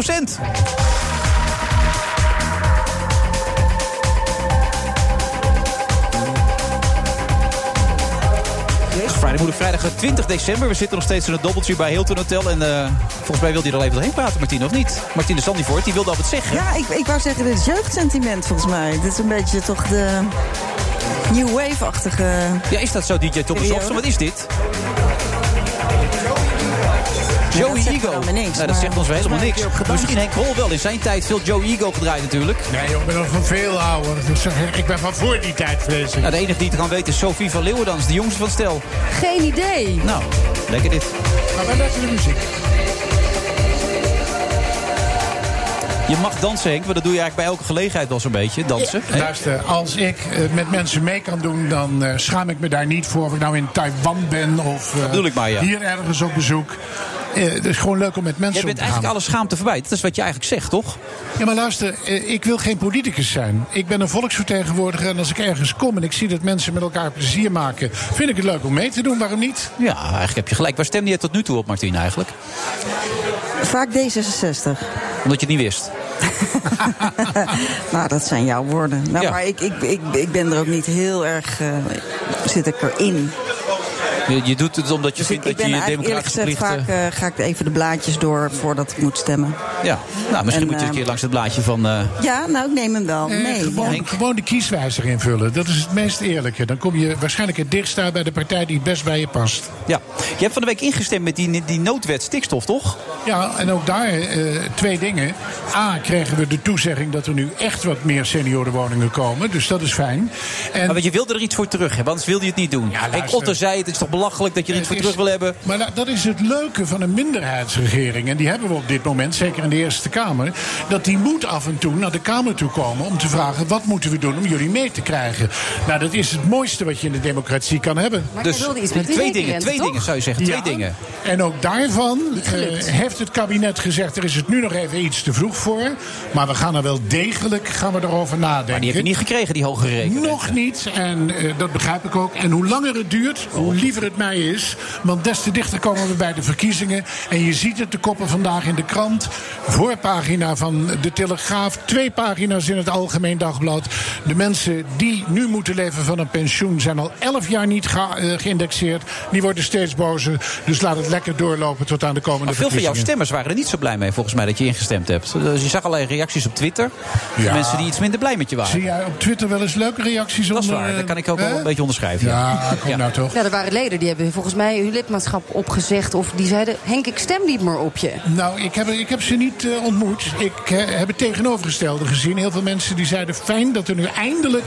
Speaker 7: Het is Vrijdag, moeder, vrijdag 20 december. We zitten nog steeds in het dobbeltje bij Hilton Hotel. En eh, volgens mij wilde hij er al even doorheen praten, Martine, of niet? Martine Sandivoort, die wilde al wat zeggen.
Speaker 8: Ja, ik, ik wou zeggen, dit is jeugdsentiment volgens mij. Dit is een beetje toch de new wave-achtige...
Speaker 7: Ja, is dat zo, DJ Thomas
Speaker 8: Ja.
Speaker 7: Hofstad? Wat is dit? Joey Ego. nou, dat zegt ons wel helemaal niks. Misschien Henk Hol wel. In zijn tijd veel Joey Ego gedraaid natuurlijk.
Speaker 13: Nee, joh, ik ben al van veel ouder. Dus, eh, Ik ben van voor die tijd, vrees ik.
Speaker 7: Nou, de enige die het kan weten is Sophie van Leeuwerdans, de jongste van het stel.
Speaker 14: Geen idee.
Speaker 7: Nou, lekker dit.
Speaker 13: Maar wij luisteren de muziek.
Speaker 7: Je mag dansen, Henk, maar dat doe je eigenlijk bij elke gelegenheid wel zo'n beetje. Dansen. hè?
Speaker 13: Luister, als ik eh, met mensen mee kan doen, dan eh, schaam ik me daar niet voor. Of ik nou in Taiwan ben of eh,
Speaker 7: bedoel ik maar, ja.
Speaker 13: hier ergens op bezoek. Eh, het is gewoon leuk om met mensen
Speaker 7: Jij
Speaker 13: om
Speaker 7: bent
Speaker 13: te gaan.
Speaker 7: eigenlijk alle schaamte voorbij. Dat is wat je eigenlijk zegt, toch?
Speaker 13: Ja, maar luister, eh, ik wil geen politicus zijn. Ik ben een volksvertegenwoordiger en als ik ergens kom en ik zie dat mensen met elkaar plezier maken, vind ik het leuk om mee te doen. Waarom niet?
Speaker 7: Ja, eigenlijk heb je gelijk. Waar stemde je tot nu toe op, Martien, eigenlijk?
Speaker 8: Vaak D66.
Speaker 7: Omdat je het niet wist.
Speaker 8: nou, dat zijn jouw woorden. Nou, Maar ik, ik, ik, ik ben er ook niet heel erg. eh, zit ik erin.
Speaker 7: Je, je doet het omdat je
Speaker 8: Dus ik,
Speaker 7: vindt
Speaker 8: ik
Speaker 7: dat je
Speaker 8: ben
Speaker 7: je
Speaker 8: eigenlijk eerlijk
Speaker 7: democratische
Speaker 8: gezegd
Speaker 7: plichten...
Speaker 8: vaak eh, ga ik even de blaadjes door voordat ik moet stemmen.
Speaker 7: Ja, nou,
Speaker 8: En,
Speaker 7: misschien moet je eens een
Speaker 8: eh,
Speaker 7: keer langs het blaadje van... eh,
Speaker 8: Ja, nou ik neem hem wel
Speaker 13: Eh,
Speaker 8: mee.
Speaker 13: gewoon, gewoon de kieswijzer invullen. Dat is het meest eerlijke. Dan kom je waarschijnlijk het dichtst uit bij de partij die het best bij je past.
Speaker 7: ja. Je hebt van de week ingestemd met die, die noodwet stikstof, toch?
Speaker 13: Ja, en ook daar eh, twee dingen. A, kregen we de toezegging dat er nu echt wat meer seniorenwoningen komen. Dus dat is fijn. En
Speaker 7: Maar want je wilde er iets voor terug hebben, anders wilde je het niet doen. Henk
Speaker 13: luister.
Speaker 7: Otter zei het, het is toch belachelijk dat je er iets voor terug wil hebben?
Speaker 13: Maar nou, dat is het leuke van een minderheidsregering. En die hebben we op dit moment, zeker in de Eerste Kamer. Dat die moet af en toe naar de Kamer toe komen om te vragen: wat moeten we doen om jullie mee te krijgen? Nou, dat is het mooiste wat je in de democratie kan hebben.
Speaker 14: Maar jij Dus wilde iets met die
Speaker 13: twee dingen,
Speaker 14: weekenden,
Speaker 13: twee
Speaker 14: toch?
Speaker 13: dingen
Speaker 7: zou je zeggen,
Speaker 13: twee dingen. En ook daarvan eh,
Speaker 14: gelukt.
Speaker 13: heeft het kabinet gezegd: er is het nu nog even iets te vroeg voor. Maar we gaan er wel degelijk gaan we erover nadenken. Maar
Speaker 7: die heb je niet gekregen, die hogere rekening.
Speaker 13: Nog niet, en eh, dat begrijp ik ook. En hoe langer het duurt, hoe liever het mij is. Want des te dichter komen we bij de verkiezingen. En je ziet het, de koppen vandaag in de krant. Voorpagina van De Telegraaf. Twee pagina's in het Algemeen Dagblad. De mensen die nu moeten leven van een pensioen... zijn al elf jaar niet ge- eh, geïndexeerd. Die worden steeds bozer. Dus laat het lekker doorlopen tot aan de komende
Speaker 7: Maar veel van jouw
Speaker 13: verkiezingen.
Speaker 7: stemmers waren er niet zo blij mee, volgens mij, dat je ingestemd hebt. Dus je zag allerlei reacties op Twitter. van
Speaker 13: Ja.
Speaker 7: Mensen die iets minder blij met je waren.
Speaker 13: Zie jij op Twitter wel eens leuke reacties?
Speaker 7: Dat is
Speaker 13: onder,
Speaker 7: waar, dat kan ik ook
Speaker 13: eh,
Speaker 7: wel een beetje onderschrijven.
Speaker 13: Ja, kom nou toch.
Speaker 14: Ja, er waren leden die hebben volgens mij hun lidmaatschap opgezegd. Of die zeiden, Henk, ik stem niet meer op je.
Speaker 13: Nou, ik heb, ik heb ze niet eh, ontmoet. Ik eh, heb het tegenovergestelde gezien. Heel veel mensen die zeiden fijn dat er nu eindelijk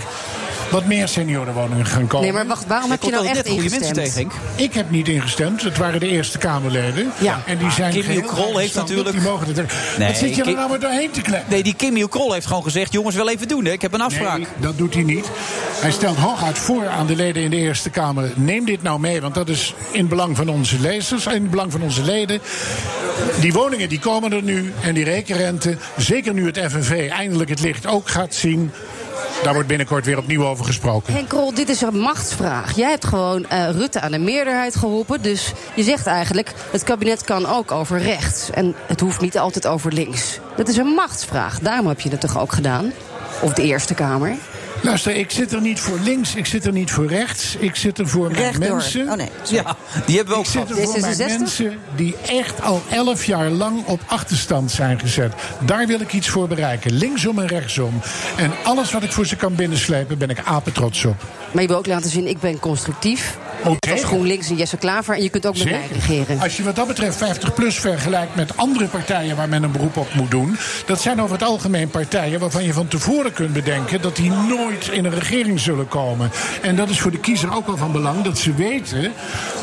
Speaker 13: wat meer seniorenwoningen gaan komen.
Speaker 14: Nee, maar wacht, waarom heb je nou echt ingestemd?
Speaker 13: Ik heb niet ingestemd. Het waren de eerste Kamerleden.
Speaker 7: Ja.
Speaker 13: En die
Speaker 7: Ah,
Speaker 13: zijn
Speaker 7: Kim
Speaker 13: geheel
Speaker 7: Krol heeft
Speaker 13: eigenstandig.
Speaker 7: natuurlijk-
Speaker 13: Die mogen het er- Wat zit je er
Speaker 7: Kim-
Speaker 13: nou maar doorheen te kleppen?
Speaker 7: Nee, die Kim Krol heeft gewoon gezegd: jongens, wel even doen, hè? ik heb een afspraak.
Speaker 13: Nee, dat doet hij niet. Hij stelt hooguit voor aan de leden in de Eerste Kamer... neem dit nou mee, want dat is in het belang van onze lezers... in het belang van onze leden. Die woningen die komen er nu en die rekenrente... zeker nu het FNV eindelijk het licht ook gaat zien... daar wordt binnenkort weer opnieuw over gesproken.
Speaker 14: Henk Krol, dit is een machtsvraag. Jij hebt gewoon eh, Rutte aan de meerderheid geholpen. Dus je zegt eigenlijk, het kabinet kan ook over rechts. En het hoeft niet altijd over links. Dat is een machtsvraag. Daarom heb je het toch ook gedaan? Of de Eerste Kamer?
Speaker 13: Luister, ik zit er niet voor links, ik zit er niet voor rechts... ik zit er voor mijn
Speaker 14: Rechtdoor.
Speaker 13: mensen...
Speaker 14: Oh, nee,
Speaker 7: Ja, die hebben we ook
Speaker 13: Ik zit
Speaker 7: gehad.
Speaker 13: er voor mijn mensen die echt al elf jaar lang op achterstand zijn gezet. Daar wil ik iets voor bereiken. Linksom en rechtsom. En alles wat ik voor ze kan binnenslepen, ben ik apetrots op.
Speaker 14: Maar je wil ook laten zien, ik ben constructief. Het was GroenLinks en Jesse Klaver. En je kunt ook met mij regeren.
Speaker 13: Als je wat dat betreft 50PLUS vergelijkt met andere partijen waar men een beroep op moet doen. Dat zijn over het algemeen partijen waarvan je van tevoren kunt bedenken dat die nooit in een regering zullen komen. En dat is voor de kiezer ook wel van belang dat ze weten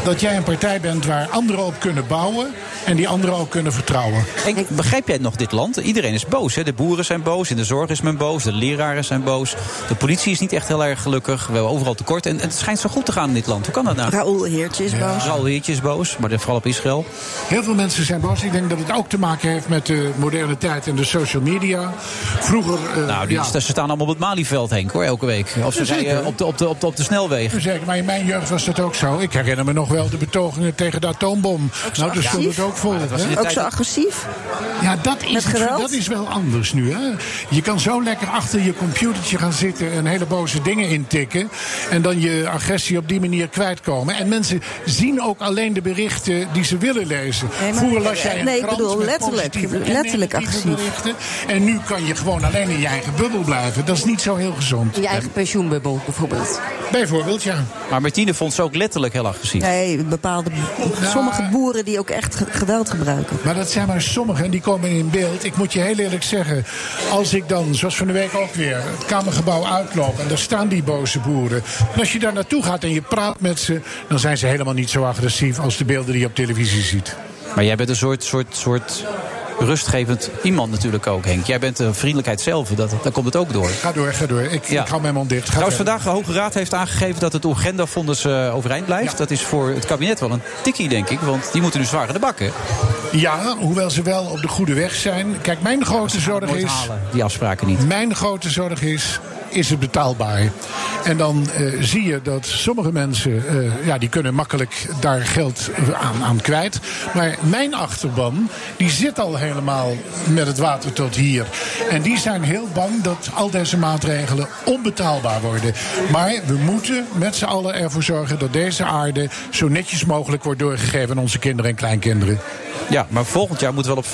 Speaker 13: dat jij een partij bent waar anderen op kunnen bouwen en die anderen ook kunnen vertrouwen.
Speaker 7: Henk, begrijp jij nog dit land? Iedereen is boos. Hè? De boeren zijn boos, in de zorg is men boos, de leraren zijn boos. De politie is niet echt heel erg gelukkig. We hebben overal tekort. En, en het schijnt zo goed te gaan in dit land. Hoe kan dat nou?
Speaker 8: Raoul Heertje is boos.
Speaker 7: Raoul Heertje is boos, maar vooral op Israël.
Speaker 13: Heel veel mensen zijn boos. Ik denk dat het ook te maken heeft met de moderne tijd en de social media. Vroeger. eh,
Speaker 7: Nou, die,
Speaker 13: ja,
Speaker 7: ze staan allemaal op het Malieveld, Henk, hoor, elke week. Of ze
Speaker 13: Ja,
Speaker 7: zijn
Speaker 13: zeker.
Speaker 7: eh, op de, op, de, op, de, op de snelweg.
Speaker 13: Zeker, maar in mijn jeugd was dat ook zo. Ik herinner me nog wel de betogingen tegen de atoombom. nou, daar stond het ook vol.
Speaker 8: was in de Ook tijd zo dat- agressief?
Speaker 13: Ja, dat is,
Speaker 8: Met
Speaker 13: het-
Speaker 8: geweld?
Speaker 13: dat is wel anders nu. Hè? Je kan zo lekker achter je computertje gaan zitten en hele boze dingen intikken. En dan je agressie op die manier kwijtkomen. En mensen zien ook alleen de berichten die ze willen lezen.
Speaker 8: Nee, maar-
Speaker 13: Vroeger las jij een
Speaker 8: nee, ik
Speaker 13: krant
Speaker 8: bedoel
Speaker 13: met
Speaker 8: letterlijk,
Speaker 13: positieve en
Speaker 8: letterlijk
Speaker 13: negatieve
Speaker 8: agressief.
Speaker 13: berichten. En nu kan je gewoon alleen in je eigen bubbel blijven. Dat is niet zo heel gezond.
Speaker 14: In je eigen pensioenbubbel bijvoorbeeld.
Speaker 13: Bijvoorbeeld, ja.
Speaker 7: Maar Martine vond ze ook letterlijk heel agressief.
Speaker 8: Nee, bepaalde, sommige boeren die ook echt ge- geweld gebruiken.
Speaker 13: Maar dat zijn maar sommigen en die komen in beeld. Ik moet je heel eerlijk zeggen, als ik dan, zoals van de week ook weer, het Kamergebouw uitloop en daar staan die boze boeren. En als je daar naartoe gaat en je praat met ze, dan zijn ze helemaal niet zo agressief als de beelden die je op televisie ziet.
Speaker 7: Maar jij bent een soort, soort, soort rustgevend iemand natuurlijk ook, Henk. Jij bent de vriendelijkheid zelf, dat, daar komt het ook door.
Speaker 13: Ga door, ga door. Ik,
Speaker 7: Ja. Nou,
Speaker 13: ik hou mijn mond dicht. Ga
Speaker 7: Trouwens,
Speaker 13: verder.
Speaker 7: vandaag de Hoge Raad heeft aangegeven dat het Oegenda-fonds eh, overeind blijft. Dat is voor het kabinet wel een tikkie, denk ik. Want die moeten nu zwaar aan de bakken,
Speaker 13: Ja, hoewel ze wel op de goede weg zijn. Kijk, mijn grote zorg
Speaker 7: nooit
Speaker 13: is...
Speaker 7: halen, die afspraken niet.
Speaker 13: Mijn grote zorg is, is het betaalbaar? En dan eh, zie je dat sommige mensen, eh, ja, die kunnen makkelijk daar geld aan, aan kwijt. Maar mijn achterban, die zit al helemaal met het water tot hier. En die zijn heel bang dat al deze maatregelen onbetaalbaar worden. Maar we moeten met z'n allen ervoor zorgen dat deze aarde zo netjes mogelijk wordt doorgegeven aan onze kinderen en kleinkinderen.
Speaker 7: Ja, maar volgend jaar moet wel op 25%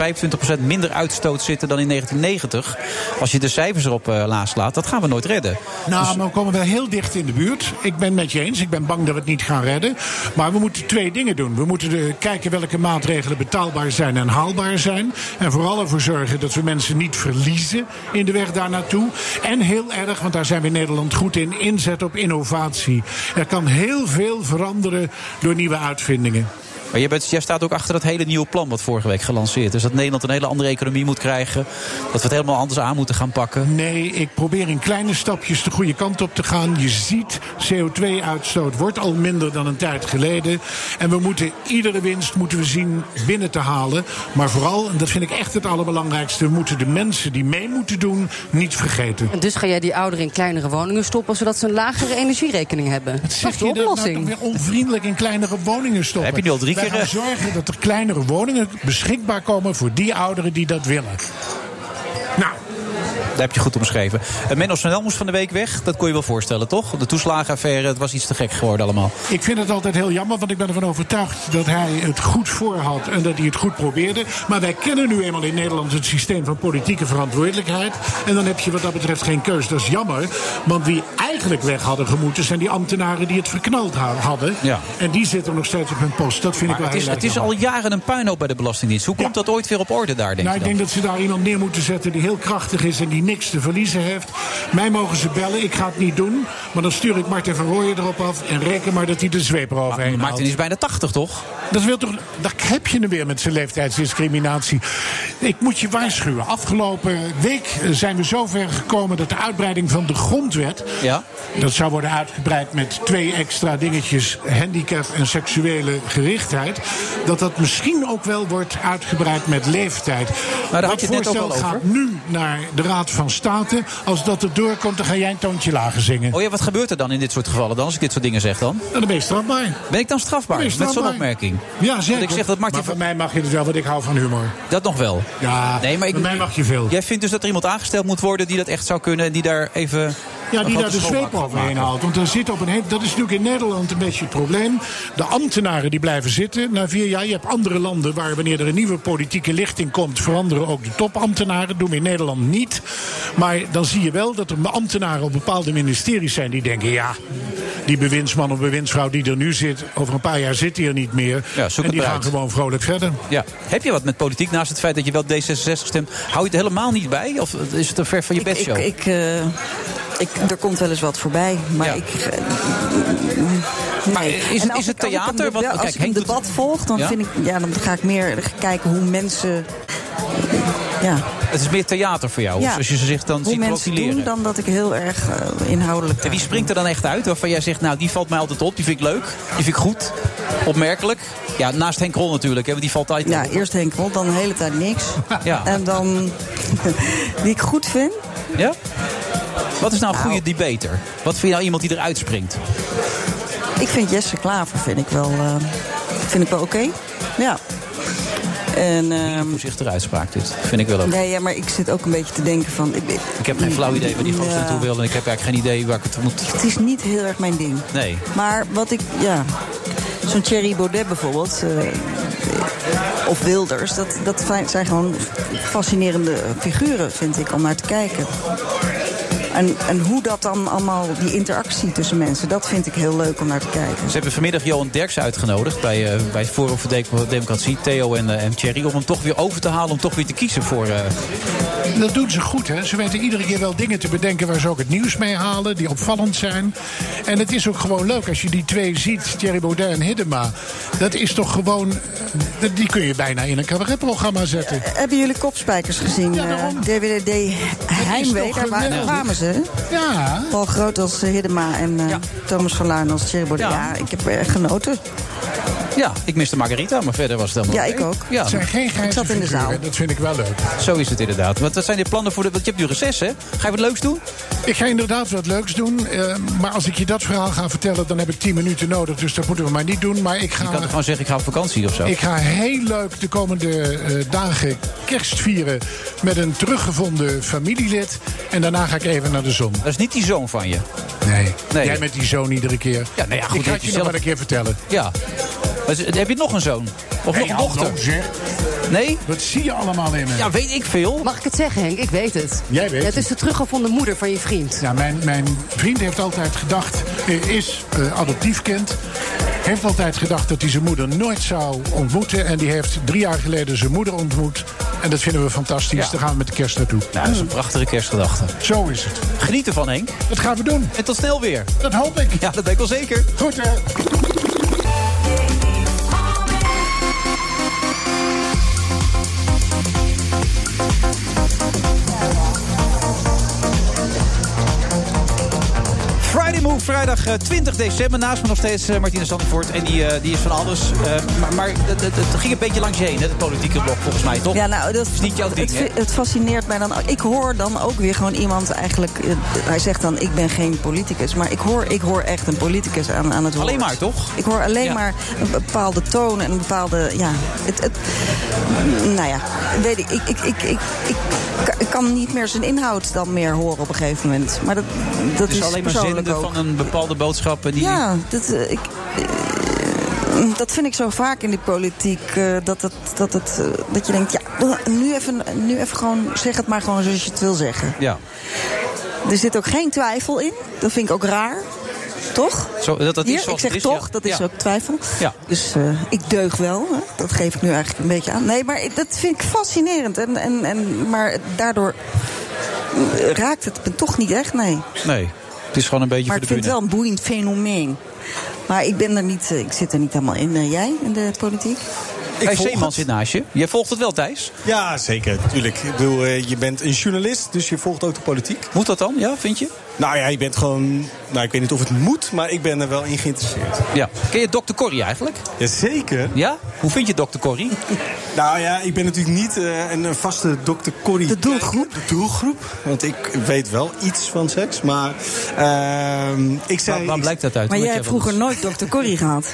Speaker 7: minder uitstoot zitten dan in 1990. Als je de cijfers erop eh laat laat, dat gaan we nooit redden.
Speaker 13: Nou, maar we komen wel heel dicht in de buurt. Ik ben met je eens. Ik ben bang dat we het niet gaan redden. Maar we moeten twee dingen doen. We moeten eh, kijken welke maatregelen betaalbaar zijn en haalbaar zijn. En vooral ervoor zorgen dat we mensen niet verliezen in de weg daar naartoe. En heel erg, want daar zijn we in Nederland goed in, inzet op innovatie. Er kan heel veel veranderen door nieuwe uitvindingen.
Speaker 7: Maar jij, bent, jij staat ook achter dat hele nieuwe plan wat vorige week gelanceerd is. Dat Nederland een hele andere economie moet krijgen. Dat we het helemaal anders aan moeten gaan pakken.
Speaker 13: Nee, ik probeer in kleine stapjes de goede kant op te gaan. Je ziet, CO2-uitstoot wordt al minder dan een tijd geleden. En we moeten iedere winst moeten we zien binnen te halen. Maar vooral, en dat vind ik echt het allerbelangrijkste... we moeten de mensen die mee moeten doen niet vergeten.
Speaker 14: En dus ga jij die ouderen in kleinere woningen stoppen... zodat ze een lagere energierekening hebben. Dat is de
Speaker 13: je dat nou
Speaker 14: oplossing.
Speaker 13: toch weer onvriendelijk in kleinere woningen stoppen?
Speaker 7: Heb je nu al drie
Speaker 13: Wij
Speaker 7: keer,
Speaker 13: gaan
Speaker 7: eh?
Speaker 13: zorgen dat er kleinere woningen beschikbaar komen... voor die ouderen die dat willen.
Speaker 7: Daar heb je goed omschreven. Eh, Menno Snel moest van de week weg. Dat kon je wel voorstellen, toch? De toeslagenaffaire, het was iets te gek geworden allemaal.
Speaker 13: Ik vind het altijd heel jammer, want ik ben ervan overtuigd dat hij het goed voor had en dat hij het goed probeerde. Maar wij kennen nu eenmaal in Nederland het systeem van politieke verantwoordelijkheid. En dan heb je wat dat betreft geen keus. Dat is jammer, want wie eigenlijk weg hadden gemoeten zijn die ambtenaren die het verknald ha- hadden.
Speaker 7: Ja.
Speaker 13: En die zitten nog steeds op hun post. Dat vind
Speaker 7: Maar
Speaker 13: ik wel
Speaker 7: het is,
Speaker 13: heel erg
Speaker 7: het is
Speaker 13: jammer.
Speaker 7: al jaren een puinhoop bij de Belastingdienst. Hoe komt dat ooit weer op orde daar, denk
Speaker 13: Nou,
Speaker 7: je
Speaker 13: ik
Speaker 7: dan?
Speaker 13: denk dat ze daar iemand neer moeten zetten die heel krachtig is en die niks te verliezen heeft. Mij mogen ze bellen, ik ga het niet doen. Maar dan stuur ik Martin van Rooyen erop af en reken maar dat hij de zweep eroverheen haalt.
Speaker 7: Martin is bijna 80, toch?
Speaker 13: Dat wil toch, daar heb je hem weer met zijn leeftijdsdiscriminatie. Ik moet je waarschuwen. Afgelopen week eh, zijn we zover gekomen dat de uitbreiding van de grondwet.
Speaker 7: Ja.
Speaker 13: Dat zou worden uitgebreid met twee extra dingetjes: handicap en seksuele gerichtheid. Dat dat misschien ook wel wordt uitgebreid met leeftijd.
Speaker 7: daar had
Speaker 13: Dat
Speaker 7: je het net ook
Speaker 13: voorstel
Speaker 7: al over.
Speaker 13: gaat nu naar de Raad van State. Als dat er doorkomt, dan ga jij een toontje lager zingen.
Speaker 7: Oh ja, wat gebeurt er dan in dit soort gevallen dan, als ik dit soort dingen zeg dan?
Speaker 13: En dan ben je strafbaar.
Speaker 7: Ben ik dan strafbaar
Speaker 13: Ben je
Speaker 7: met zo'n
Speaker 13: strafbaar.
Speaker 7: opmerking?
Speaker 13: Ja, zeker.
Speaker 7: Want ik zeg dat Martin
Speaker 13: maar van mij mag je het wel, want ik hou van humor.
Speaker 7: Dat nog wel.
Speaker 13: Ja,
Speaker 7: nee, maar ik,
Speaker 13: bij mij mag je veel.
Speaker 7: Jij vindt dus dat er iemand aangesteld moet worden die dat echt zou kunnen en die daar even.
Speaker 13: Ja,
Speaker 7: een
Speaker 13: die daar
Speaker 7: grote
Speaker 13: de
Speaker 7: schoonmaak
Speaker 13: zweep
Speaker 7: van
Speaker 13: overheen
Speaker 7: maken.
Speaker 13: haalt. Want er zit op een hele- dat is natuurlijk in Nederland een beetje het probleem. De ambtenaren die blijven zitten na vier jaar. Je hebt andere landen waar wanneer er een nieuwe politieke lichting komt... veranderen ook de topambtenaren. Doen we in Nederland niet. Maar dan zie je wel dat er ambtenaren op bepaalde ministeries zijn... die denken, ja, die bewindsman of bewindsvrouw die er nu zit... over een paar jaar zit die er niet meer.
Speaker 7: Ja, zoek
Speaker 13: en die
Speaker 7: het
Speaker 13: gaan
Speaker 7: uit.
Speaker 13: gewoon vrolijk verder.
Speaker 7: Ja. Heb je wat met politiek naast het feit dat je wel D66 stemt? Hou je het helemaal niet bij? Of is het te ver van je
Speaker 8: Ik,
Speaker 7: bedshow?
Speaker 8: ik, eh, ik, er komt wel eens wat voorbij, maar ik... eh, nee.
Speaker 7: is
Speaker 8: En
Speaker 7: het-
Speaker 8: als
Speaker 7: is het
Speaker 8: ik- als ik
Speaker 7: theater?
Speaker 8: een deba-
Speaker 7: Want-
Speaker 8: Als
Speaker 7: kijk,
Speaker 8: ik een
Speaker 7: Henk doet-
Speaker 8: debat volg, dan,
Speaker 7: Ja?
Speaker 8: vind ik, ja, dan ga ik meer kijken hoe mensen... Ja.
Speaker 7: Het is meer theater voor jou. dus
Speaker 8: ja,
Speaker 7: Als je ze zich dan
Speaker 8: hoe
Speaker 7: ziet
Speaker 8: mensen doen,
Speaker 7: profileren.
Speaker 8: dan dat ik heel erg eh, inhoudelijk...
Speaker 7: En wie springt er dan echt uit waarvan jij zegt, nou die valt mij altijd op, die vind ik leuk, die vind ik goed, opmerkelijk. Ja, naast Henk Krol natuurlijk, hè, want die valt altijd
Speaker 8: Ja, eerst Henk Krol, dan de hele tijd niks.
Speaker 7: Ja.
Speaker 8: En dan... die ik goed vind.
Speaker 7: Ja? Wat is nou een goede debater? Wat vind je nou iemand die eruit springt?
Speaker 8: Ik vind Jesse Klaver vind ik wel, eh, vind ik wel oké. Ja. En, ehm,
Speaker 7: Voorzichtige uitspraak dit, vind ik wel ook.
Speaker 8: nee, ja, maar ik zit ook een beetje te denken van... Ik, ik-
Speaker 7: Ik heb geen flauw idee waar die gozer
Speaker 8: Ja.
Speaker 7: naartoe wil en ik heb eigenlijk geen idee waar ik het moet...
Speaker 8: Het is niet heel erg mijn ding.
Speaker 7: Nee.
Speaker 8: Maar wat ik, ja... Zo'n Thierry Baudet bijvoorbeeld, eh, of Wilders... Dat, dat fi- zijn gewoon fascinerende figuren, vind ik, om naar te kijken. En, en hoe dat dan allemaal, die interactie tussen mensen... dat vind ik heel leuk om naar te kijken.
Speaker 7: Ze hebben vanmiddag Johan Derks uitgenodigd bij, eh, bij het Forum voor Demo- Democratie, Theo en, eh, en Thierry, om hem toch weer over te halen, om toch weer te kiezen voor... eh,
Speaker 13: Dat doen ze goed, hè? Ze weten iedere keer wel dingen te bedenken waar ze ook het nieuws mee halen, die opvallend zijn. En het is ook gewoon leuk als je die twee ziet, Thierry Baudet en Hiddema. Dat is toch gewoon. eh, Die kun je bijna in een cabaretprogramma zetten.
Speaker 8: Hebben jullie kopspijkers gezien? eh, DWDD Heimwee,
Speaker 13: toch
Speaker 8: daar wa-
Speaker 13: geweldig?
Speaker 8: kwamen ze.
Speaker 13: Ja.
Speaker 8: Paul Groot als eh, Hiddema en eh, Thomas van Luijn als Thierry Baudet. Ja. ik heb erg genoten.
Speaker 7: Ja, ik miste Margarita, maar verder was het helemaal
Speaker 8: Ja,
Speaker 7: oké.
Speaker 8: ik ook.
Speaker 7: Ja.
Speaker 8: Het zijn geen grijze Ik zat in de figuren, zaal.
Speaker 13: Dat vind ik wel leuk.
Speaker 7: Zo is het inderdaad. Want wat zijn de plannen voor de... Want je hebt nu reces, hè? Ga je wat leuks doen?
Speaker 13: Ik ga inderdaad wat leuks doen. eh, maar als ik je dat verhaal ga vertellen, dan heb ik 10 minuten nodig. Dus dat moeten we maar niet doen. Maar ik
Speaker 7: Je
Speaker 13: ga
Speaker 7: kan toch gewoon zeggen, ik ga op vakantie of zo?
Speaker 13: Ik ga heel leuk de komende eh, dagen kerst vieren met een teruggevonden familielid. En daarna ga ik even naar de zon.
Speaker 7: Dat is niet die zoon van je. Nou,
Speaker 13: Nee.
Speaker 7: Nee.
Speaker 13: Jij met die zoon iedere keer.
Speaker 7: Ja, nou ja, goed,
Speaker 13: ik
Speaker 7: dat
Speaker 13: ga
Speaker 7: je
Speaker 13: het je nog
Speaker 7: zelf-
Speaker 13: wel een keer vertellen.
Speaker 7: Ja. Maar z- heb je nog een zoon? Of nog een dochter? Nee?
Speaker 13: Wat zie je allemaal in me?
Speaker 7: Ja, weet ik veel.
Speaker 14: Mag ik het zeggen, Henk? Ik weet het.
Speaker 13: Jij weet
Speaker 14: Ja, het
Speaker 13: het.
Speaker 14: is de teruggevonden moeder van je vriend.
Speaker 13: Ja, mijn, mijn vriend heeft altijd gedacht, eh, is eh, adoptief kind. Heeft altijd gedacht dat hij zijn moeder nooit zou ontmoeten. En die heeft drie jaar geleden zijn moeder ontmoet. En dat vinden we fantastisch.
Speaker 7: Ja.
Speaker 13: Daar gaan we met de kerst naartoe.
Speaker 7: Nou, dat is een prachtige kerstgedachte.
Speaker 13: Zo is het.
Speaker 7: Geniet ervan, Henk.
Speaker 13: Dat gaan we doen.
Speaker 7: En tot snel weer.
Speaker 13: Dat hoop ik.
Speaker 7: Ja, dat denk ik wel zeker.
Speaker 13: Goed, hè.
Speaker 7: Friday Move, vrijdag eh, 20 december. Naast me nog steeds eh, Martine Sandvoort. En die, eh, die is van alles. Eh, maar maar het, het- het ging een beetje langs je heen, hè, het politieke blok, volgens mij, toch?
Speaker 8: Ja, nou, dat
Speaker 7: is niet jouw ding,
Speaker 8: het,
Speaker 7: hè?
Speaker 8: fi- het fascineert mij dan ook. Ik hoor dan ook weer gewoon iemand eigenlijk... eh, Hij zegt dan, ik ben geen politicus. Maar ik hoor, ik hoor echt een politicus aan, aan het woord.
Speaker 7: Alleen maar, toch?
Speaker 8: Ik hoor alleen
Speaker 7: Ja.
Speaker 8: maar een bepaalde toon en een bepaalde... Ja, het, het, nou ja, weet ik ik, ik, ik, ik, ik ka- ik kan niet meer zijn inhoud dan meer horen op een gegeven moment. Maar dat, dat
Speaker 7: het is, Dus alleen maar
Speaker 8: persoonlijk
Speaker 7: zenden
Speaker 8: ook.
Speaker 7: van een bepaalde boodschap. En die...
Speaker 8: Ja, dat, eh, ik, eh, dat vind ik zo vaak in die politiek. eh, dat, het, dat, het, eh, dat je denkt, ja, nu even, nu even gewoon, zeg het maar gewoon zoals je het wil zeggen.
Speaker 7: Ja.
Speaker 8: Er zit ook geen twijfel in. Dat vind ik ook raar. Toch?
Speaker 7: Zo, Oh, dat- dat is
Speaker 8: Hier,
Speaker 7: zoals
Speaker 8: ik zeg
Speaker 7: het is,
Speaker 8: toch,
Speaker 7: ja.
Speaker 8: dat is
Speaker 7: Ja.
Speaker 8: ook twijfel.
Speaker 7: Ja.
Speaker 8: Dus eh, ik deug wel. Hè. Dat geef ik nu eigenlijk een beetje aan. Nee, maar ik- dat vind ik fascinerend. En, en, en, maar daardoor eh, raakt het me toch niet echt, nee.
Speaker 7: Nee, het is gewoon een beetje
Speaker 8: Maar ik
Speaker 7: voor de
Speaker 8: vind het
Speaker 7: bühne.
Speaker 8: wel een boeiend fenomeen. Maar ik, ben er niet, eh, ik zit er niet helemaal in. Eh, jij in de politiek?
Speaker 7: Hey, Zeeman zit naast je. Jij volgt het wel, Thijs?
Speaker 17: Ja, zeker, natuurlijk. Ik bedoel, eh, je bent een journalist, dus je volgt ook de politiek.
Speaker 7: Moet dat dan, ja, vind je?
Speaker 17: Nou ja, je bent gewoon... Nou, ik weet niet of het moet, maar ik ben er wel in geïnteresseerd.
Speaker 7: Ja. Ken je Dr. Corrie eigenlijk?
Speaker 17: Jazeker.
Speaker 7: Ja? Hoe vind je Dr. Corrie?
Speaker 17: nou ja, ik ben natuurlijk niet eh, een een vaste Dr. Corrie. De doelgroep? De doelgroep. Want ik weet wel iets van seks, maar... ehm, ik zei,
Speaker 7: Waar- waar blijkt dat uit?
Speaker 8: Maar jij hebt vroeger nooit Dr. Corrie gehad.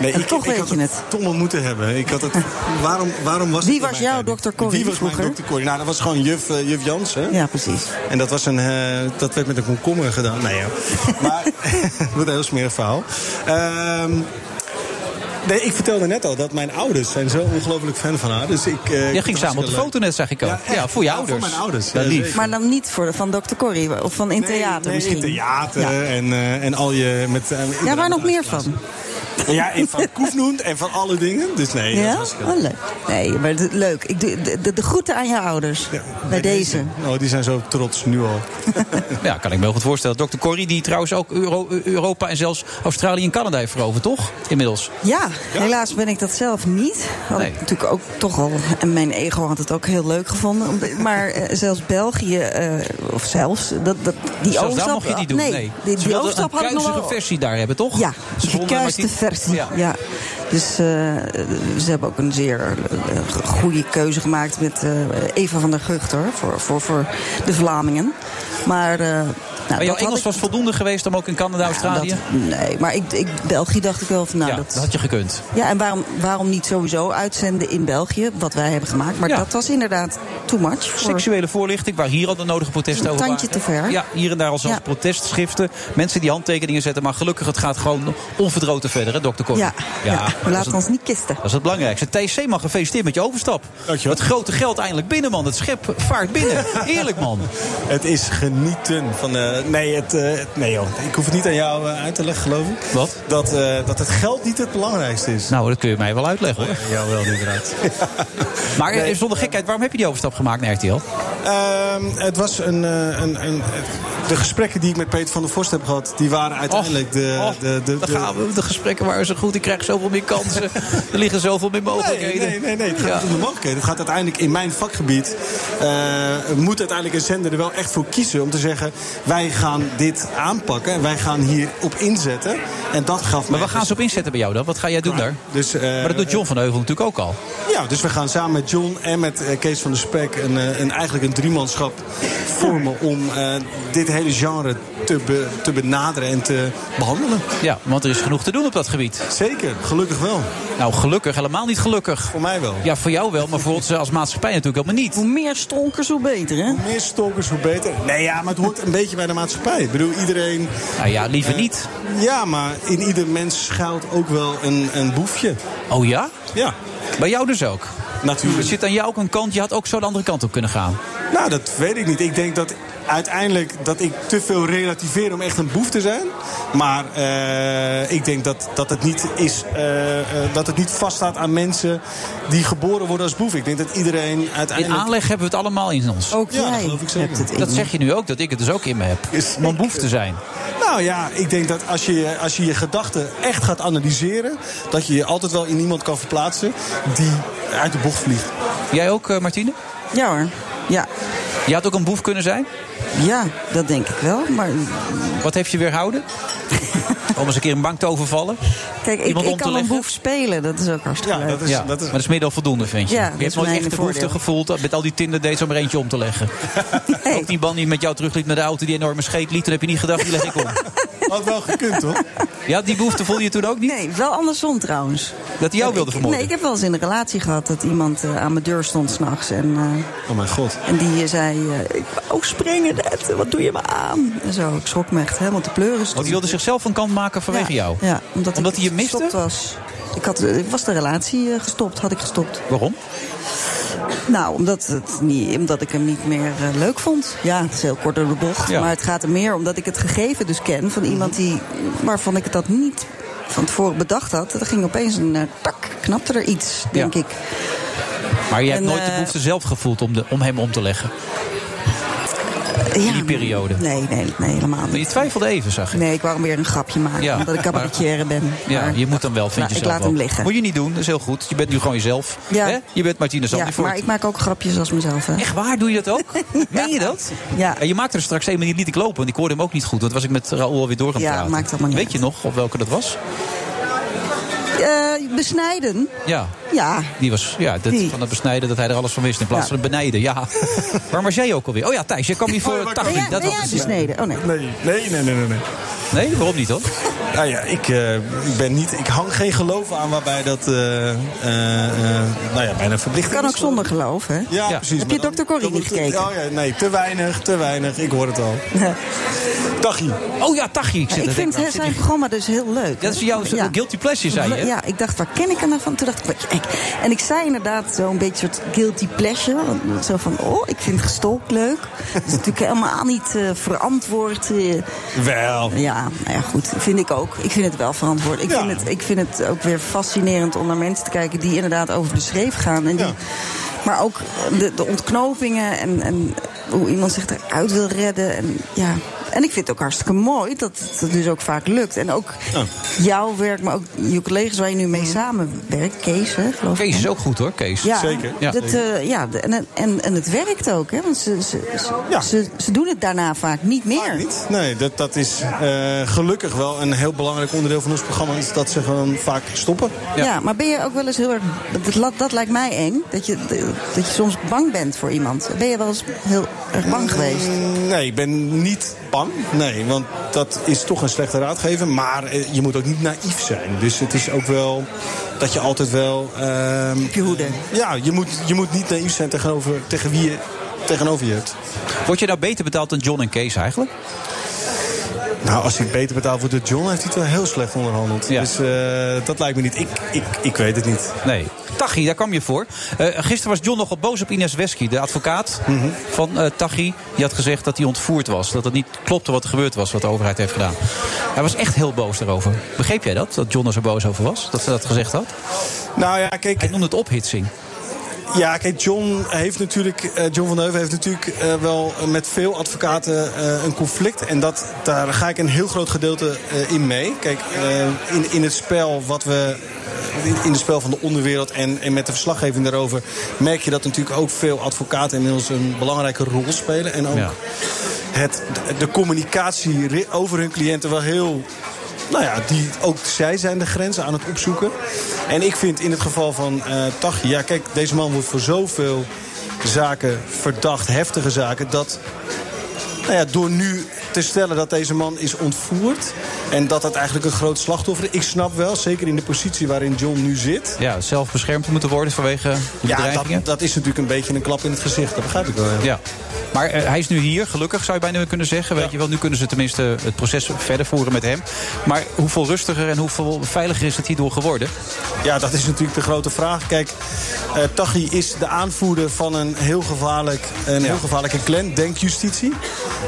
Speaker 17: Nee,
Speaker 8: En
Speaker 17: ik,
Speaker 8: toch
Speaker 17: ik
Speaker 8: weet
Speaker 17: had
Speaker 8: je
Speaker 17: het domme moeten hebben. Ik had het, waarom, waarom was
Speaker 8: Wie
Speaker 17: het bij
Speaker 8: was
Speaker 17: mij
Speaker 8: jouw
Speaker 17: bij niet?
Speaker 8: Dr. Corrie
Speaker 17: Wie was
Speaker 8: vroeger?
Speaker 17: mijn Dr. Corrie? Nou, dat was gewoon juf, eh, juf Jans, hè?
Speaker 8: Ja, precies.
Speaker 17: En dat, was een, eh, dat werd met een komkommer gedaan. Nee, ja. Maar het wordt een heel smerig verhaal. Ehm, nee, ik vertelde net al dat mijn ouders zijn zo ongelooflijk fan van haar. Dus ik, eh, ik
Speaker 7: Jij
Speaker 17: vind het
Speaker 7: ging samen op de
Speaker 17: hartstikke
Speaker 7: foto net, zag ik ook. Ja,
Speaker 17: echt.
Speaker 7: voor je
Speaker 17: Ja, voor
Speaker 7: ouders.
Speaker 17: mijn ouders,
Speaker 7: Dat
Speaker 17: ja,
Speaker 7: lief.
Speaker 17: zeker.
Speaker 8: Maar dan niet voor, van Dr. Corrie of van in theater
Speaker 17: leuk.
Speaker 8: misschien.
Speaker 17: Nee, in theater en, eh, en al je... Met, eh,
Speaker 8: Ja, waar
Speaker 17: inderdaad-
Speaker 8: nog meer van?
Speaker 17: Ja, en van Koefnoend en van alle dingen. Dus nee, dat
Speaker 8: ja?
Speaker 17: was hartstikke leuk.
Speaker 8: Oh, leuk. Nee, maar d- leuk. Ik doe de, de, de groeten aan je ouders. bij deze.
Speaker 17: Oh, die zijn zo trots nu al.
Speaker 7: Ja, kan ik me heel goed voorstellen. Dr. Corrie, die trouwens ook Euro- Europa en zelfs Australië en Canada heeft veroverd, toch? Inmiddels.
Speaker 8: Ja, helaas ben ik dat zelf niet. Had ik natuurlijk ook toch al. En mijn ego had het ook heel leuk gevonden. Om- Maar eh, zelfs België, eh, of zelfs. Dat, dat, die
Speaker 7: zelfs
Speaker 8: overstap,
Speaker 7: daar mocht je niet doen. Nee.
Speaker 8: die,
Speaker 7: Ze
Speaker 8: die
Speaker 7: wilden
Speaker 8: overstap had
Speaker 7: een
Speaker 8: ik nog
Speaker 7: kuizige
Speaker 8: wel-
Speaker 7: versie daar hebben, toch?
Speaker 8: Ja,
Speaker 7: Ze
Speaker 8: de
Speaker 7: vonden maar
Speaker 8: gekuiste
Speaker 7: die-
Speaker 8: versie. Ja.
Speaker 7: Ja.
Speaker 8: Dus eh, ze hebben ook een zeer eh, goede keuze gemaakt met eh, Eva van der Guchter voor, voor, voor de Vlamingen. Maar, eh, nou,
Speaker 7: maar jouw
Speaker 8: dat had
Speaker 7: Engels
Speaker 8: ik-
Speaker 7: was voldoende geweest om ook in Canada, Australië?
Speaker 8: dat- nee, maar ik, ik, België dacht ik wel van nou,
Speaker 7: ja,
Speaker 8: dat,
Speaker 7: dat had je gekund.
Speaker 8: ja, en waarom, waarom niet sowieso uitzenden in België, wat wij hebben gemaakt? Maar
Speaker 7: Ja.
Speaker 8: dat was inderdaad too much. voor-
Speaker 7: Seksuele voorlichting, waar hier al de nodige protesten
Speaker 8: Een
Speaker 7: over
Speaker 8: tandje
Speaker 7: waren.
Speaker 8: te ver.
Speaker 7: Ja, hier en daar al zelfs protestschriften. Mensen die handtekeningen zetten. Maar gelukkig, het gaat gewoon onverdroten verder, hè, Dr. Corrie?
Speaker 8: Ja, ja.
Speaker 7: dat
Speaker 8: we
Speaker 7: is
Speaker 8: laten
Speaker 7: het-
Speaker 8: ons niet kisten.
Speaker 7: Dat is het belangrijkste. TSC mag gefeliciteerd met je overstap. Het grote geld eindelijk binnen, man. Het schip vaart binnen. Eerlijk, man.
Speaker 17: Het is genieten van. eh, nee, het, eh, het- nee, joh. Ik hoef het niet aan jou eh, uit te leggen, geloof ik.
Speaker 7: Wat?
Speaker 17: Dat, eh, dat het geld niet het belangrijkste is.
Speaker 7: Nou, dat kun je mij wel uitleggen, hoor.
Speaker 17: Ja, wel, inderdaad.
Speaker 7: Maar eh, zonder gekheid, waarom heb je die overstap gemaakt naar RTL?
Speaker 17: Ehm, het was een, eh, een, een. De gesprekken die ik met Peter van der Vorst heb gehad, die waren uiteindelijk de. de, de,
Speaker 7: Daar gaan we. De gesprekken waren zo goed. Ik krijg zoveel meer kansen. er liggen zoveel meer
Speaker 17: Nee,
Speaker 7: mogelijkheden.
Speaker 17: nee, nee, nee, het gaat
Speaker 7: Ja.
Speaker 17: niet om de mogelijkheden. Het gaat uiteindelijk in mijn vakgebied. eh, moet uiteindelijk een zender er wel echt voor kiezen om te zeggen: wij wij gaan dit aanpakken en wij gaan hierop inzetten. En dat gaf mij...
Speaker 7: Maar waar gaan ze op inzetten bij jou dan? Wat ga jij doen daar?
Speaker 17: Dus, eh,
Speaker 7: maar dat doet John van Heuvel natuurlijk ook al.
Speaker 17: Ja, dus we gaan samen met John en met eh, Kees van der Spek een, eh, een, eigenlijk een driemanschap vormen om eh, dit hele genre te, be- te benaderen en te behandelen.
Speaker 7: Ja, want er is genoeg te doen op dat gebied.
Speaker 17: Zeker, gelukkig wel.
Speaker 7: Nou, gelukkig, helemaal niet gelukkig. Voor
Speaker 17: mij wel.
Speaker 7: Ja, voor jou wel, maar voor ons als maatschappij natuurlijk helemaal niet.
Speaker 8: Hoe meer stronkers, hoe beter, hè?
Speaker 17: Hoe meer stalkers, hoe beter. Nee, ja, maar het hoort een beetje bij de maatschappij. Ik bedoel, iedereen... eh,
Speaker 7: Nou ja, liever niet.
Speaker 17: Ja, maar in ieder mens schuilt ook wel een, een boefje.
Speaker 7: Oh ja?
Speaker 17: Ja.
Speaker 7: Bij jou dus ook?
Speaker 17: Natuurlijk.
Speaker 7: Er zit aan jou ook een kant, je had ook zo de andere kant op kunnen gaan.
Speaker 17: Nou, dat weet ik niet. Ik denk dat uiteindelijk dat ik te veel relativeer om echt een boef te zijn. Maar eh, ik denk dat, dat, het niet is, eh, eh, dat het niet vaststaat aan mensen die geboren worden als boef. Ik denk dat iedereen
Speaker 7: In
Speaker 17: uiteindelijk...
Speaker 7: aanleg hebben we het allemaal in ons.
Speaker 8: Ook
Speaker 17: Ja, dat jij geloof ik zeker. hebt het in
Speaker 7: Dat
Speaker 17: je.
Speaker 7: zeg je nu ook, dat ik het dus ook in me heb. Om een boef te zijn.
Speaker 17: Nou ja, ik denk dat als je als je, je gedachten echt gaat analyseren... dat je je altijd wel in iemand kan verplaatsen die uit de bocht vliegt.
Speaker 7: Jij ook, eh, Martine?
Speaker 8: Ja hoor, ja.
Speaker 7: Je had ook een boef kunnen zijn?
Speaker 8: Ja, dat denk ik wel, maar...
Speaker 7: Wat heeft je weerhouden? Om eens een keer een bank te overvallen?
Speaker 8: Kijk, ik,
Speaker 7: Iemand om
Speaker 8: ik
Speaker 7: te
Speaker 8: kan een
Speaker 7: leggen?
Speaker 8: boef spelen, dat is ook hartstikke leuk.
Speaker 7: ja, maar dat is meer dan voldoende, vind je.
Speaker 8: Ja, dat
Speaker 7: je
Speaker 8: is
Speaker 7: hebt nooit
Speaker 8: mijn
Speaker 7: echt de
Speaker 8: voordeel.
Speaker 7: behoefte gevoeld met al die Tinder dates om er eentje om te leggen. Ook die man die met jou terugliep naar de auto die enorme scheet liet, dan heb je niet gedacht, die leg ik om.
Speaker 17: Had wel gekund, hoor.
Speaker 7: Ja, die behoefte voelde je toen ook niet?
Speaker 8: Nee, wel andersom trouwens.
Speaker 7: Dat hij jou wilde
Speaker 8: Ik, nee,
Speaker 7: vermoorden?
Speaker 8: ik heb wel eens in een relatie gehad dat iemand eh, aan mijn deur stond s'nachts. En, eh,
Speaker 17: Oh mijn god.
Speaker 8: en die eh, zei, eh, ik wou ook springen net, wat doe je me aan? En zo, ik schrok me echt helemaal te pleuren. Dus-
Speaker 7: Want die wilde zichzelf van kant maken vanwege jou?
Speaker 8: Ja, omdat,
Speaker 7: Omdat
Speaker 8: ik
Speaker 7: hij je miste?
Speaker 8: gestopt was. Ik, had, ik was de relatie eh, gestopt, had ik gestopt.
Speaker 7: Waarom?
Speaker 8: Nou, omdat, het niet, omdat ik hem niet meer eh, leuk vond. Ja, het is heel kort door de bocht.
Speaker 7: Ja.
Speaker 8: Maar het gaat er meer omdat ik het gegeven dus ken van iemand die, waarvan ik dat niet van tevoren bedacht had. Er ging opeens een eh, tak, knapte er iets, denk ik.
Speaker 7: Maar je hebt
Speaker 8: En,
Speaker 7: nooit de
Speaker 8: eh,
Speaker 7: behoefte zelf gevoeld om, de, om hem om te leggen? In die periode?
Speaker 8: Nee, nee, nee, helemaal
Speaker 7: Maar je twijfelde even, zag ik.
Speaker 8: Nee, ik wou hem weer een grapje maken,
Speaker 7: Ja,
Speaker 8: omdat ik
Speaker 7: maar-
Speaker 8: cabaretière ben.
Speaker 7: Ja, je moet hem wel, vind
Speaker 8: Nou,
Speaker 7: je
Speaker 8: ik
Speaker 7: zelf
Speaker 8: laat
Speaker 7: wel.
Speaker 8: hem liggen.
Speaker 7: Moet je niet doen, dat is heel goed. Je bent nu gewoon jezelf.
Speaker 8: Ja.
Speaker 7: Hè? Dus Je bent Martine
Speaker 8: Ja,
Speaker 7: Zandvoort.
Speaker 8: maar ik maak ook grapjes als mezelf. Hè.
Speaker 7: Echt waar, doe je dat ook? Meen je dat?
Speaker 8: Ja.
Speaker 7: En je maakte er straks één manier liet ik lopen, want ik hoorde hem ook niet goed. Want was ik met Raoul alweer door gaan
Speaker 8: Ja,
Speaker 7: praten.
Speaker 8: maakt allemaal niet
Speaker 7: Weet je nog op welke dat was?
Speaker 8: Eh, besnijden?
Speaker 7: Ja.
Speaker 8: Ja.
Speaker 7: Die was ja, dat, van het besnijden dat hij er alles van wist in plaats
Speaker 8: Ja.
Speaker 7: van het benijden. Ja. Waar was jij ook alweer? Oh ja, Thijs, jij kwam hier voor
Speaker 8: Oh, waar
Speaker 7: 80.
Speaker 8: kwam ik?
Speaker 7: dat
Speaker 8: Ben
Speaker 7: was
Speaker 8: jij
Speaker 17: dus-
Speaker 7: het.
Speaker 8: besneden? Oh nee.
Speaker 17: Nee, nee, nee, nee, nee. nee.
Speaker 7: Nee, waarom niet dan?
Speaker 17: Nou ja, ik, eh, ik ben niet, ik hang geen geloof aan waarbij dat eh, eh, eh, nou ja, bijna verplicht
Speaker 8: Kan
Speaker 17: is.
Speaker 8: ook zonder geloof, hè?
Speaker 17: Ja, precies.
Speaker 8: Heb
Speaker 17: maar
Speaker 8: je
Speaker 17: dan-
Speaker 8: Dr. Corrie
Speaker 17: dan
Speaker 8: niet
Speaker 17: moet het-
Speaker 8: gekeken?
Speaker 17: Oh ja, nee, te weinig, te weinig. Ik hoor het al. Dagie.
Speaker 7: Oh ja, Tachi. Ik,
Speaker 8: Ja, ik vind
Speaker 7: het
Speaker 8: zijn programma dus heel leuk.
Speaker 7: Dat is jouw
Speaker 8: Ja.
Speaker 7: guilty pleasure, zei je?
Speaker 8: Ja, ik dacht, waar ken ik hem nou van? Toen dacht ik, wat- ik- en ik zei inderdaad zo'n beetje een soort guilty pleasure. want Zo van, oh, ik vind gestolk leuk. Dat is natuurlijk helemaal niet eh, verantwoord. eh.
Speaker 17: Wel.
Speaker 8: Ja, nou ja, goed, vind ik ook. Ik vind het wel verantwoord. Ik, vind, het, ik vind het ook weer fascinerend om naar mensen te kijken... die inderdaad over de schreef gaan. En die, Maar ook de, de ontknopingen en, en hoe iemand zich eruit wil redden. En, ja. en ik vind het ook hartstikke mooi dat het dat dus ook vaak lukt. En ook jouw werk, maar ook je collega's waar je nu mee samenwerkt. Kees, hè, geloof ik.
Speaker 7: Mhm. Kees is ook goed hoor, Kees.
Speaker 8: Ja, Dat, eh, ja de- en, en, en het werkt ook, hè? Want ze, ze, ze, ze, ze doen het daarna vaak niet meer.
Speaker 17: Nee, dat, dat is eh, gelukkig wel een heel belangrijk onderdeel van ons programma. Is dat ze gewoon vaak stoppen.
Speaker 8: Ja. maar ben je ook wel eens heel erg. Dat, la- dat lijkt mij eng. Dat je, dat je soms bang bent voor iemand. Ben je wel eens heel erg
Speaker 7: Eh,
Speaker 8: bang geweest?
Speaker 17: Mm, Nee, ik ben niet bang. Nee, want dat is toch een slechte raadgever. Maar eh, je moet ook niet naïef zijn. Dus het is ook wel dat je altijd wel... ehm, Ja, je moet, je moet niet naïef zijn tegenover, tegen wie je tegenover je hebt.
Speaker 7: Word je nou beter betaald dan John en Kees eigenlijk?
Speaker 17: Nou, als ik beter betaald wordt door John, heeft hij het wel heel slecht onderhandeld. Dus eh, dat lijkt me niet. Ik, ik, ik weet het niet.
Speaker 7: Nee. Tachi, daar kwam je voor. Eh, gisteren was John nogal boos op Ines Wesky, de advocaat
Speaker 17: Mhm.
Speaker 7: van eh Tachi. Die had gezegd dat hij ontvoerd was. Dat het niet klopte wat er gebeurd was, wat de overheid heeft gedaan. Hij was echt heel boos daarover. Begreep jij dat? Dat John er zo boos over was? Dat ze dat gezegd had?
Speaker 17: Nou ja, kijk.
Speaker 7: Hij noemde het ophitsing.
Speaker 17: Ja, kijk, John, heeft natuurlijk, eh, John van den Heuvel heeft natuurlijk eh, wel met veel advocaten eh, een conflict. En dat, daar ga ik een heel groot gedeelte eh, in mee. Kijk, eh, in, in het spel wat we. In, in het spel van de onderwereld en, en met de verslaggeving daarover merk je dat natuurlijk ook veel advocaten inmiddels een belangrijke rol spelen. En ook
Speaker 7: Ja.
Speaker 17: het, de communicatie ri- over hun cliënten wel heel... Nou ja, die, ook zij zijn de grenzen aan het opzoeken. En ik vind in het geval van eh Tachi... Ja, kijk, deze man wordt voor zoveel zaken verdacht, heftige zaken... dat nou ja, door nu te stellen dat deze man is ontvoerd... en dat dat eigenlijk een groot slachtoffer is... ik snap wel, zeker in de positie waarin John nu zit...
Speaker 7: Ja, zelf beschermd moeten worden vanwege de
Speaker 17: Ja, dat,
Speaker 7: bedreigingen.
Speaker 17: dat is natuurlijk een beetje een klap in het gezicht. Dat begrijp ik wel.
Speaker 7: Ja. Maar eh, hij is nu hier, gelukkig zou je bijna kunnen zeggen. Weet je wel, nu kunnen ze tenminste het proces verder voeren met hem. Maar hoeveel rustiger en hoeveel veiliger is het hierdoor geworden?
Speaker 17: Ja, dat is natuurlijk de grote vraag. Kijk, eh Taghi is de aanvoerder van een heel, gevaarlijk, een heel gevaarlijke clan, denk justitie.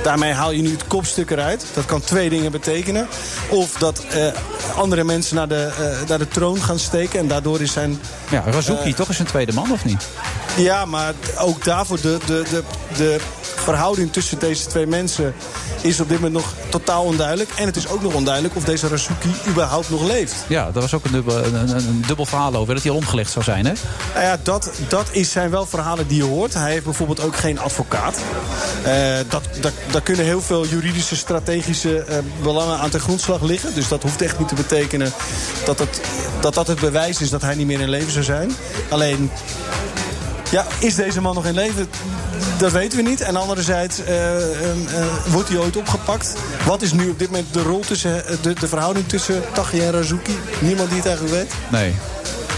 Speaker 17: Daarmee haal je nu het kopstuk eruit. Dat kan twee dingen betekenen. Of dat eh, andere mensen naar de, eh, naar de troon gaan steken en daardoor is zijn...
Speaker 7: Ja, Razuki,
Speaker 17: eh,
Speaker 7: toch is een tweede man, of niet?
Speaker 17: ja, maar ook daarvoor de, de, de, de verhouding tussen deze twee mensen is op dit moment nog totaal onduidelijk. En het is ook nog onduidelijk of deze Razuki überhaupt nog leeft.
Speaker 7: Ja, daar was ook een dubbel, een, een- een dubbel verhaal over dat hij al omgelegd zou zijn, hè?
Speaker 17: Nou ja, dat, dat is zijn wel verhalen die je hoort. Hij heeft bijvoorbeeld ook geen advocaat. Eh, dat, dat, daar kunnen heel veel juridische, strategische eh, belangen aan ten grondslag liggen. Dus dat hoeft echt niet te betekenen dat het, dat, dat het bewijs is dat hij niet meer in leven zou zijn. Alleen, ja, is deze man nog in leven? Dat weten we niet. En anderzijds, eh, ehm, eh, wordt hij ooit opgepakt? Wat is nu op dit moment de rol tussen, eh, de, de verhouding tussen Tachi en Razuki? Niemand die het eigenlijk weet.
Speaker 7: Nee.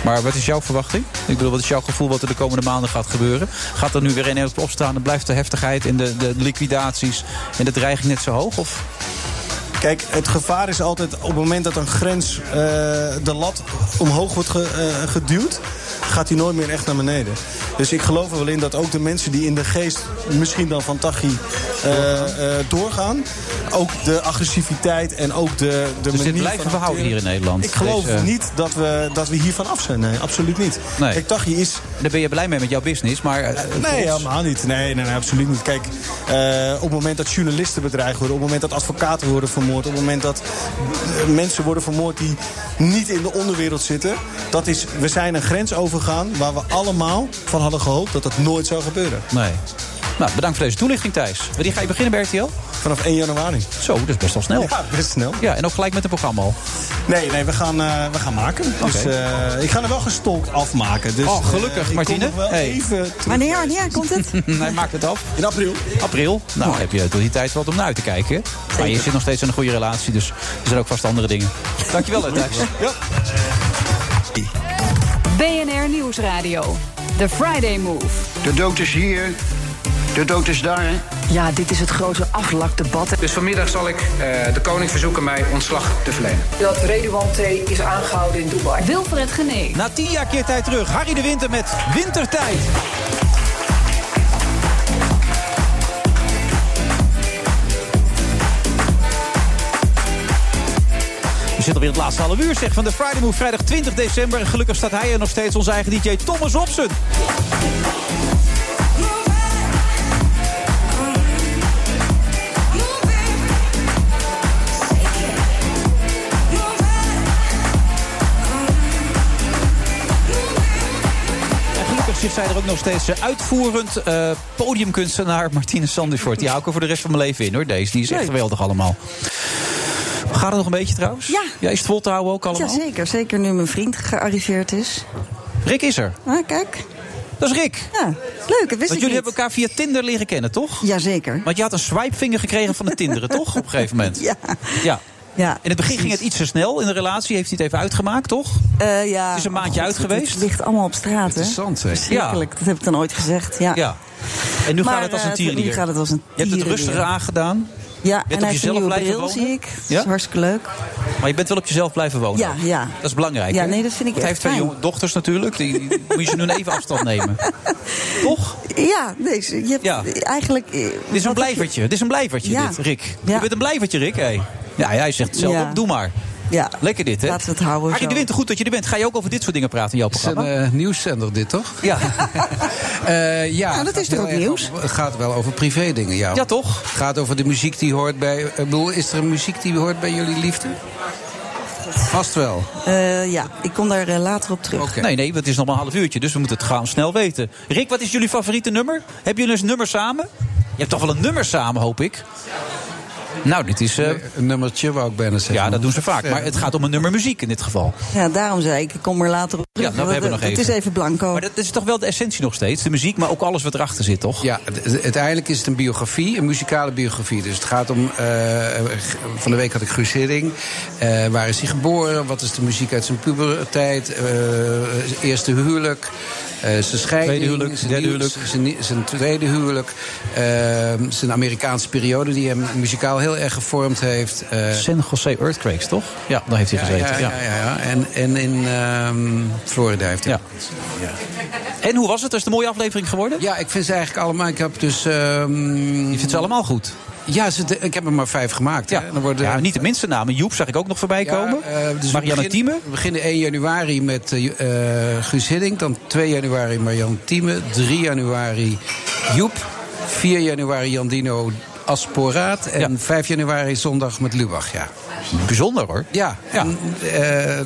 Speaker 7: Maar wat is jouw verwachting? Ik bedoel, wat is jouw gevoel wat er de komende maanden gaat gebeuren? Gaat er nu weer een opstaan en blijft de heftigheid en de, de liquidaties en de dreiging net zo hoog? Of
Speaker 17: Kijk, het gevaar is altijd op het moment dat een grens eh, de lat omhoog wordt ge- eh, geduwd, gaat die nooit meer echt naar beneden. Dus ik geloof er wel in dat ook de mensen die in de geest misschien dan van Tachi eh, eh, doorgaan, ook de agressiviteit en ook de, de
Speaker 7: Dus dit
Speaker 17: manier
Speaker 7: blijven
Speaker 17: van
Speaker 7: we houden
Speaker 17: acteren-
Speaker 7: hier in Nederland,
Speaker 17: Ik geloof
Speaker 7: deze-
Speaker 17: niet dat we, dat we hiervan af zijn. Nee, absoluut niet.
Speaker 7: Nee.
Speaker 17: Kijk, Tachi is
Speaker 7: daar ben je blij mee met jouw business, maar... eh, voor
Speaker 17: Nee,
Speaker 7: ons-
Speaker 17: helemaal niet. Nee, nee, nee, absoluut niet. Kijk, eh, op het moment dat journalisten bedreigd worden... op het moment dat advocaten worden vermoord... op het moment dat eh, mensen worden vermoord die niet in de onderwereld zitten... dat is, we zijn een grens overgegaan waar we allemaal van hadden gehoopt... dat dat nooit zou gebeuren.
Speaker 7: Nee. Nou, bedankt voor deze toelichting, Thijs. Wanneer ga je beginnen bij RTL?
Speaker 17: Vanaf 1 januari.
Speaker 7: Zo, dat is best wel snel.
Speaker 17: Ja, best snel.
Speaker 7: Ja, en ook gelijk met het programma al.
Speaker 17: Nee, nee, we gaan, eh, we gaan maken. Dus
Speaker 7: Oké.
Speaker 17: eh, ik ga er wel gestolkt afmaken. Dus,
Speaker 7: oh,
Speaker 17: eh, ik
Speaker 7: gelukkig,
Speaker 17: kom
Speaker 7: Martine.
Speaker 17: nog wel
Speaker 7: Hey.
Speaker 17: even
Speaker 8: Wanneer, wanneer komt het?
Speaker 7: Hij maakt het af.
Speaker 17: In april.
Speaker 7: April? Nou, heb je tot die tijd wat om naar uit te kijken. Maar je zit nog steeds in een goede relatie, dus er zijn ook vast andere dingen. Dankjewel, hè, Thijs.
Speaker 17: Ja.
Speaker 3: BNR Nieuwsradio. The Friday Move.
Speaker 4: De dood is hier, de dood is daar. Hè?
Speaker 5: Ja, dit is het grote aflakdebat.
Speaker 6: Dus vanmiddag zal ik eh, de koning verzoeken mij ontslag te verlenen.
Speaker 5: Dat Redouan T. is aangehouden in Dubai.
Speaker 3: Wilfred Genee.
Speaker 7: Na tien jaar keer tijd terug, Harry de Winter met Wintertijd. We zitten alweer in het laatste half uur zeg, van de Friday Move, vrijdag 20 december. En gelukkig staat hij er nog steeds, onze eigen DJ Thomas Opsen. En gelukkig zit zij er ook nog steeds eh, uitvoerend eh, podiumkunstenaar Martine Sandifort. Die hou ik er voor de rest van mijn leven in hoor, deze. Die is echt geweldig allemaal. Gaat het nog een beetje trouwens? Ja. is het vol te houden ook allemaal?
Speaker 8: Ja, zeker. Zeker nu mijn vriend gearriveerd is.
Speaker 7: Rick is er.
Speaker 8: Ah, kijk.
Speaker 7: Dat is Rick.
Speaker 8: Ja, leuk. Dat wist
Speaker 7: Want
Speaker 8: ik
Speaker 7: jullie
Speaker 8: niet.
Speaker 7: hebben elkaar via Tinder leren kennen, toch?
Speaker 8: Jazeker.
Speaker 7: Want je had een swipevinger gekregen van de Tinderen, toch? Op een gegeven moment.
Speaker 8: Ja.
Speaker 7: ja.
Speaker 8: Ja,
Speaker 7: In het begin ging het iets te snel. In de relatie heeft hij het even uitgemaakt, toch?
Speaker 8: Eh, ja.
Speaker 7: Het is een maandje
Speaker 8: Oh,
Speaker 7: uit
Speaker 8: God,
Speaker 7: geweest.
Speaker 8: Het ligt allemaal op straat, hè?
Speaker 7: Interessant, hè?
Speaker 8: Verschrikkelijk. Dat heb ik dan ooit gezegd, ja.
Speaker 7: Ja. En nu
Speaker 8: Maar,
Speaker 7: gaat het als een
Speaker 8: eh,
Speaker 7: tierenlier.
Speaker 8: nu gaat het als een
Speaker 7: Je hebt het
Speaker 8: tierenlier.
Speaker 7: rustiger aangedaan.
Speaker 8: Ja,
Speaker 7: Je
Speaker 8: en
Speaker 7: hebt
Speaker 8: hij heeft
Speaker 7: op
Speaker 8: een
Speaker 7: jezelf
Speaker 8: nieuwe
Speaker 7: blijven
Speaker 8: bril,
Speaker 7: wonen.
Speaker 8: zie ik. Dat
Speaker 7: Ja?
Speaker 8: is hartstikke leuk.
Speaker 7: Maar je bent wel op jezelf blijven wonen.
Speaker 8: Ja,
Speaker 7: ook.
Speaker 8: ja.
Speaker 7: Dat is belangrijk.
Speaker 8: Ja,
Speaker 7: hè?
Speaker 8: nee, dat vind ik
Speaker 7: Want
Speaker 8: echt
Speaker 7: Hij heeft twee
Speaker 8: fijn.
Speaker 7: jonge dochters natuurlijk. Die, die moet je ze nu even afstand nemen.
Speaker 8: Ja, nee, je hebt
Speaker 7: Ja.
Speaker 8: eigenlijk... eh,
Speaker 7: Dit is een blijvertje. Dit is een blijvertje,
Speaker 8: Ja.
Speaker 7: dit, Rick.
Speaker 8: Ja.
Speaker 7: Je bent een blijvertje, Rick. Hey. Ja, hij zegt zelf
Speaker 8: Ja.
Speaker 7: ook, doe maar.
Speaker 8: Ja.
Speaker 7: Lekker dit, hè?
Speaker 8: Laten we het houden
Speaker 7: Harry
Speaker 8: zo.
Speaker 7: de Winter, goed dat je er bent. Ga je ook over dit soort dingen praten in jouw
Speaker 18: Het is een
Speaker 7: programma?
Speaker 18: eh, nieuwszender dit, toch?
Speaker 7: Ja.
Speaker 18: Eh, ja,
Speaker 7: Nou, dat
Speaker 18: het
Speaker 7: is
Speaker 18: gaat
Speaker 7: toch
Speaker 18: heel
Speaker 7: ook
Speaker 18: erg
Speaker 7: nieuws?
Speaker 18: over- het gaat wel over privé dingen, ja.
Speaker 7: Ja, toch?
Speaker 18: Het gaat over de muziek die hoort bij... Ik bedoel, is er een muziek die hoort bij jullie liefde? Vast wel.
Speaker 8: Eh, ja, ik kom daar eh, later op terug.
Speaker 7: Nee, nee, het is nog maar een half uurtje, dus we moeten het gaan snel weten. Rick, wat is jullie favoriete nummer? Hebben jullie eens een nummer samen? Je hebt toch wel een nummer samen, hoop ik? Nou, dit is...
Speaker 18: een nummertje wou ik bijna zeggen. Eh,
Speaker 7: Ja, dat doen ze vaak. Maar het gaat om een nummer muziek in dit geval.
Speaker 8: Ja, daarom zei ik, ik kom er later op terug. eh,
Speaker 7: Ja, nou, we hebben nog
Speaker 8: het is
Speaker 7: even.
Speaker 8: even blanco.
Speaker 7: Maar dat is toch wel de essentie nog steeds? De muziek, maar ook alles wat erachter zit, toch?
Speaker 18: Ja, het- het- uiteindelijk is het een biografie, een muzikale biografie. Dus het gaat om. eh, van de week had ik Guus Hidding. Eh, waar is hij geboren? Wat is de muziek uit zijn puberteit? Eh, zijn eerste huwelijk. eh, zijn scheiding.
Speaker 7: Tweede huwelijk,
Speaker 18: zijn
Speaker 7: derde
Speaker 18: nieuws,
Speaker 7: huwelijk.
Speaker 18: Zijn, nie- zijn tweede huwelijk. eh, zijn Amerikaanse periode die hem muzikaal heel erg gevormd heeft. eh,
Speaker 7: San Jose Earthquakes, toch? Ja, daar heeft hij gezeten.
Speaker 18: Ja,
Speaker 7: Ja,
Speaker 18: ja, ja, ja. En, en in ehm, Florida heeft hij.
Speaker 7: En hoe was het? Is het een mooie aflevering geworden?
Speaker 18: Ja, ik vind ze eigenlijk allemaal. Ik heb dus. ehm,
Speaker 7: Je vindt ze allemaal goed?
Speaker 18: Ja, ze, ik heb er maar vijf gemaakt. Ja, dan worden,
Speaker 7: Ja, niet de minste namen. Joep zag ik ook nog voorbij komen.
Speaker 18: eh, dus
Speaker 7: Marianne
Speaker 18: we
Speaker 7: Thieme.
Speaker 18: beginnen, we beginnen 1 januari met eh, eh, Guus Hiddink. Dan 2 januari Marianne Thieme. 3 januari Joep. 4 januari Jandino Asporaat. En 5 januari zondag met Lubach, ja.
Speaker 7: Bijzonder hoor.
Speaker 18: Ja, en, eh,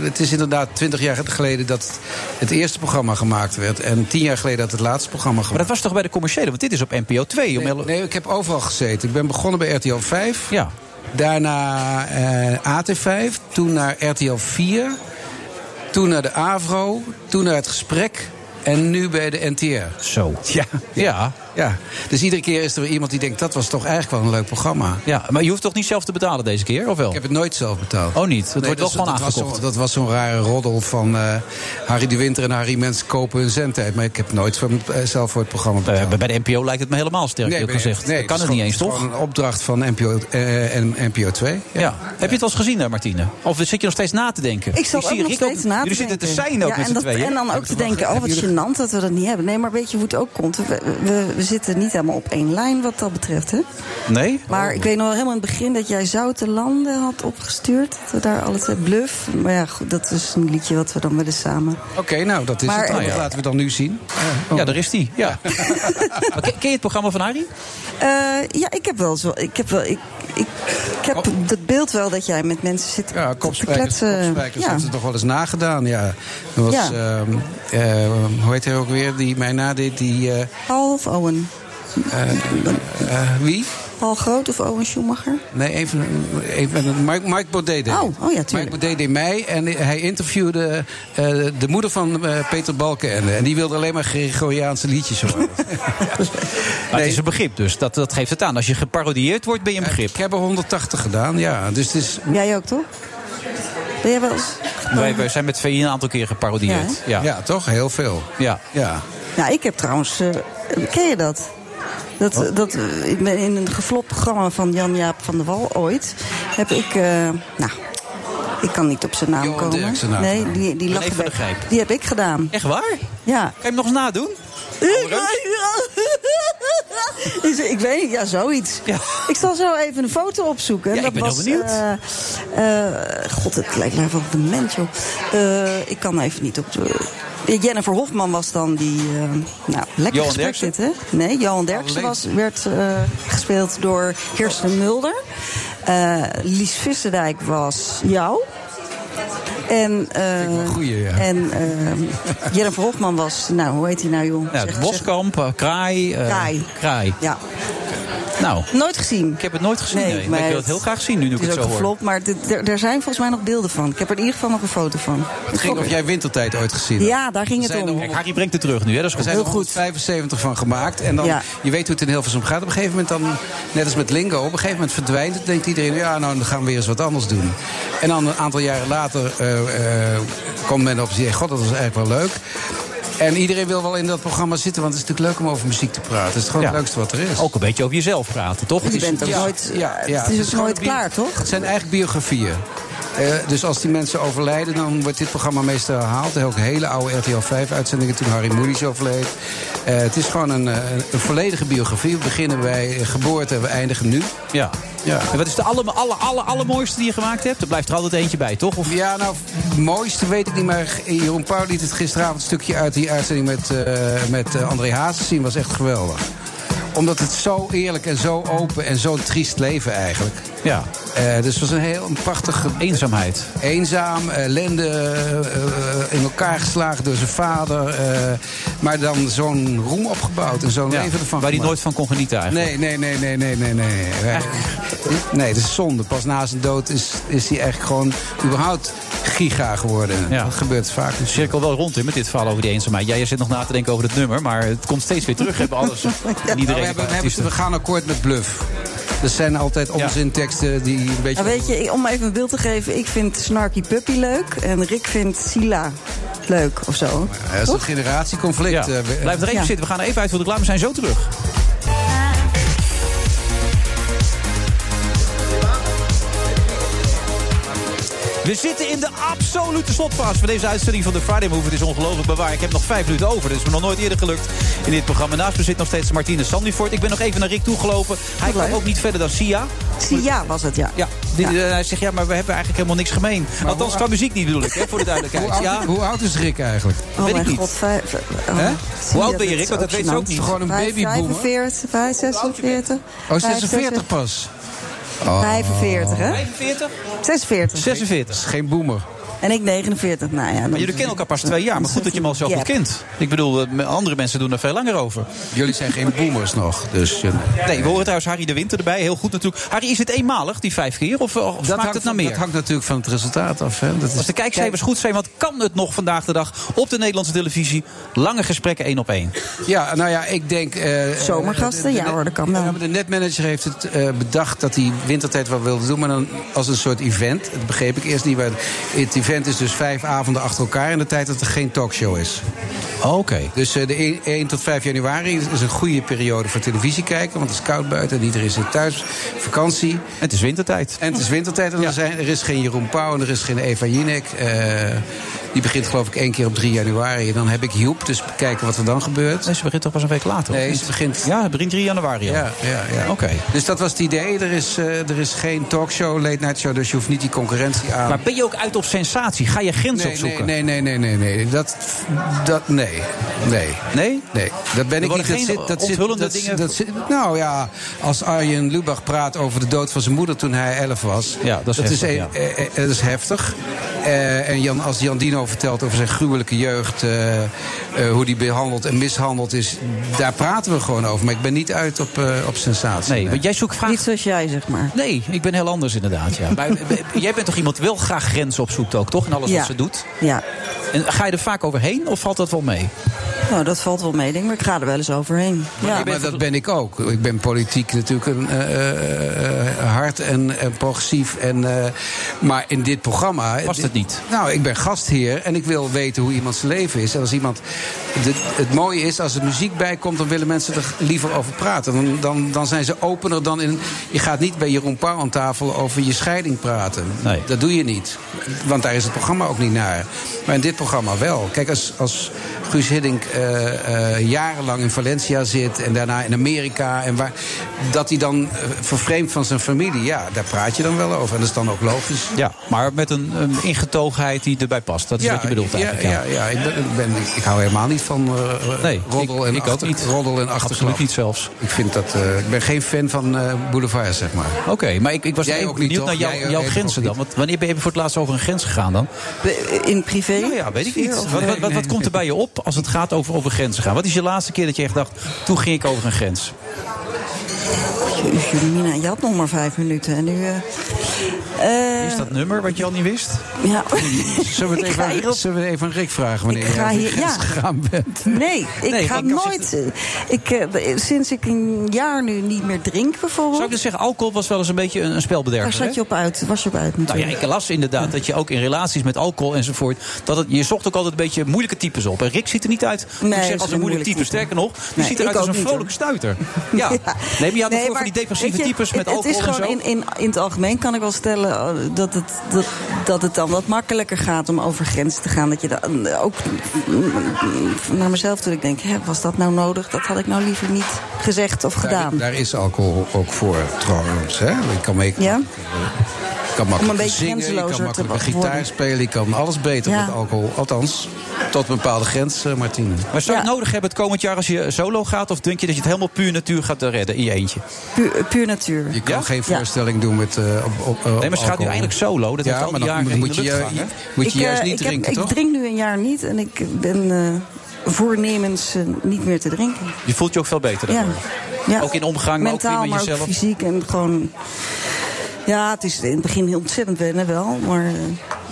Speaker 18: het is inderdaad 20 jaar geleden dat het eerste programma gemaakt werd. En 10 jaar geleden dat het laatste programma gemaakt
Speaker 7: Maar dat was toch bij de commerciële? Want dit is op NPO 2. om
Speaker 18: Nee,
Speaker 7: heel-
Speaker 18: nee, ik heb overal gezeten. Ik ben begonnen bij RTL 5. Daarna eh, AT5. Toen naar RTL 4. Toen naar de AVRO. Toen naar het gesprek. En nu bij de NTR.
Speaker 7: Zo. Ja.
Speaker 18: Ja. ja. Dus iedere keer is er weer iemand die denkt... dat was toch eigenlijk wel een leuk programma.
Speaker 7: Ja, maar je hoeft toch niet zelf te betalen deze keer, of wel? Ik
Speaker 18: heb het nooit zelf betaald.
Speaker 7: Oh, niet? Het
Speaker 18: Nee, dus
Speaker 7: wordt wel
Speaker 18: dat-
Speaker 7: gewoon
Speaker 18: dat was
Speaker 7: aangekocht.
Speaker 18: zo'n- dat was zo'n rare roddel van eh, Harry de Winter en Harry Mens kopen hun zendtijd. Maar ik heb nooit van, eh, zelf voor het programma betaald.
Speaker 7: bij de NPO lijkt het me helemaal sterk,
Speaker 18: Nee,
Speaker 7: eerlijk
Speaker 18: bij-
Speaker 7: gezegd.
Speaker 18: nee,
Speaker 7: dat kan
Speaker 18: is
Speaker 7: het niet
Speaker 18: gewoon-
Speaker 7: eens,
Speaker 18: is
Speaker 7: toch?
Speaker 18: gewoon een opdracht van NPO, eh, en NPO 2.
Speaker 7: Ja. Heb je het wel eens gezien daar, Martine? Of zit je nog steeds na te denken?
Speaker 8: Ik zat
Speaker 7: zie
Speaker 8: ook nog
Speaker 7: Rick ook-
Speaker 8: steeds na te
Speaker 7: Jullie zitten te
Speaker 8: denken.
Speaker 7: zijn ook
Speaker 8: ja,
Speaker 7: met
Speaker 8: en,
Speaker 7: z'n
Speaker 8: dat-
Speaker 7: tweeën.
Speaker 8: en dan ook te denken, oh wat gênant dat we dat niet hebben. Nee, maar weet je hoe het ook komt? We, we, we zitten niet helemaal op één lijn wat dat betreft, hè?
Speaker 7: Nee?
Speaker 8: Maar ik weet nog wel helemaal in het begin dat jij Zoute Landen had opgestuurd. Dat we daar alle twee bluff. Maar ja, goed, dat is een liedje wat we dan willen samen.
Speaker 18: Oké, nou, dat is
Speaker 8: Maar-
Speaker 18: het. dan.
Speaker 8: Ah, ja.
Speaker 18: Dat laten we dan nu zien.
Speaker 7: Ja, daar is die. Ja. Maar ken, ken je het programma van Harry?
Speaker 8: Eh, ja, ik heb wel eens wel. Ik heb wel. Ik, ik, ik heb dat beeld wel dat jij met mensen zit
Speaker 18: Ja, kopspijkers,
Speaker 8: te kletsen.
Speaker 18: kopspijkers
Speaker 8: eh, Ja.
Speaker 18: heeft het toch wel eens nagedaan. Ja. Er was,
Speaker 8: Ja.
Speaker 18: ehm, eh, hoe heet hij ook weer, die mij nadeed? Die, eh,
Speaker 8: Paul of Owen?
Speaker 18: eh, eh, wie?
Speaker 8: Paul Groot of Owen Schumacher?
Speaker 18: Nee, even, even Mike, Mike Baudet deed.
Speaker 8: Oh, oh ja, tuurlijk.
Speaker 18: Mike Baudet deed mij en hij interviewde eh, de moeder van eh, Peter Balkenende. En die wilde alleen maar Gregoriaanse liedjes horen.
Speaker 7: Maar het is een begrip dus, dat, dat geeft het aan. Als je geparodieerd wordt, ben je een begrip.
Speaker 18: Ik heb er 180 gedaan, ja. Dus het is...
Speaker 8: Jij ook, toch? Ben jij wel eens?
Speaker 7: Wij, wij zijn met VI een aantal keer geparodieerd.
Speaker 8: Ja,
Speaker 7: Ja, ja.
Speaker 18: toch? Heel veel.
Speaker 7: Ja.
Speaker 18: ja.
Speaker 8: Nou, ik heb trouwens. eh, ken je dat? Dat, dat, eh, ik ben in een geflopt programma van Jan-Jaap van der Wal ooit. Heb ik. eh, nou, ik kan niet op zijn naam komen.
Speaker 7: Dirk zijn naam.
Speaker 8: Nee, die, die
Speaker 7: René
Speaker 8: lag
Speaker 7: van
Speaker 8: erbij.
Speaker 7: der Grijp.
Speaker 8: Die heb ik gedaan.
Speaker 7: Echt waar?
Speaker 8: Ja.
Speaker 7: Kan je hem nog eens nadoen?
Speaker 8: Dus ik weet niet, ja, zoiets. Ik zal zo even een foto opzoeken.
Speaker 7: Ja, ik ben heel benieuwd.
Speaker 8: eh, eh, God, het lijkt lijkt wel een mens, joh. Eh, ik kan even niet op de... Jennifer Hofman was dan die... eh, nou, lekker
Speaker 7: Johan
Speaker 8: gesprek
Speaker 7: Derksen?
Speaker 8: dit, hè? Nee, Johan Derksen
Speaker 7: Alleen.
Speaker 8: was, werd eh, gespeeld door Kirsten Mulder. Eh, Lies Visserdijk was jou. En, eh
Speaker 18: goeie, ja.
Speaker 8: en eh, Jennifer Hofman was, nou, hoe heet hij nou, joh?
Speaker 7: Nou,
Speaker 8: Zeg-
Speaker 7: Boskamp, eh, Kraai. eh,
Speaker 8: Kraai.
Speaker 7: Kraai.
Speaker 8: Ja.
Speaker 7: Nou.
Speaker 8: Nooit gezien.
Speaker 7: Ik heb het nooit gezien. Nee, maar
Speaker 8: maar
Speaker 7: ik wil het heel graag zien nu, nu ik
Speaker 8: Het
Speaker 7: het
Speaker 8: is
Speaker 7: zo
Speaker 8: ook
Speaker 7: hoor.
Speaker 8: geflopt, maar dit- er er zijn volgens mij nog beelden van. Ik heb er in ieder geval nog een foto van.
Speaker 18: Het ging of jij wintertijd ooit gezien hebt.
Speaker 8: Ja, daar ging
Speaker 18: Er
Speaker 8: het
Speaker 18: zijn
Speaker 8: om.
Speaker 18: er
Speaker 7: Kijk, Harry brengt het terug nu, hè? dat is
Speaker 18: Er
Speaker 7: goed.
Speaker 18: zijn er 175 van gemaakt. En dan,
Speaker 8: Ja.
Speaker 18: je weet hoe het in Hilversum gaat. Op een gegeven moment dan, net als met Lingo, op een gegeven moment verdwijnt het. Denkt iedereen, ja, nou, dan gaan we weer eens wat anders doen. En dan een aantal jaren later eh, eh, komt men op en zegt, god, dat was eigenlijk wel leuk. En iedereen wil wel in dat programma zitten, want het is natuurlijk leuk om over muziek te praten. Het is gewoon het leukste wat er is.
Speaker 7: Ook een beetje over jezelf praten, toch? Het
Speaker 8: Je
Speaker 7: is-
Speaker 8: bent ook
Speaker 7: ja.
Speaker 8: nooit, eh, het
Speaker 18: ja,
Speaker 8: is ook
Speaker 18: gewoon
Speaker 8: nooit
Speaker 18: een bio-
Speaker 8: klaar, toch?
Speaker 18: Het zijn eigenlijk biografieën. Eh, dus als die mensen overlijden, dan wordt dit programma meestal herhaald. Er zijn ook hele oude RTL 5-uitzendingen toen Harry Moelis overleed. Eh, het is gewoon een, eh, een volledige biografie. We beginnen bij geboorte en we eindigen nu.
Speaker 7: Ja.
Speaker 18: Ja.
Speaker 7: En wat is de alle, alle, alle, allermooiste die je gemaakt hebt? Er blijft er altijd eentje bij, toch? Of...
Speaker 18: Ja, nou, mooiste weet ik niet, maar Jeroen Pauw liet het gisteravond een stukje uit die uitzending met, eh, met eh, André Hazes zien. was echt geweldig. Omdat het zo eerlijk en zo open en zo'n triest leven eigenlijk.
Speaker 7: Ja.
Speaker 18: Eh, dus het was een heel een prachtig...
Speaker 7: Eenzaamheid.
Speaker 18: Eenzaam, ellende, eh, in elkaar geslagen door zijn vader. eh, maar dan zo'n roem opgebouwd en zo'n leven
Speaker 7: Waar
Speaker 18: ervan
Speaker 7: hij
Speaker 18: gemaakt.
Speaker 7: nooit van kon genieten eigenlijk.
Speaker 18: Nee, nee, nee, nee, nee, nee, nee. Nee, nee dat is zonde. Pas na zijn dood is, is hij eigenlijk gewoon überhaupt giga geworden. Dat gebeurt vaak.
Speaker 7: De cirkel wel rond in met dit verhaal over die eenzaamheid. Ja, jij zit nog na te denken over het nummer, maar het komt steeds weer terug. Hebben alles.
Speaker 18: Ja.
Speaker 7: Iedereen
Speaker 18: Nou, we, hebben, we, hebben- we gaan akkoord met bluff. Er zijn altijd onzinteksten die een beetje...
Speaker 8: Nou, weet je, ik- om even een beeld te geven, ik vind Snarky Puppy leuk en Rick vindt Sila leuk of zo.
Speaker 18: Ja, dat is een generatieconflict.
Speaker 7: Ja.
Speaker 18: eh, we-
Speaker 7: Blijf er even
Speaker 18: Ja.
Speaker 7: zitten. We gaan er even uit voor de reclame. We zijn zo terug. We zitten in de absolute slotfase van deze uitzending van de Friday Move. Het is ongelooflijk bewaar. Ik heb nog vijf minuten over. Dat is me nog nooit eerder gelukt in dit programma. Naast me zit nog steeds Martine Sandifort. Ik ben nog even naar Rick toegelopen. Hij kwam ook niet verder dan Sia.
Speaker 8: Sia was het, ja.
Speaker 7: Ja, die- eh, hij zegt ja, maar we hebben eigenlijk helemaal niks gemeen. Althans,
Speaker 18: hoe-
Speaker 7: qua muziek niet bedoel ik, hè, voor de duidelijkheid.
Speaker 18: Hoe oud,
Speaker 7: ja.
Speaker 18: hoe oud is Rick eigenlijk?
Speaker 8: Oh
Speaker 7: Weet
Speaker 8: mijn
Speaker 7: ik niet.
Speaker 8: god, vijf, eh, oh,
Speaker 18: Hè?
Speaker 8: zie
Speaker 18: Hoe oud
Speaker 8: je,
Speaker 18: ben je, Rick?
Speaker 8: is
Speaker 18: Want dat weet ze ook
Speaker 8: gênant.
Speaker 18: niet. Gewoon een
Speaker 8: Vijf-
Speaker 18: babyboomer.
Speaker 8: 45, vijf- 46.
Speaker 18: Oh,
Speaker 8: vijf-
Speaker 18: 46 pas.
Speaker 8: 45, hè?
Speaker 7: 45?
Speaker 8: 46.
Speaker 7: 46. Dat is
Speaker 18: geen boomer.
Speaker 8: En ik 49, nou ja.
Speaker 7: Maar jullie kennen elkaar pas twee jaar, maar goed dat je hem al zo goed kent. Ik bedoel, eh, andere mensen doen er veel langer over.
Speaker 18: Jullie zijn geen boomers nog, dus...
Speaker 7: Nee, we horen trouwens Harry de Winter erbij, heel goed natuurlijk. Harry, is het eenmalig, die vijf keer, of, eh, of smaakt
Speaker 18: hangt-
Speaker 7: het naar meer?
Speaker 18: dat hangt natuurlijk van het resultaat af. Hè? Dat is-
Speaker 7: Als de kijkcijfers goed zijn, want kan het nog vandaag de dag op de Nederlandse televisie? Lange gesprekken één op één.
Speaker 18: Ja, nou ja, ik denk... eh,
Speaker 8: Zomergasten?
Speaker 18: de- de-
Speaker 8: Ja hoor, dat kan wel.
Speaker 18: Ja, maar de netmanager heeft het eh, bedacht dat hij wintertijd wel wilde doen. Maar dan als een soort event. Dat begreep ik eerst niet. Maar het event is dus vijf avonden achter elkaar... in de tijd dat er geen talkshow is.
Speaker 7: Oh, Oké.
Speaker 18: Dus eh, de 1, tot 5 januari is een goede periode voor televisie kijken. Want het is koud buiten en iedereen zit thuis. Vakantie. En
Speaker 7: het is wintertijd.
Speaker 18: En het is wintertijd. En er, zijn, er is geen Jeroen Pauw en er is geen Eva Jinek. Eh, die begint geloof ik één keer op 3 januari. En dan heb ik Joep. Dus kijken wat er dan gebeurt.
Speaker 7: Nee, ze begint toch pas een week later?
Speaker 18: Nee, ze begint...
Speaker 7: Ja, het begint 3 januari al.
Speaker 18: Ja, ja, ja.
Speaker 7: Oké.
Speaker 18: Dus dat was het idee. Er is, eh, er is geen talkshow, late night show. Dus je hoeft niet die concurrentie aan.
Speaker 7: Maar ben je ook uit op sensatie? Ga je grens
Speaker 18: nee,
Speaker 7: opzoeken?
Speaker 18: Nee, nee, nee, nee, nee. nee. Dat, dat, nee. Nee.
Speaker 7: Nee?
Speaker 18: Nee. Dat ben
Speaker 7: Er
Speaker 18: ik
Speaker 7: worden
Speaker 18: niet. Dat
Speaker 7: geen
Speaker 18: zit, dat zit,
Speaker 7: onthullende
Speaker 18: dat,
Speaker 7: dingen-
Speaker 18: dat zit- nou ja, als Arjen Lubach praat over de dood van zijn moeder toen hij 11 was.
Speaker 7: Ja, dat is heftig,
Speaker 18: een-
Speaker 7: ja.
Speaker 18: eh, eh, eh, dat is heftig. Eh, en Jan, als Jan Dino vertelt over zijn gruwelijke jeugd, eh, eh, hoe die behandeld en mishandeld is, daar praten we gewoon over. Maar ik ben niet uit op, eh, op sensatie.
Speaker 7: Nee, want jij zoekt vragen. Niet
Speaker 8: zoals jij, zeg maar.
Speaker 7: Nee, ik ben heel anders inderdaad. Ja. Maar, eh, jij bent toch iemand die wel graag grenzen opzoekt ook, toch? In alles
Speaker 8: Ja.
Speaker 7: wat ze doet?
Speaker 8: Ja.
Speaker 7: En ga je er vaak overheen of valt dat wel mee?
Speaker 8: Nou, dat valt wel mee, denk ik, maar ik ga er wel eens overheen.
Speaker 18: Ja,
Speaker 8: Ja.
Speaker 18: maar dat ben ik ook. Ik ben politiek natuurlijk een, eh, eh, eh, hard en, en progressief. En, eh, maar in dit programma...
Speaker 7: Past het niet?
Speaker 18: Nou, ik ben gastheer en ik wil weten hoe iemand zijn leven is. En als iemand... de- het mooie is, als er muziek bij komt... dan willen mensen er liever over praten. Dan, dan, dan zijn ze opener dan in... Je gaat niet bij Jeroen Pauw aan tafel over je scheiding praten.
Speaker 7: Nee.
Speaker 18: Dat doe je niet. Want daar is het programma ook niet naar. Maar in dit programma wel. Kijk, als, als Guus Hiddink eh, eh, jarenlang in Valencia zit en daarna in Amerika. En waar, dat hij dan eh, vervreemd van zijn familie. Ja, daar praat je dan wel over. En dat is dan ook logisch.
Speaker 7: Ja, maar met een, een ingetogenheid die erbij past. Dat is wat je bedoelt
Speaker 18: ja,
Speaker 7: eigenlijk.
Speaker 18: Ja, ja, ik, ben, ik, ben- ik hou helemaal niet van eh,
Speaker 7: Nee,
Speaker 18: roddel,
Speaker 7: ik-
Speaker 18: en
Speaker 7: ik ook
Speaker 18: achter-
Speaker 7: niet.
Speaker 18: roddel en achterklap.
Speaker 7: Absoluut niet zelfs.
Speaker 18: Ik, vind dat, eh, ik ben geen fan van eh, boulevard, zeg maar.
Speaker 7: Oké, maar ik, ik was
Speaker 18: Jij
Speaker 7: even
Speaker 18: ook niet,
Speaker 7: benieuwd naar
Speaker 18: toch?
Speaker 7: jouw-
Speaker 18: Jij, eh,
Speaker 7: jouw
Speaker 18: ook
Speaker 7: grenzen
Speaker 18: niet.
Speaker 7: dan. Want wanneer ben je voor het laatst over een grens gegaan dan?
Speaker 8: Eh, In privé?
Speaker 7: Nou ja, weet ik niet. Wat, wat, wat, wat komt er bij je op als het gaat over, over grenzen gaan? Wat is je laatste keer dat je echt dacht, toen ging ik over een grens?
Speaker 8: Jeetje, Mina, je had nog maar vijf minuten en nu... eh, eh,
Speaker 7: Is dat nummer wat je al niet wist?
Speaker 8: ja.
Speaker 18: Zullen we,
Speaker 8: Ik
Speaker 18: het
Speaker 8: ga
Speaker 18: even,
Speaker 8: hierop-
Speaker 18: zullen we even aan Rick vragen wanneer
Speaker 8: Ik ga
Speaker 18: je
Speaker 8: hier-
Speaker 18: over de grens
Speaker 8: ja.
Speaker 18: gegaan bent?
Speaker 8: Nee, ik
Speaker 18: Nee,
Speaker 8: ga
Speaker 18: ik kan
Speaker 8: nooit. eh, Ik, eh, sinds ik een jaar nu niet meer drink, bijvoorbeeld.
Speaker 7: Zou ik dus zeggen, alcohol was wel eens een beetje een, een
Speaker 8: Oh. Daar
Speaker 7: spelbederver. hè?
Speaker 8: zat je op uit, was je op uit
Speaker 7: Nou ja,
Speaker 8: natuurlijk.
Speaker 7: ik las inderdaad dat je ook in relaties met alcohol enzovoort... Dat het, je zocht ook altijd een beetje moeilijke types op. En Rick ziet er niet uit moet ik
Speaker 8: Nee,
Speaker 7: zeggen,
Speaker 8: is
Speaker 7: als
Speaker 8: een
Speaker 7: een moeilijk
Speaker 8: moeilijk
Speaker 7: type.
Speaker 8: type.
Speaker 7: Sterker nog, je
Speaker 8: Nee,
Speaker 7: ziet eruit
Speaker 8: ik
Speaker 7: als
Speaker 8: ook
Speaker 7: een
Speaker 8: niet,
Speaker 7: vrolijke stuiter. Ja. Nee, maar je
Speaker 8: Nee,
Speaker 7: had nog voor
Speaker 8: maar
Speaker 7: die defensieve
Speaker 8: weet je,
Speaker 7: types met
Speaker 8: het,
Speaker 7: alcohol
Speaker 8: Het is
Speaker 7: en zo.
Speaker 8: gewoon in, in, in het algemeen kan ik wel stellen eh, dat het, dat, dat het dan wat makkelijker gaat om over grenzen te gaan. Dat je dan eh, ook mm, naar mezelf toen ik denk, hè, was dat nou nodig? Dat had ik nou liever niet gezegd of gedaan.
Speaker 18: Daar, daar is alcohol ook voor trouwens. Hè? Ik kan me
Speaker 8: Ja?
Speaker 18: kan
Speaker 8: Om
Speaker 18: makkelijk
Speaker 8: een beetje
Speaker 18: zingen, je
Speaker 8: grenzelozer
Speaker 18: kan
Speaker 8: te
Speaker 18: makkelijk
Speaker 8: worden.
Speaker 18: gitaar spelen, je kan alles beter
Speaker 8: Ja.
Speaker 18: met alcohol. Althans, tot een bepaalde grens, eh, Martine.
Speaker 7: Maar zou je het nodig hebben het komend jaar als je solo gaat? Of denk je dat je het helemaal puur natuur gaat eh, redden in je eentje?
Speaker 8: Puur, eh, puur natuur.
Speaker 18: Je kan geen voorstelling doen met. eh, op, op, nee,
Speaker 7: maar ze gaat nu eindelijk solo. Dat
Speaker 18: ja,
Speaker 7: heeft al
Speaker 18: maar
Speaker 7: die
Speaker 18: dan
Speaker 7: jaren
Speaker 18: moet
Speaker 7: in de
Speaker 18: je,
Speaker 7: lucht
Speaker 18: ju-
Speaker 7: gehangen.
Speaker 18: moet je
Speaker 8: Ik, eh,
Speaker 18: juist niet
Speaker 8: ik heb-
Speaker 18: drinken, toch?
Speaker 8: Ik drink nu een jaar niet en ik ben eh, voornemens eh, niet meer te drinken.
Speaker 7: Je voelt je ook veel beter
Speaker 8: Ja.
Speaker 7: daardoor.
Speaker 8: Ja.
Speaker 7: Ook in omgang, maar ook
Speaker 8: Mentaal,
Speaker 7: weer
Speaker 8: maar
Speaker 7: met jezelf.
Speaker 8: ook fysiek en gewoon... Ja, het is in het begin heel ontzettend wennen wel. Maar eh,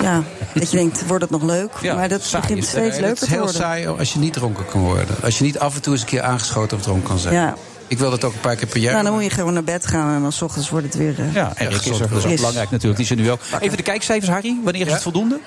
Speaker 8: ja, dat je denkt, wordt het nog leuk? maar dat
Speaker 18: saai
Speaker 8: begint
Speaker 18: is het.
Speaker 8: steeds
Speaker 18: Eh,
Speaker 8: leuker te
Speaker 18: Het
Speaker 8: worden.
Speaker 18: is heel saai als je niet dronken kan worden. Als je niet af en toe eens een keer aangeschoten of dronken kan zijn.
Speaker 8: Ja.
Speaker 18: Ik wil dat ook een paar keer per jaar.
Speaker 8: Nou, dan moet je gewoon naar bed gaan en dan 's ochtends wordt het weer... eh,
Speaker 7: Ja, en Rick is er. Dat is ook
Speaker 8: Is.
Speaker 7: belangrijk natuurlijk. Die zijn nu ook. Even de kijkcijfers, Harry. Wanneer is het voldoende?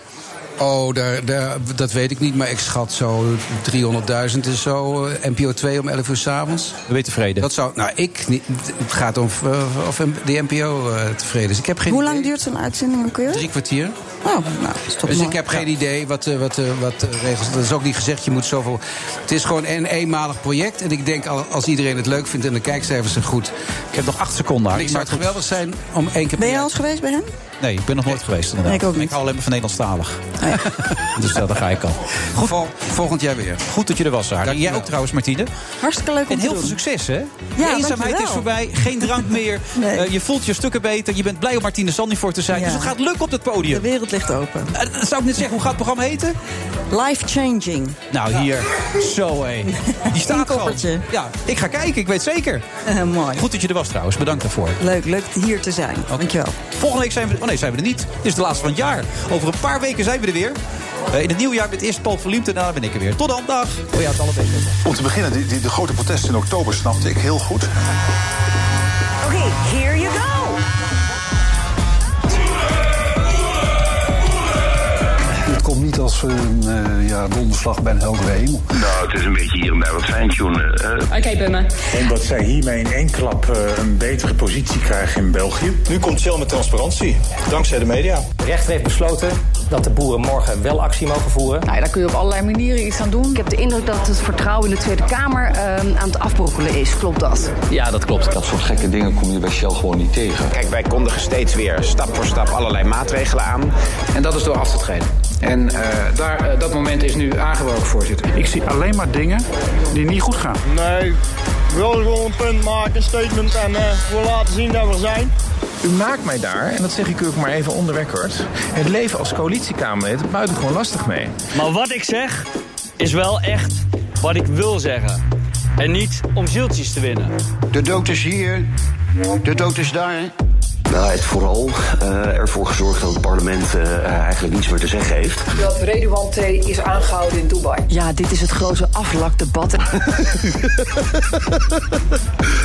Speaker 18: Oh, daar, daar, dat weet ik niet, maar ik schat zo 300.000 is zo. eh, NPO 2 om 11 uur s'avonds.
Speaker 7: Ben je tevreden?
Speaker 18: Dat zou, nou, ik niet. Het gaat om eh, of de NPO eh, tevreden is. Ik heb geen
Speaker 8: Hoe lang duurt zo'n uitzending ook weer?
Speaker 18: Drie kwartier.
Speaker 8: Oh, nou, is toch
Speaker 18: dus
Speaker 8: mooi.
Speaker 18: ik heb geen idee wat, eh, wat, eh, wat eh, regels. Dat is ook niet gezegd, je moet zoveel. Het is gewoon een eenmalig project. En ik denk al- als iedereen het leuk vindt en de kijkcijfers zijn goed. Ik
Speaker 7: heb nog acht seconden.
Speaker 18: Ik zou het geweldig zijn om één keer
Speaker 8: Ben je al eens geweest bij hem?
Speaker 7: Nee, ik ben nog nooit geweest inderdaad.
Speaker 8: Ik ook niet.
Speaker 7: hou alleen maar van Nederlandstalig. dus eh, daar ga ik al. Goed.
Speaker 18: volgend jaar weer.
Speaker 7: Goed dat je er was, Harry. Jij ook trouwens, Martine.
Speaker 8: Hartstikke leuk om
Speaker 7: En
Speaker 8: te
Speaker 7: heel veel
Speaker 8: doen.
Speaker 7: succes, hè? de
Speaker 8: dankjewel.
Speaker 7: eenzaamheid is voorbij, geen drank meer. Eh, je voelt je stukken beter. Je bent blij om Martine Sandy voor te zijn. Dus het gaat lukken op het podium.
Speaker 8: De wereld ligt open.
Speaker 7: Eh, dat zou ik net zeggen, hoe gaat het programma heten?
Speaker 8: Life changing.
Speaker 7: Nou, hier. Zo, hé. Die staat gewoon. Ja, ik ga kijken, ik weet zeker.
Speaker 8: mooi.
Speaker 7: Goed dat je er was trouwens, bedankt daarvoor.
Speaker 8: Leuk, leuk hier te zijn. Dankjewel.
Speaker 7: Volgende week zijn we... Oh nee, zijn we er niet. Dit is de laatste van het jaar. Over een paar weken zijn we er weer. Eh, in het nieuwe jaar met eerst Paul van Liemt en daarna ben ik er weer. Tot dan, dag. Oh ja, het allebei.
Speaker 19: Om te beginnen, die, die- de grote protesten in oktober snapte ik heel goed.
Speaker 20: Okay, here you go.
Speaker 21: Het komt niet als een eh, ja, donderslag bij een heldere hemel.
Speaker 22: Nou, het is een beetje hier en daar wat fijntunen. tunen
Speaker 23: Oké, Bummer.
Speaker 22: Omdat zij hiermee in één klap eh, een betere positie krijgen in België. Nu komt Shell met transparantie, dankzij de media.
Speaker 24: De rechter heeft besloten dat de boeren morgen wel actie mogen voeren.
Speaker 23: Nou, ja, daar kun je op allerlei manieren iets aan doen. Ik heb de indruk dat het vertrouwen in de Tweede Kamer ehm, aan het afbrokkelen is. Klopt dat?
Speaker 25: Ja, dat klopt. Dat soort gekke dingen kom je bij Shell gewoon niet tegen.
Speaker 26: Kijk, wij kondigen steeds weer stap voor stap allerlei maatregelen aan.
Speaker 6: En dat is door af te treden. En eh, daar, eh, dat moment is nu aangebroken, voorzitter.
Speaker 26: Ik zie alleen maar dingen die niet goed gaan.
Speaker 27: Nee, we willen gewoon een punt maken, een statement en eh, we laten zien dat we er zijn.
Speaker 26: U maakt mij daar, en dat zeg ik u ook maar even onder record, het leven als coalitiekamerlid buitengewoon lastig mee.
Speaker 10: Maar wat ik zeg, is wel echt wat ik wil zeggen. En niet om zieltjes te winnen.
Speaker 4: De dood is hier, de dood is daar. hè?
Speaker 25: Nou, hij heeft vooral eh, ervoor gezorgd dat het parlement eh, eigenlijk niets meer te zeggen heeft.
Speaker 5: Dat Redouan T. is aangehouden in Dubai.
Speaker 23: Ja, dit is het grote aflakdebat.
Speaker 28: Je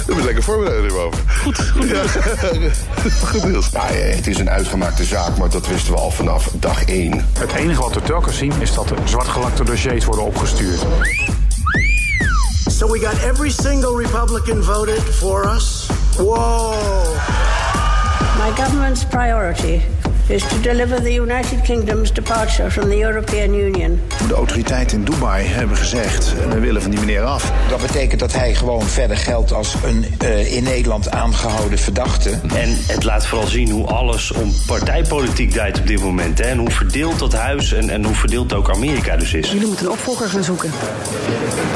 Speaker 28: bent lekker voorbereid hierover. Goed, goed. goed Niels. Nou, eh, het is een uitgemaakte zaak, maar dat wisten we al vanaf dag één.
Speaker 22: Het enige wat we telkens zien is dat er zwartgelakte dossiers worden opgestuurd.
Speaker 29: So we got every single Republican voted for us. Whoa.
Speaker 30: My government's priority is to deliver the United Kingdom's departure from the European Union.
Speaker 29: De autoriteiten in Dubai hebben gezegd, eh, we willen van die meneer af.
Speaker 31: Dat betekent dat hij gewoon verder geldt als een eh, in Nederland aangehouden verdachte.
Speaker 32: En het laat vooral zien hoe alles om partijpolitiek draait op dit moment. Hè? En hoe verdeeld dat huis en, en hoe verdeeld ook Amerika dus is.
Speaker 23: Jullie moeten een opvolger gaan zoeken.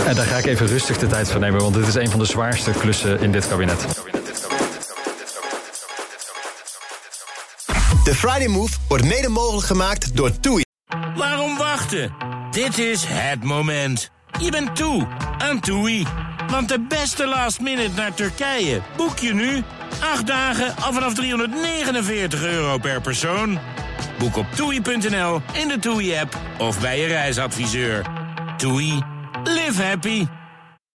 Speaker 22: En daar ga ik even rustig de tijd voor nemen, want dit is een van de zwaarste klussen in dit kabinet.
Speaker 2: De Friday Move wordt mede mogelijk gemaakt door TUI.
Speaker 1: Waarom wachten? Dit is het moment. Je bent toe aan TUI. Want de beste last minute naar Turkije boek je nu 8 dagen al vanaf 349 euro per persoon. Boek op toei.nl in de TUI-app of bij je reisadviseur. TUI, live happy.